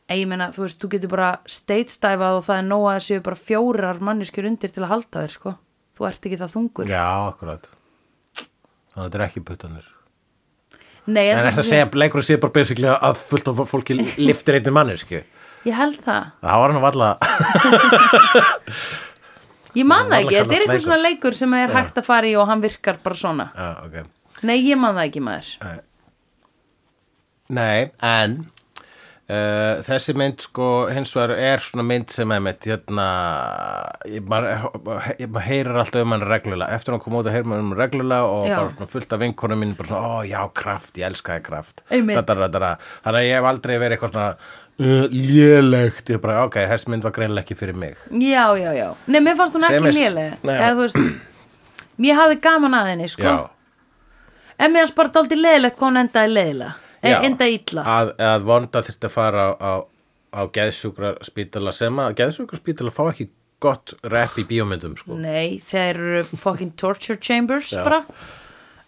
[SPEAKER 2] En ég meina, þú veist, þú getur bara steitstæfað og það er nóg að það séu bara fjórar manneskjur undir til að halda þér, sko. Þú ert ekki það þungur.
[SPEAKER 1] Já, akkurat Þannig að þetta er ekki puttanir
[SPEAKER 2] Nei, ég
[SPEAKER 1] En
[SPEAKER 2] held,
[SPEAKER 1] þetta
[SPEAKER 2] að
[SPEAKER 1] segja, leikur sé bara basically að fullt af fólki liftir einni manneski
[SPEAKER 2] sé- ég held það.
[SPEAKER 1] Það var hann að valla
[SPEAKER 2] Ég man það
[SPEAKER 1] varla
[SPEAKER 2] ekki, þetta er
[SPEAKER 1] kallast
[SPEAKER 2] einhver svona leikur sem er hægt að fara í og hann virkar bara svona.
[SPEAKER 1] Já, ok
[SPEAKER 2] Nei, ég man það ekki maður.
[SPEAKER 1] Nei, en uh, þessi mynd sko hins vegar er svona mynd sem er mitt hérna ég- maður he- maður heyrir alltaf um hann reglulega eftir hann kom út að heyrir maður um hann reglulega og
[SPEAKER 2] Já.
[SPEAKER 1] bara svona fullt af vinkonum mín bara svona, ó já, kraft, ég elskaði kraft
[SPEAKER 2] Einmitt.
[SPEAKER 1] Dadara, dadara. þannig að ég hef aldrei verið eitthvað svona uh, lélegt, ég bara, ok, þessi mynd var greinilega ekki fyrir mig
[SPEAKER 2] Já, já, já. Nei, mér fannst hún
[SPEAKER 1] Sem
[SPEAKER 2] ekki
[SPEAKER 1] er-
[SPEAKER 2] lélega.
[SPEAKER 1] Nei.
[SPEAKER 2] Eða þú veist, mér hafði gaman að henni, sko.
[SPEAKER 1] Já,
[SPEAKER 2] En mér fannst bara dálítið leðilegt hvað hún endaði leðilega.
[SPEAKER 1] já.
[SPEAKER 2] Endaði Eh, illa.
[SPEAKER 1] að, að vonda þurfti að fara á, á, á geðsjúkraspítala sem að geðsjúkraspítala fá ekki gott rep í bíómyndum sko
[SPEAKER 2] Nei, þeir eru fucking torture chambers
[SPEAKER 1] Já.
[SPEAKER 2] bara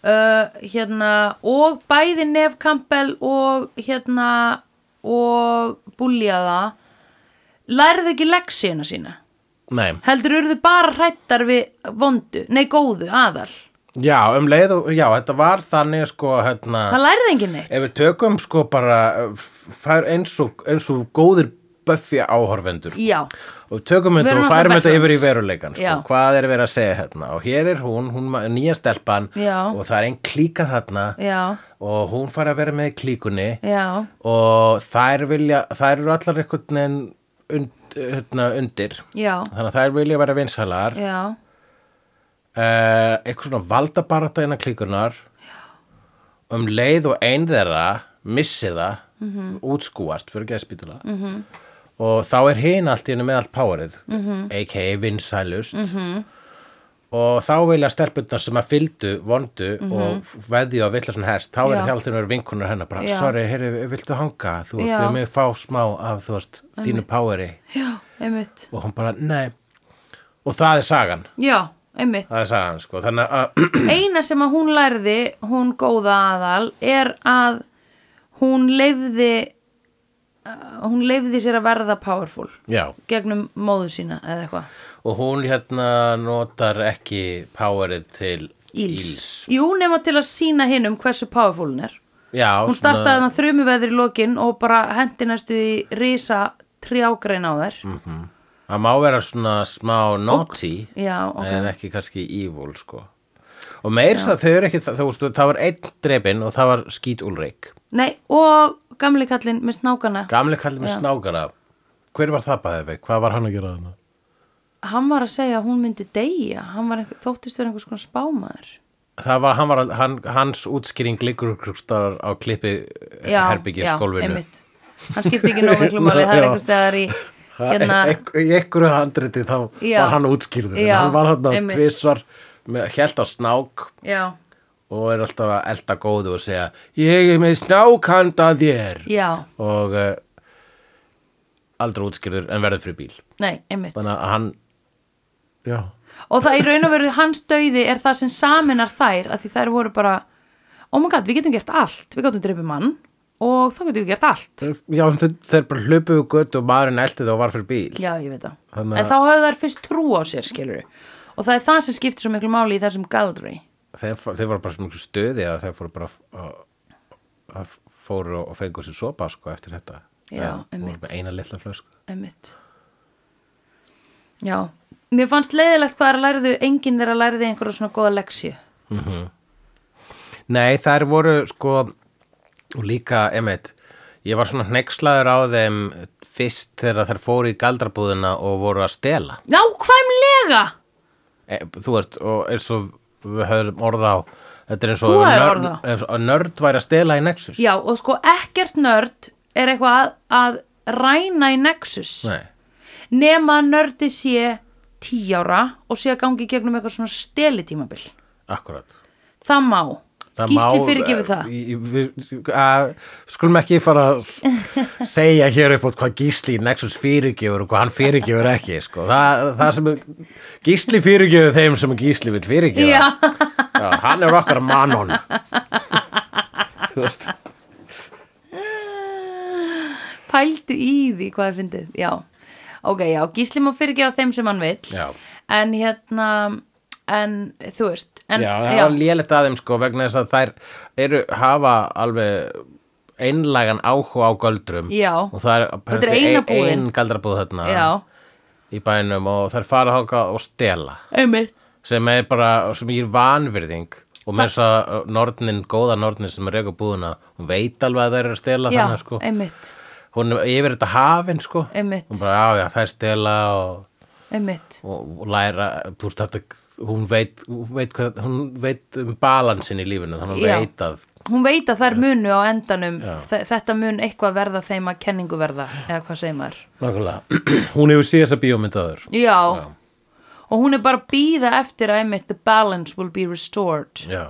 [SPEAKER 2] uh, hérna, og bæði Nef Campbell og hérna og búljaða lærðu ekki leksina sína
[SPEAKER 1] Nei.
[SPEAKER 2] heldur eru þau bara hrættar við vondu, nei góðu, aðal
[SPEAKER 1] Já, um leið og, já, þetta var þannig sko, hérna,
[SPEAKER 2] það lærðu engin neitt
[SPEAKER 1] ef við tökum sko bara, uh, f- fær eins og, eins og góðir Buffy áhorfendur
[SPEAKER 2] já,
[SPEAKER 1] og við tökum
[SPEAKER 2] Við
[SPEAKER 1] þetta
[SPEAKER 2] erum
[SPEAKER 1] og færum
[SPEAKER 2] náttúrulega
[SPEAKER 1] þetta yfir í
[SPEAKER 2] veterans.
[SPEAKER 1] veruleikan sko,
[SPEAKER 2] Já.
[SPEAKER 1] hvað er verið að segja hérna og hér er hún, hún ma- nýja stelpan
[SPEAKER 2] Já.
[SPEAKER 1] og það er einn klíka þarna
[SPEAKER 2] já,
[SPEAKER 1] og hún fær að vera með í klíkunni
[SPEAKER 2] já
[SPEAKER 1] og þær vilja, þær eru allar einhvern veginn und, hérna, undir
[SPEAKER 2] já,
[SPEAKER 1] þannig að þær vilja vera vinsalar
[SPEAKER 2] já
[SPEAKER 1] uh, eitthvað svona valdabarata innan klíkunar um leið og ein þeirra missi það
[SPEAKER 2] Mhm.
[SPEAKER 1] útskúast fyrir geðspítula -hmm. og þá er hinn allt í henni með allt powerið
[SPEAKER 2] Mhm.
[SPEAKER 1] -hmm. a.k.a. vinsælust -hmm. og þá vilja stelpunnar sem að fylgdu vondu og veðju að vilja svona hest þá
[SPEAKER 2] Mhm. Já.
[SPEAKER 1] er þjálfinn verið vinkunar hennar bara,
[SPEAKER 2] Já.
[SPEAKER 1] sorry, heyrðu, viltu hanga þú veist,
[SPEAKER 2] Já.
[SPEAKER 1] við mig fá smá af þú veist, þínu poweri
[SPEAKER 2] já, einmitt
[SPEAKER 1] og hún bara, nei og það er sagan,
[SPEAKER 2] já, einmitt
[SPEAKER 1] það er sagan sko. þannig að
[SPEAKER 2] eina sem að hún lærði hún góða aðal er að hún leifði uh, hún leifði sér að verða powerful
[SPEAKER 1] Já,
[SPEAKER 2] gegnum móðu sína eða eitthvað
[SPEAKER 1] og hún hérna notar ekki powerið til
[SPEAKER 2] Íls. Jú, nema til að sína hinnum hversu powerful hún er.
[SPEAKER 1] Já,
[SPEAKER 2] Hún
[SPEAKER 1] svona-
[SPEAKER 2] startaði hann þrjumu veður í lokin og bara hendi næstu í risa trjágrein á þær.
[SPEAKER 1] Það má vera svona smá naughty,
[SPEAKER 2] Já, ok.
[SPEAKER 1] en ekki kannski evil, sko. Og meir það þau eru ekki, það, það, það var einn drefin og það var skít Ulrik.
[SPEAKER 2] Nei, og gamli kallinn með snákana.
[SPEAKER 1] Gamli kallið með snákara. Hver var það bæðið við? Hvað var hann að gera þarna?
[SPEAKER 2] Hann var að segja að hún myndi deyja. Hann var einhver, þóttist verið einhvers konar spámaður.
[SPEAKER 1] Það var, hann var, al- hann, hans útskýring liggur ykkur á klippi herbyggjaskólfinu.
[SPEAKER 2] einmitt. Hann skipti ekki nóg miklu máli, það
[SPEAKER 1] Já.
[SPEAKER 2] er einhvers þegar í hérna,
[SPEAKER 1] Hérna... Í einhverju handriti þá
[SPEAKER 2] Já.
[SPEAKER 1] var hann útskýrður en
[SPEAKER 2] Já,
[SPEAKER 1] hann var hann
[SPEAKER 2] einmitt.
[SPEAKER 1] tvisvar með held á snák
[SPEAKER 2] já,
[SPEAKER 1] og er alltaf að elda góðu og segja ég er með snák handa þér
[SPEAKER 2] já,
[SPEAKER 1] og uh, aldrei útskýrður en verður fyrir bíl
[SPEAKER 2] nei, einmitt.
[SPEAKER 1] þannig að hann já,
[SPEAKER 2] Og það í raun og veru hans döiði er það sem saminar þær, að því þær voru bara, oh my god, við getum gert allt, við getum dreipið mann og þá getum við gert allt.
[SPEAKER 1] já þeir, þeir bara hlupuðu gutt og maðurinn eldi það og var fyrir bíl
[SPEAKER 2] Já, ég veit það.
[SPEAKER 1] Þannig að-
[SPEAKER 2] En þá höfðu þær fyrst trú á sér, skilur Og það er það sem skiptir svo miklu máli í þessum galdri.
[SPEAKER 1] þeir, fa- þeir voru bara sem mjög stuði að þeir fóru bara að- að fóru og fengu sér sopa sko eftir þetta
[SPEAKER 2] Já,
[SPEAKER 1] Þeir voru
[SPEAKER 2] einmitt.
[SPEAKER 1] með eina litla flösku
[SPEAKER 2] Einmitt. Já, mér fannst leiðilegt hvað er að læriðu, enginn þeirra læriði einhverja svona góða leksju.
[SPEAKER 1] Nei, þær voru sko og líka, emitt ég var svona hneykslaður á þeim fyrst þegar þær fóru í galdrabúðina og voru að stela
[SPEAKER 2] Nákvæmlega
[SPEAKER 1] e, þú veist, og eins og við höfum orða á þetta er eins
[SPEAKER 2] Þú
[SPEAKER 1] og
[SPEAKER 2] hafðir
[SPEAKER 1] nörd,
[SPEAKER 2] orð á.
[SPEAKER 1] eins og nörd væri að stela í Nexus
[SPEAKER 2] Já, og sko ekkert nörd er eitthvað að, að ræna í Nexus
[SPEAKER 1] Nei.
[SPEAKER 2] nema að nördi sé tí ára og sé að gangi í gegnum eitthvað svona stelitímabil
[SPEAKER 1] akkurat
[SPEAKER 2] það má, gísli fyrirgefið það
[SPEAKER 1] það skulum ekki fara að s- segja hér upp átt hvað gísli í Nexus fyrirgefur og hvað hann fyrirgefur ekki sko. það, það sem er, gísli fyrirgefur þeim sem gísli vil fyrirgefa
[SPEAKER 2] Já,
[SPEAKER 1] Já, hann er okkar manon þú veist
[SPEAKER 2] pældu í því hvað er fyndið, já ok, já, gísli má fyrirgefa þeim sem hann vill
[SPEAKER 1] Já.
[SPEAKER 2] en hérna en þú veist en,
[SPEAKER 1] já, það var lélegt að þeim sko vegna þess að þær eru, hafa alveg einlægan áhuga á göldrum
[SPEAKER 2] Já.
[SPEAKER 1] og það er,
[SPEAKER 2] Þetta er eina búðin.
[SPEAKER 1] ein galdrabúð þarna
[SPEAKER 2] Já.
[SPEAKER 1] í bænum og þær fara þáka og stela
[SPEAKER 2] einmitt
[SPEAKER 1] sem er bara, sem ég er vanvirðing og með þess að uh, nornin, góða nornin sem er reyka búðina, hún veit alveg að þær eru að stela
[SPEAKER 2] já,
[SPEAKER 1] þannig sko,
[SPEAKER 2] einmitt,
[SPEAKER 1] hún er yfir þetta hafin sko,
[SPEAKER 2] Einmitt.
[SPEAKER 1] hún bara, já, já, þær stela og
[SPEAKER 2] einmitt
[SPEAKER 1] og og læra þú veist, þetta, hún, veit, hún, veit hvað, hún veit um balansin í lífinu þannig
[SPEAKER 2] Já.
[SPEAKER 1] að hún veit að
[SPEAKER 2] hún veit að þær munu á endanum
[SPEAKER 1] Já.
[SPEAKER 2] þe- þetta mun eitthvað verða þeim að kenningu verða eða hvað segir maður
[SPEAKER 1] Nákvæmlega. hún hefur síðast að bíómyndaður
[SPEAKER 2] já. og hún er bara að býða eftir að einmitt the balance will be restored
[SPEAKER 1] já,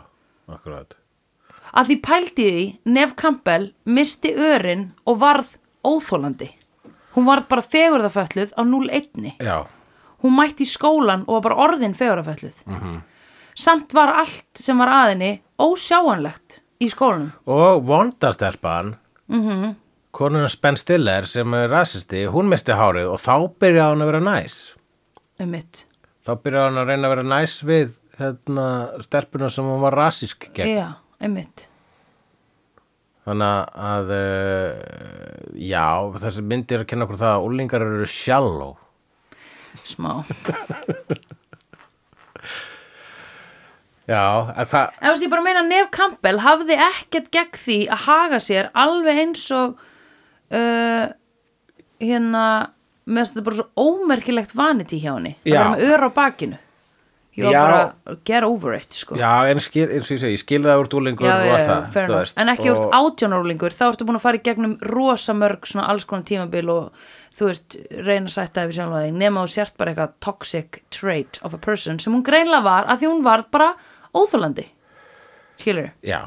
[SPEAKER 1] akkurat
[SPEAKER 2] að því pældi því Nef Campbell misti örin og varð óþólandi hún varð bara fegurðafölluð á 0-1
[SPEAKER 1] já,
[SPEAKER 2] hún mætti í skólan og var bara orðin fegurðafölluð
[SPEAKER 1] Mhm.
[SPEAKER 2] samt var allt sem var aðinni ósjáanlegt í skólanum
[SPEAKER 1] og vondastelpan mm -hmm.
[SPEAKER 2] Mhm.
[SPEAKER 1] konuna Spenn Stiller sem er rasisti, hún misti hárið og þá byrjaði hún að vera næs
[SPEAKER 2] um mitt
[SPEAKER 1] þá byrjaði hún að reyna að vera næs við hérna, stelpuna sem hún var rasísk gegn
[SPEAKER 2] já, um mitt
[SPEAKER 1] Þannig að, uh, já, þessi myndi er að kenna okkur það að úlingar eru shallow.
[SPEAKER 2] smá
[SPEAKER 1] Já, að hvað,
[SPEAKER 2] En þú veist, ég bara meina að Nef Campbell hafði ekkert gegn því að haga sér alveg eins og uh, hérna með þess að þetta bara svo ómerkilegt vaniti hjá henni að
[SPEAKER 1] Já.
[SPEAKER 2] vera með öra á bakinu ég var
[SPEAKER 1] Já.
[SPEAKER 2] bara get over it sko
[SPEAKER 1] já, en skil, eins og ég segi, ég skil það úr dúlingur
[SPEAKER 2] Já,
[SPEAKER 1] og
[SPEAKER 2] já,
[SPEAKER 1] allt
[SPEAKER 2] já,
[SPEAKER 1] það.
[SPEAKER 2] fair
[SPEAKER 1] þú
[SPEAKER 2] enough.
[SPEAKER 1] veist,
[SPEAKER 2] en ekki úr
[SPEAKER 1] og-
[SPEAKER 2] átjánárlingur þá ertu búin að fara í gegnum rosa mörg svona alls konar tímabil og þú veist, reyna að sætta ef við sjálfa þig nema þú sért bara eitthvað toxic trait of a person sem hún greinlega var að því hún var bara óþólandi skilur
[SPEAKER 1] Já,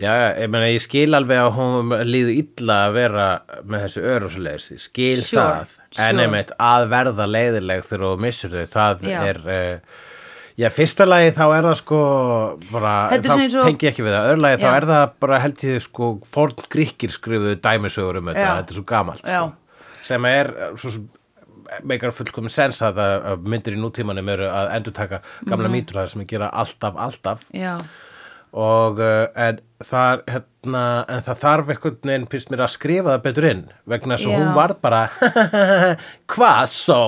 [SPEAKER 1] já, ég meina, ég skil alveg að hún líður illa að vera með þessu ör og svo leiðis, ég skil
[SPEAKER 2] Sure,
[SPEAKER 1] það. En
[SPEAKER 2] sure.
[SPEAKER 1] einmitt að verða leiðileg þegar þú missur þau, það
[SPEAKER 2] Já.
[SPEAKER 1] er... Uh, Já, fyrsta lagi þá er það sko bara,
[SPEAKER 2] Þetta er
[SPEAKER 1] þá
[SPEAKER 2] svona eins og-
[SPEAKER 1] tengi ég ekki við það, öðru lagi þá
[SPEAKER 2] Já.
[SPEAKER 1] er það bara held ég sko forn gríkir skrifuðu dæmisögur um þetta,
[SPEAKER 2] Já.
[SPEAKER 1] þetta er svo gamalt
[SPEAKER 2] Já.
[SPEAKER 1] sko, sem er eh, svo sem meikar fullkomin sens að, það- að myndir í nútímanum eru að endurtaka
[SPEAKER 2] Mhm.
[SPEAKER 1] gamla mýtur það sem er gera alltaf, alltaf
[SPEAKER 2] já
[SPEAKER 1] og uh, en, þar, hérna, en það þarf einhvern veginn fyrst mér að skrifa það betur inn vegna þess
[SPEAKER 2] Já.
[SPEAKER 1] að hún varð bara hvað svo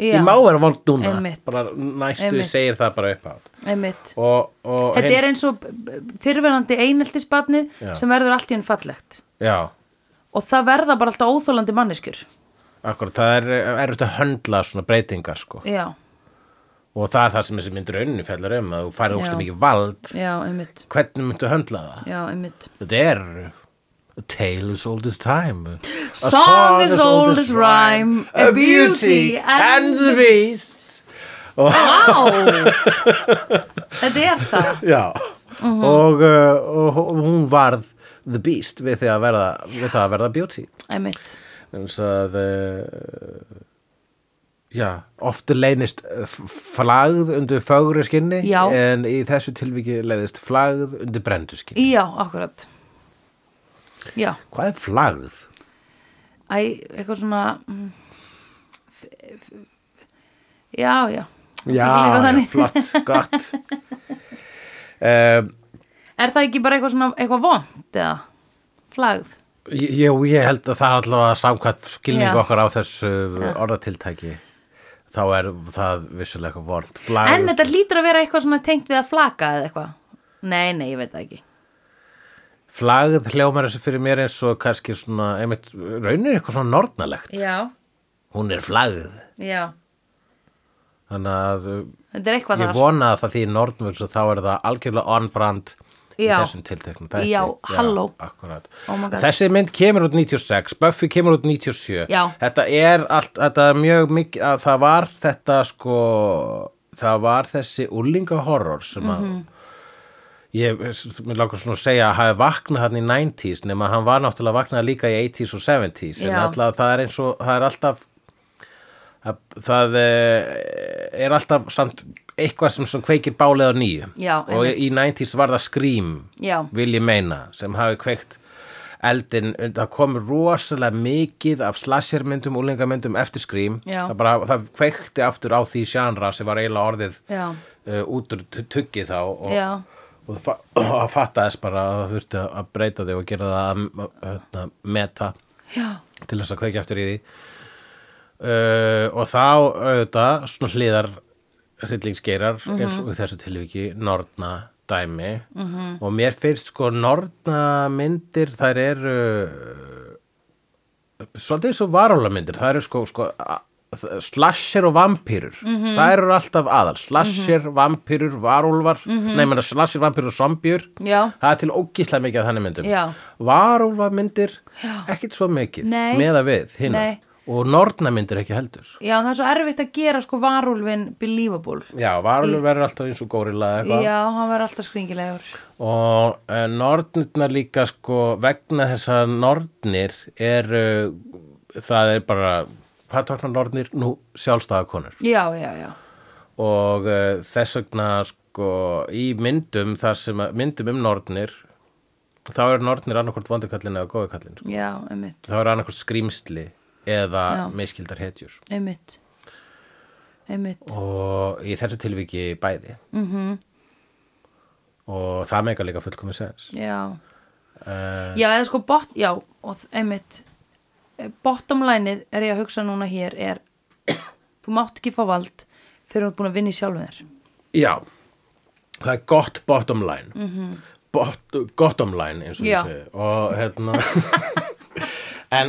[SPEAKER 2] Já.
[SPEAKER 1] ég má vera vond núna
[SPEAKER 2] Einmitt.
[SPEAKER 1] bara næstu
[SPEAKER 2] Einmitt.
[SPEAKER 1] segir það bara upp átt
[SPEAKER 2] Einmitt.
[SPEAKER 1] og, og
[SPEAKER 2] Þetta er eins og fyrirverandi eineltisbarnið
[SPEAKER 1] Já.
[SPEAKER 2] sem verður allt í enn fallegt
[SPEAKER 1] já,
[SPEAKER 2] og það verða bara alltaf óþólandi manneskjur
[SPEAKER 1] akkur, það er erut að höndla svona breytingar sko.
[SPEAKER 2] Já,
[SPEAKER 1] og það er það sem þessi myndur önni fjallar um að þú færið ógstu
[SPEAKER 2] Já.
[SPEAKER 1] mikið vald
[SPEAKER 2] já, einmitt
[SPEAKER 1] hvernig myndu höndla það
[SPEAKER 2] Já, einmitt
[SPEAKER 1] þetta er a tale as old as time a
[SPEAKER 2] song as old as rhyme, a beauty and the beast. Oh. Vá! Þetta er það
[SPEAKER 1] Já,
[SPEAKER 2] Mm-hmm.
[SPEAKER 1] og, uh, og hó- hún varð the beast við, því að verða, við það að verða beauty.
[SPEAKER 2] Einmitt
[SPEAKER 1] Þannig að, uh, já, oft leynist uh, f- flagð undir fögru skinni,
[SPEAKER 2] Já.
[SPEAKER 1] en í þessu tilviki leynist flagð undir brendu skinni.
[SPEAKER 2] Já, akkurat Já,
[SPEAKER 1] Hvað er flagð?
[SPEAKER 2] æ, eitthvað svona mm, f- f- Já, já Eitthvað
[SPEAKER 1] Já, já
[SPEAKER 2] þannig.
[SPEAKER 1] flott, gott. Um,
[SPEAKER 2] Er það ekki bara eitthvað svona, eitthvað vond eða flagð?
[SPEAKER 1] Jú, ég held að það er allavega samkvæmt skilningu
[SPEAKER 2] Já.
[SPEAKER 1] okkar á þessu orðatiltæki þá er það vissulega eitthvað vort flag,
[SPEAKER 2] En þetta hlýtur að vera eitthvað svona tengt við að flaka eða eitthvað. Nei, nei, ég veit það ekki.
[SPEAKER 1] flagð hljómar þessu fyrir mér eins og kannski svona, einmitt, raunir eitthvað svona nornalegt.
[SPEAKER 2] já,
[SPEAKER 1] Hún er flagð.
[SPEAKER 2] já
[SPEAKER 1] Þannig að uh,
[SPEAKER 2] þetta er eitthvað
[SPEAKER 1] ég vona að það því nornvöls og þá er það algjörlega on-brand í
[SPEAKER 2] Já.
[SPEAKER 1] þessum tilteknum. þætti.
[SPEAKER 2] Já, halló.
[SPEAKER 1] Akkúrat.
[SPEAKER 2] Oh my god.
[SPEAKER 1] Þessi mynd kemur út 96, Buffy kemur út 97.
[SPEAKER 2] Já.
[SPEAKER 1] Þetta er allt, þetta er mjög mikið, að það var þetta sko, það var þessi úlingahorror sem að,
[SPEAKER 2] Mhm.
[SPEAKER 1] ég, s- mér langar svona að segja að hafi vaknað hann í 90s nema hann var náttúrulega vaknað líka í 80s og 70s en
[SPEAKER 2] Já.
[SPEAKER 1] alltaf það er eins og, það er alltaf að, það eh, er alltaf samt eitthvað sem, sem kveikir bálið á nýju
[SPEAKER 2] Já,
[SPEAKER 1] og
[SPEAKER 2] einmitt.
[SPEAKER 1] í 90s var það Scream
[SPEAKER 2] Já.
[SPEAKER 1] vil ég meina sem hafi kveikt eldin, það komur rosalega mikið af slashermyndum, úlingamyndum eftir Scream,
[SPEAKER 2] Já.
[SPEAKER 1] það bara það kveikti aftur á því sjanra sem var eiginlega orðið
[SPEAKER 2] Já.
[SPEAKER 1] uh, út úr tu- tuggi þá og,
[SPEAKER 2] Já.
[SPEAKER 1] og það fa- og fattaðist bara að það þurfti að breyta þig og gera það að, að, að meta
[SPEAKER 2] já,
[SPEAKER 1] til þess að kveikja eftir í því uh, og þá auðvitað svona hliðar hryllingsgeirar eins
[SPEAKER 2] Mhm.
[SPEAKER 1] og í þessu tilviki norna dæmi -hmm. og mér finnst sko norna myndir þær eru uh, svolítið eins og varóla myndir þær eru sko, sko a- þ- slasher og vampýrur
[SPEAKER 2] Mhm.
[SPEAKER 1] -hmm. þær eru alltaf aðal slasher, vampýrur, varúlvar -hmm. nei, menna slasher, vampýrur og zombjur
[SPEAKER 2] Mhm. Já.
[SPEAKER 1] það er til ógíslega mikið af þannig myndum
[SPEAKER 2] Já.
[SPEAKER 1] varúlfamyndir ekkit svo mikið
[SPEAKER 2] Nei.
[SPEAKER 1] meða við hina
[SPEAKER 2] Nei.
[SPEAKER 1] og nornamyndir ekki heldur
[SPEAKER 2] já, það er svo erfitt að gera sko varúlfin believable
[SPEAKER 1] já, varúlfur verður alltaf eins og górilla eða eitthvað
[SPEAKER 2] Já, hann var alltaf skringilegur
[SPEAKER 1] og uh, nornirnar líka sko vegna þess að nornir er uh, það er bara hvað tóknar nornir? Nú, sjálfstæðakonur
[SPEAKER 2] Já, já, já,
[SPEAKER 1] og uh, þess vegna sko í myndum þar sem að, myndum um nornir þá eru nornir annarkvort vondukallin eða góðukallin sko.
[SPEAKER 2] já, einmitt
[SPEAKER 1] þá eru annarkvort skrýmsli eða
[SPEAKER 2] Já.
[SPEAKER 1] miskildar hetjur
[SPEAKER 2] Einmitt Einmitt
[SPEAKER 1] og í þessu tilviki bæði
[SPEAKER 2] mm
[SPEAKER 1] og það meika líka fullkomis sens
[SPEAKER 2] Já,
[SPEAKER 1] uh,
[SPEAKER 2] já, eða sko bot, já, og þ- einmitt eh, Bottom lineið er ég að hugsa núna hér er Þú mátt ekki fá vald fyrir þú ert búin að vinna í sjálfum þér
[SPEAKER 1] já, það er gott bottom line mm -hmm. Bot, bottom line eins og
[SPEAKER 2] Já.
[SPEAKER 1] ég segi og hérna en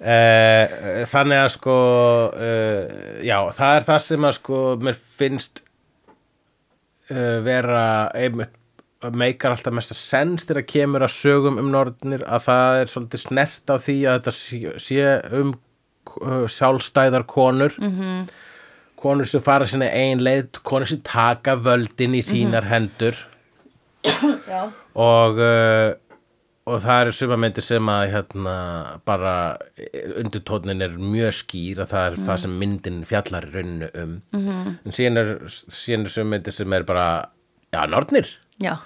[SPEAKER 1] uh, þannig að sko uh, já, það er það sem að sko mér finnst uh, vera einmitt meikar alltaf mesta sens þegar kemur að sögum um norðnir að það er svolítið snert á því að þetta sé- sé um uh, sjálfstæðar konur -hmm. konur sem fara sinna ein leið konur sem taka völdin í sínar hendur
[SPEAKER 2] Já,
[SPEAKER 1] og uh, og það eru sumamyndir sem að hérna, bara undirtónin er mjög skýr að það er það sem myndin fjallar í rauninu um -hmm. en síðan er, síðan er sumamyndir sem er bara já, nornir
[SPEAKER 2] já,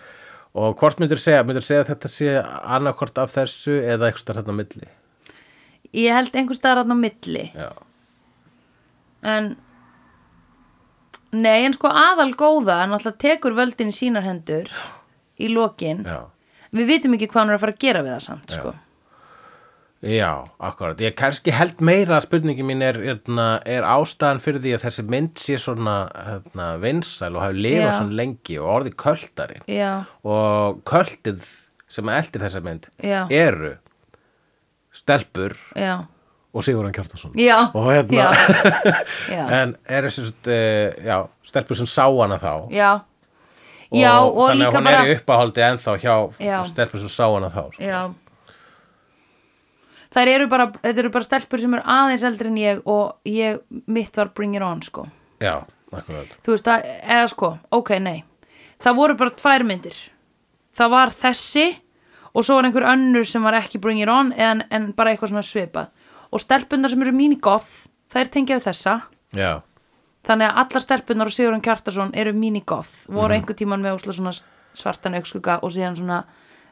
[SPEAKER 1] Og hvort myndur segja, myndur segja að þetta sé annarkvort af þessu eða eitthvað starf hérna á milli?
[SPEAKER 2] ég held einhvers staðar þarna á milli
[SPEAKER 1] Já.
[SPEAKER 2] En Nei, en sko aðal góða en alltaf tekur völdin í sínar hendur í lokin
[SPEAKER 1] Já,
[SPEAKER 2] Við vitum ekki hvað hann er að fara að gera við það samt, sko.
[SPEAKER 1] já akkurat. Ég kannski held meira að spurningin mín er, hérna, er ástæðan fyrir því að þessi mynd sé svona hérna, vinsæl og hafi lifað
[SPEAKER 2] Já.
[SPEAKER 1] svona lengi og orðið költari.
[SPEAKER 2] Já,
[SPEAKER 1] Og költið sem eldir þessa mynd
[SPEAKER 2] Já.
[SPEAKER 1] eru stelpur
[SPEAKER 2] já,
[SPEAKER 1] og Sigurðan Kjartason.
[SPEAKER 2] já.
[SPEAKER 1] Og hérna,
[SPEAKER 2] Já, já,
[SPEAKER 1] en eru sem sagt, eh, já, stelpur sem sá hana þá.
[SPEAKER 2] já. Já, og,
[SPEAKER 1] þannig að
[SPEAKER 2] líka
[SPEAKER 1] hún
[SPEAKER 2] bara...
[SPEAKER 1] er í uppáhaldi ennþá
[SPEAKER 2] Já.
[SPEAKER 1] hjá stelpur sem sá hana þá sko.
[SPEAKER 2] Já. Þær eru bara, þetta eru bara stelpur sem eru aðeins eldri en ég og ég, mitt var bring it on, sko.
[SPEAKER 1] já, akkurat
[SPEAKER 2] Þú veist það, eða sko, ok, nei. Það voru bara tvær myndir. Það var þessi og svo var einhver önnur sem var ekki bring it on en, en bara eitthvað svona svipað. Og stelpunar sem eru mín í goth, þær tengja við þessa.
[SPEAKER 1] já,
[SPEAKER 2] Þannig að allar stelpunar og Sigurðan Kjartason eru minigoth, voru
[SPEAKER 1] Mhm.
[SPEAKER 2] einhver tíman með ósla svona svartan aukskugga og síðan svona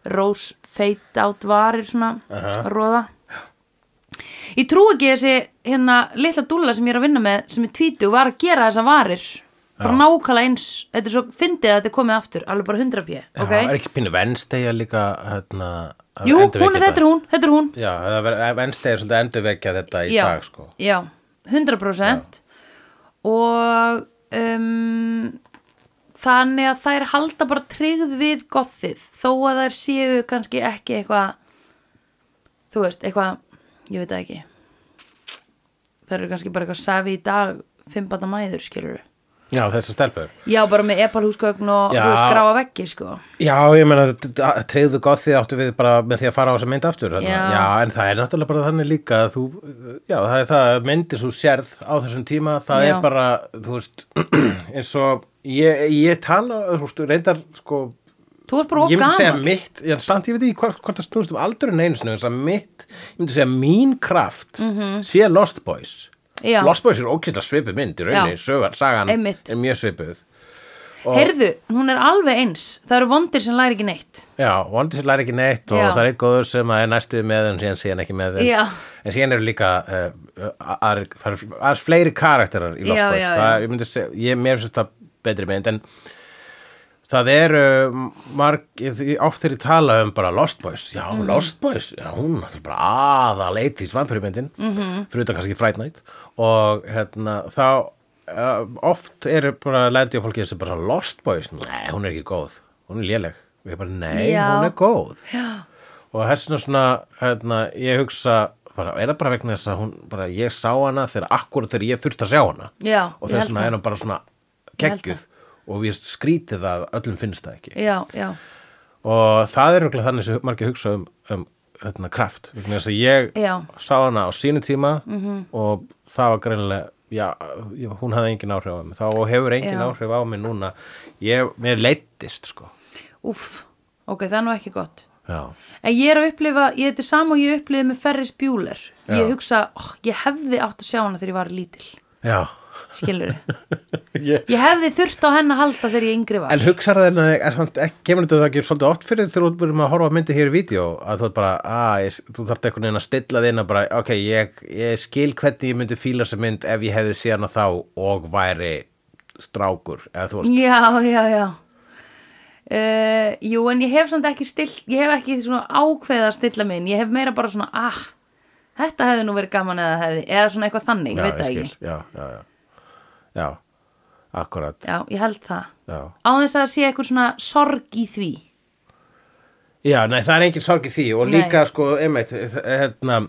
[SPEAKER 2] rose fade out varir svona róða. Ég trú ekki þessi hérna litla dúlla sem ég er að vinna með sem er tvítu var að gera þessa varir bara nákvæmlega eins, þetta er svo fyndið að þetta er komið aftur, alveg bara 100 pjö
[SPEAKER 1] já er ekki pínu venstegja líka hérna, að
[SPEAKER 2] Jú,
[SPEAKER 1] endurvekja
[SPEAKER 2] hún er þetta er hún, þetta er hún
[SPEAKER 1] já, það verður venstegja svolítið að endurvekja þetta í
[SPEAKER 2] já,
[SPEAKER 1] dag sko
[SPEAKER 2] já, 100% og um, þannig að þær halda bara tryggð við gothið þó að þær séu kannski ekki eitthvað þú veist, eitthvað ég veit það ekki þær eru kannski bara eitthvað safi í dag fimmbanna mæður skilur
[SPEAKER 1] Já, þessar stelpur.
[SPEAKER 2] já, bara með epalhúsgögn og
[SPEAKER 1] Já.
[SPEAKER 2] þú veist, gráa veggi sko
[SPEAKER 1] Já, ég meina, treyðu gothið áttu við bara með því að fara á þessa mynd aftur. þarna.
[SPEAKER 2] Já.
[SPEAKER 1] já, en það er náttúrulega bara þannig líka að þú, já, það er það að myndir svo sérð á þessum tíma, það
[SPEAKER 2] Já.
[SPEAKER 1] er bara, þú veist, eins og ég, ég tala, þú veist, reyndar, sko,
[SPEAKER 2] þú ert bara of
[SPEAKER 1] ég myndi segja
[SPEAKER 2] gaman
[SPEAKER 1] mitt, já, samt ég veit ekki hvort, hvort það snúst um aldurinn einu sinni, þess að mitt, ég myndi segja mín kraft sé Lost Boys.
[SPEAKER 2] Mhm. Já.
[SPEAKER 1] Lost Boys er ókvæmta svipuð mynd í rauninni,
[SPEAKER 2] Já.
[SPEAKER 1] sögan, sagan
[SPEAKER 2] Einmitt.
[SPEAKER 1] er mjög svipuð.
[SPEAKER 2] heyrðu, hún er alveg eins það eru vondir sem læri ekki neitt
[SPEAKER 1] Já, vondi sér læri ekki neitt og
[SPEAKER 2] Já.
[SPEAKER 1] það er eitt góður sem að er næstuð með en síðan síðan ekki með þeim.
[SPEAKER 2] Já.
[SPEAKER 1] En síðan eru líka uh, aðrir aðrir fleiri karakterar í Lost
[SPEAKER 2] Já,
[SPEAKER 1] Boys.
[SPEAKER 2] já,
[SPEAKER 1] það,
[SPEAKER 2] já.
[SPEAKER 1] Ég myndi segja, ég mér finnst það betri mynd en það eru marg, oft þeir tala um bara Lost Boys. Já, Lost Boys, já, hún er náttúrulega bara aða leiti í svampurumyndin, mm -hmm. fyrir utan kannski Fright Night og hérna þá Uh, oft eru bara lendi á fólki sem bara Lost Boys, nei, hún er ekki góð hún er léleg, við bara, nei,
[SPEAKER 2] Já.
[SPEAKER 1] hún er góð Já. og þessna svona hérna, ég hugsa bara, er það bara vegna þess að hún, bara, ég sá hana þegar akkurat þegar ég þurfti að sjá hana
[SPEAKER 2] Já,
[SPEAKER 1] og
[SPEAKER 2] ég held
[SPEAKER 1] þessna
[SPEAKER 2] það.
[SPEAKER 1] er hún bara svona
[SPEAKER 2] Ég held
[SPEAKER 1] geggjuð og við skrítið að öllum finnst það ekki
[SPEAKER 2] já, já,
[SPEAKER 1] og það er örugglega þannig sem margir hugsa um, um hérna, kraft, vegna þess að ég
[SPEAKER 2] Já. Mhm.
[SPEAKER 1] sá hana á sínu tíma -hmm. og það var greinilega já, já, hún hafði engin áhrif á mig þá og hefur engin
[SPEAKER 2] Já.
[SPEAKER 1] áhrif á mig núna ég, mér leittist sko
[SPEAKER 2] úff ok, það er nú ekki gott
[SPEAKER 1] já,
[SPEAKER 2] En ég er að upplifa, ég þetta er sama og ég upplifi með Ferris Bueller.
[SPEAKER 1] Já.
[SPEAKER 2] Ég hugsa, oh, ég hefði átt að sjá hana þegar ég var lítil,
[SPEAKER 1] já.
[SPEAKER 2] skilur þið.
[SPEAKER 1] Ég,
[SPEAKER 2] Ég hefði þurft á henn að halda þegar ég yngri var.
[SPEAKER 1] En hugsar það en er samt ekki, kemur þetta ekki svolítið oft fyrir þegar þú erum að horfa á myndi hér í vídeo að þú ert bara, að ég, þú þarft einhvern veginn að stilla þinn að bara, ok, ég, ég skil hvernig ég myndi fíla þessa mynd ef ég hefði síðan að þá og væri strákur, eða þú veist
[SPEAKER 2] Já, já, já. Uh, jú, en ég hef samt ekki still, ég hef ekki svona ákveða að stilla minn. Ég hef meira bara svona, ah, þetta hefði nú verið gaman eða hefði, eða svona eitthvað þannig, ég veit það
[SPEAKER 1] skil,
[SPEAKER 2] ekki.
[SPEAKER 1] Já, já, já Já, akkurat,
[SPEAKER 2] Já, ég held það.
[SPEAKER 1] já
[SPEAKER 2] Á þess að það sé eitthvað svona sorg í því.
[SPEAKER 1] Já, nei, það er engin sorg í því og
[SPEAKER 2] Nei.
[SPEAKER 1] líka, sko, einmitt, þ- hérna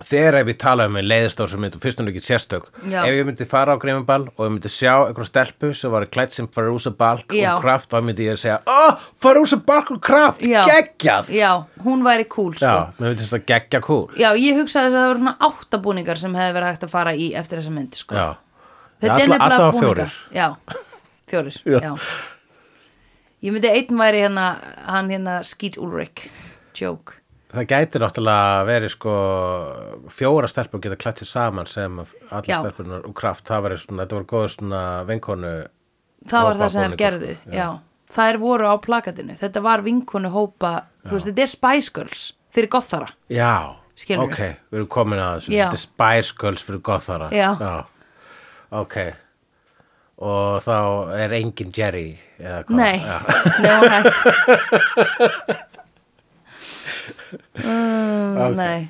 [SPEAKER 1] Þegar ef ég tala um mig leiðist á sem mynd og fyrst hún er ekki sérstök
[SPEAKER 2] Já.
[SPEAKER 1] ef ég myndi fara á greifinball og ég myndi sjá einhverja stelpu sem var klætt sem Farousa Balk
[SPEAKER 2] Já.
[SPEAKER 1] og Kraft þá myndi ég segja, oh, Farousa Balk og Kraft
[SPEAKER 2] Já.
[SPEAKER 1] geggjað
[SPEAKER 2] Já, hún væri cool, sko.
[SPEAKER 1] Já, mér myndi þetta geggja cool
[SPEAKER 2] Já, ég hugsaði þess að það voru svona áttabúningar sem hefði verið hægt að fara í eftir þessa mynd, sko.
[SPEAKER 1] Já,
[SPEAKER 2] Þetta
[SPEAKER 1] Alla-
[SPEAKER 2] er nefnilega
[SPEAKER 1] allavega
[SPEAKER 2] búningar.
[SPEAKER 1] fjórir.
[SPEAKER 2] Já, fjórir, já.
[SPEAKER 1] Já.
[SPEAKER 2] Ég myndi að einn væri hérna, hann hérna Skeet Ulrich, joke.
[SPEAKER 1] það gæti náttúrulega verið sko fjóra stelpur geta klætt sér saman sem
[SPEAKER 2] Já.
[SPEAKER 1] allar stelpunar og Kraft, það var svona, þetta var góður svona vinkonu
[SPEAKER 2] Það var
[SPEAKER 1] Hópa
[SPEAKER 2] það sem þær
[SPEAKER 1] búningur,
[SPEAKER 2] gerðu,
[SPEAKER 1] sko,
[SPEAKER 2] já. Þær voru á plakatinu, þetta var vinkonu hópa, þú veist, þetta er Spice Girls fyrir gothara.
[SPEAKER 1] Já,
[SPEAKER 2] Skilurðu?
[SPEAKER 1] ok, við erum komin að þessu
[SPEAKER 2] Já.
[SPEAKER 1] Þetta er Spice Girls fyrir gothara
[SPEAKER 2] Já.
[SPEAKER 1] Ok Og þá er engin Jerry eða hvað
[SPEAKER 2] Nei,
[SPEAKER 1] Já,
[SPEAKER 2] nefnum hægt. mm, Nei,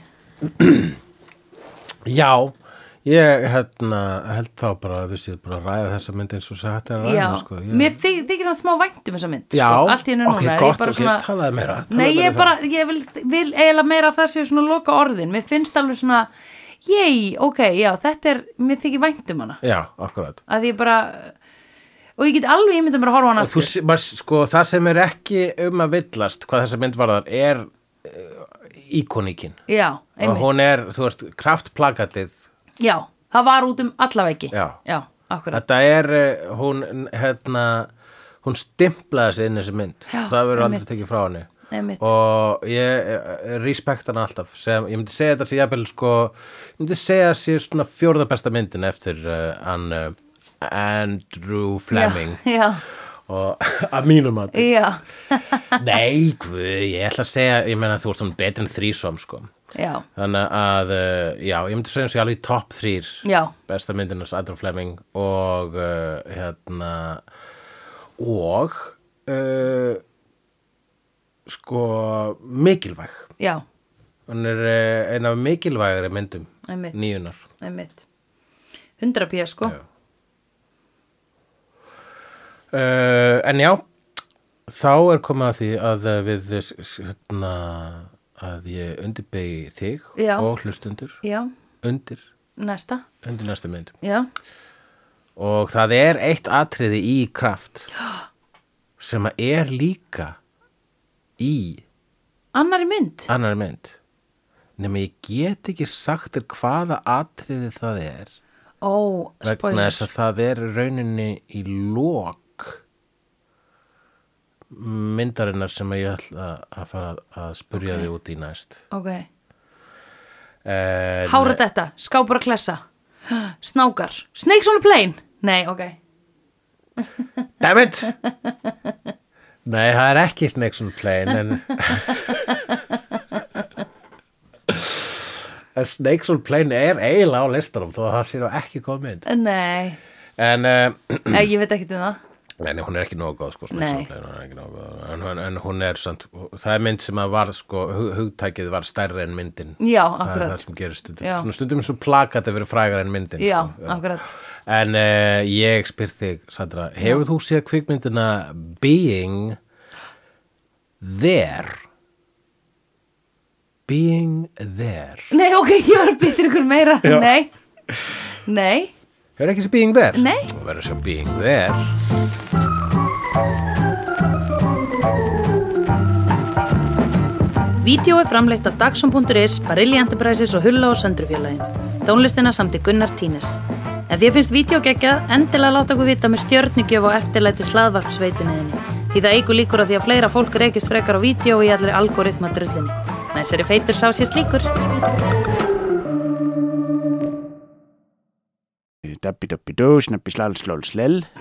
[SPEAKER 1] Já, ég hérna, held þá bara að þú séð bara að ræða þessa mynd eins og sætt er að
[SPEAKER 2] já.
[SPEAKER 1] ræða sko. ég...
[SPEAKER 2] Mér þykir, þykir samt smá væntum þessa mynd,
[SPEAKER 1] Já,
[SPEAKER 2] sko. Allt í hennu
[SPEAKER 1] ok,
[SPEAKER 2] núna, er ég
[SPEAKER 1] gott,
[SPEAKER 2] bara
[SPEAKER 1] ok,
[SPEAKER 2] svona...
[SPEAKER 1] talaðu meira talaðu
[SPEAKER 2] Nei,
[SPEAKER 1] meira
[SPEAKER 2] ég
[SPEAKER 1] um
[SPEAKER 2] bara, ég vil, vil eiginlega meira að það séu svona loka orðin. Mér finnst alveg svona, jæj, ok, já, þetta er, mér þykir vænt um hana.
[SPEAKER 1] það. Já, akkurat
[SPEAKER 2] Að ég bara, og ég get alveg, ég myndi bara að horfa á hana
[SPEAKER 1] Og þú,
[SPEAKER 2] aftur.
[SPEAKER 1] sé- maður, sko, það sem er ekki um að villast hvað þessa mynd varðar er uh, íkoníkin
[SPEAKER 2] Já,
[SPEAKER 1] og
[SPEAKER 2] einmitt.
[SPEAKER 1] hún er, þú veist, kraftplakatið
[SPEAKER 2] Já, það var út um allaveggi.
[SPEAKER 1] Já.
[SPEAKER 2] Já, akkurat.
[SPEAKER 1] Þetta er, eh, hún, hérna, hún stimplaði sig inn í þessi mynd.
[SPEAKER 2] Já,
[SPEAKER 1] það verður
[SPEAKER 2] einmitt.
[SPEAKER 1] aldrei tekið frá henni.
[SPEAKER 2] Einmitt.
[SPEAKER 1] Og ég eh, respekt hana alltaf. Sem, ég myndi segja þetta sé jafnvel, sko, ég myndi segja sé svona fjórða besta myndin eftir uh, hann uh, Andrew Fleming.
[SPEAKER 2] Já,
[SPEAKER 1] Og að mínum að,
[SPEAKER 2] já,
[SPEAKER 1] nei, guð, ég ætla að segja, ég meina þú veist hún betri en þrísom, sko.
[SPEAKER 2] já,
[SPEAKER 1] Þannig að, uh, já, ég myndi segja hún sé alveg í topp þrýr
[SPEAKER 2] já,
[SPEAKER 1] besta myndin hans Andrew Fleming og uh, hérna og uh, sko mikilvæg
[SPEAKER 2] já,
[SPEAKER 1] hann er uh, ein af mikilvægari myndum
[SPEAKER 2] Einmitt.
[SPEAKER 1] nýjunar
[SPEAKER 2] einmitt. Hundra pía, sko.
[SPEAKER 1] Já. uh, en já þá er komið að því að eh, við s- s- hérna, að ég undirbegi þig
[SPEAKER 2] Já.
[SPEAKER 1] og hlustundur
[SPEAKER 2] já,
[SPEAKER 1] undir,
[SPEAKER 2] næsta
[SPEAKER 1] undir næstu mynd
[SPEAKER 2] já,
[SPEAKER 1] og það er eitt atriði í kraft sem að er líka í
[SPEAKER 2] annari mynd
[SPEAKER 1] annar mynd nema ég get ekki sagt þér hvaða atriði það er
[SPEAKER 2] ó,
[SPEAKER 1] vegna
[SPEAKER 2] spoiler
[SPEAKER 1] þess að það er í rauninni í lók myndarinnar sem ég ætla að fara að spurja þig út í næst
[SPEAKER 2] ok,
[SPEAKER 1] en,
[SPEAKER 2] hára þetta, skápur að klessa snákar, snakes on a plane nei, ok,
[SPEAKER 1] damn it nei það er ekki Snakes on a Plane en En Snakes on a Plane er eiginlega á listanum þó að það sé nú ekki góð mynd
[SPEAKER 2] nei
[SPEAKER 1] en uh,
[SPEAKER 2] Eh, ég veit ekkert um það
[SPEAKER 1] Nei, nei, hún er ekki nógu góð sko, Snakes
[SPEAKER 2] Nei.
[SPEAKER 1] on a Plane, hún er ekki nógu góð, en, en, en hún er samt, það er mynd sem að var sko, hug- hugtækið var stærri en myndin
[SPEAKER 2] já,
[SPEAKER 1] það er það
[SPEAKER 2] akkurat,
[SPEAKER 1] sem gerist stundum
[SPEAKER 2] Já.
[SPEAKER 1] svona stundum svo plakat að vera frægar en myndin
[SPEAKER 2] já,
[SPEAKER 1] sko.
[SPEAKER 2] akkurat
[SPEAKER 1] en uh, ég spyr þig, Sandra hefur þú séð kvikmyndina Being There Being There
[SPEAKER 2] nei, ok, ég var að bytta ykkur meira
[SPEAKER 1] Já.
[SPEAKER 2] nei, nei
[SPEAKER 1] hefur ekki séð Being There?
[SPEAKER 2] Nei.
[SPEAKER 1] þú verður að sjá Being There
[SPEAKER 2] Vídeó er framleitt af Dagsum.is, Barilli Enterprises og Hulla og Söndrufjörlægin. Tónlistina samt í Gunnar Tínes. Ef þér finnst vídeo geggjað, endilega láta okkur vita með stjörnigjöf og eftirlæti slaðvarpsveitunniðinni. Því það eigur líkur að því að fleira fólk reykist frekar á vídeo og í allir algoritma drullinni. Næsari feitur sá sér slíkur.
[SPEAKER 3] Dabbi dabbi dó, snabbi slal slól slel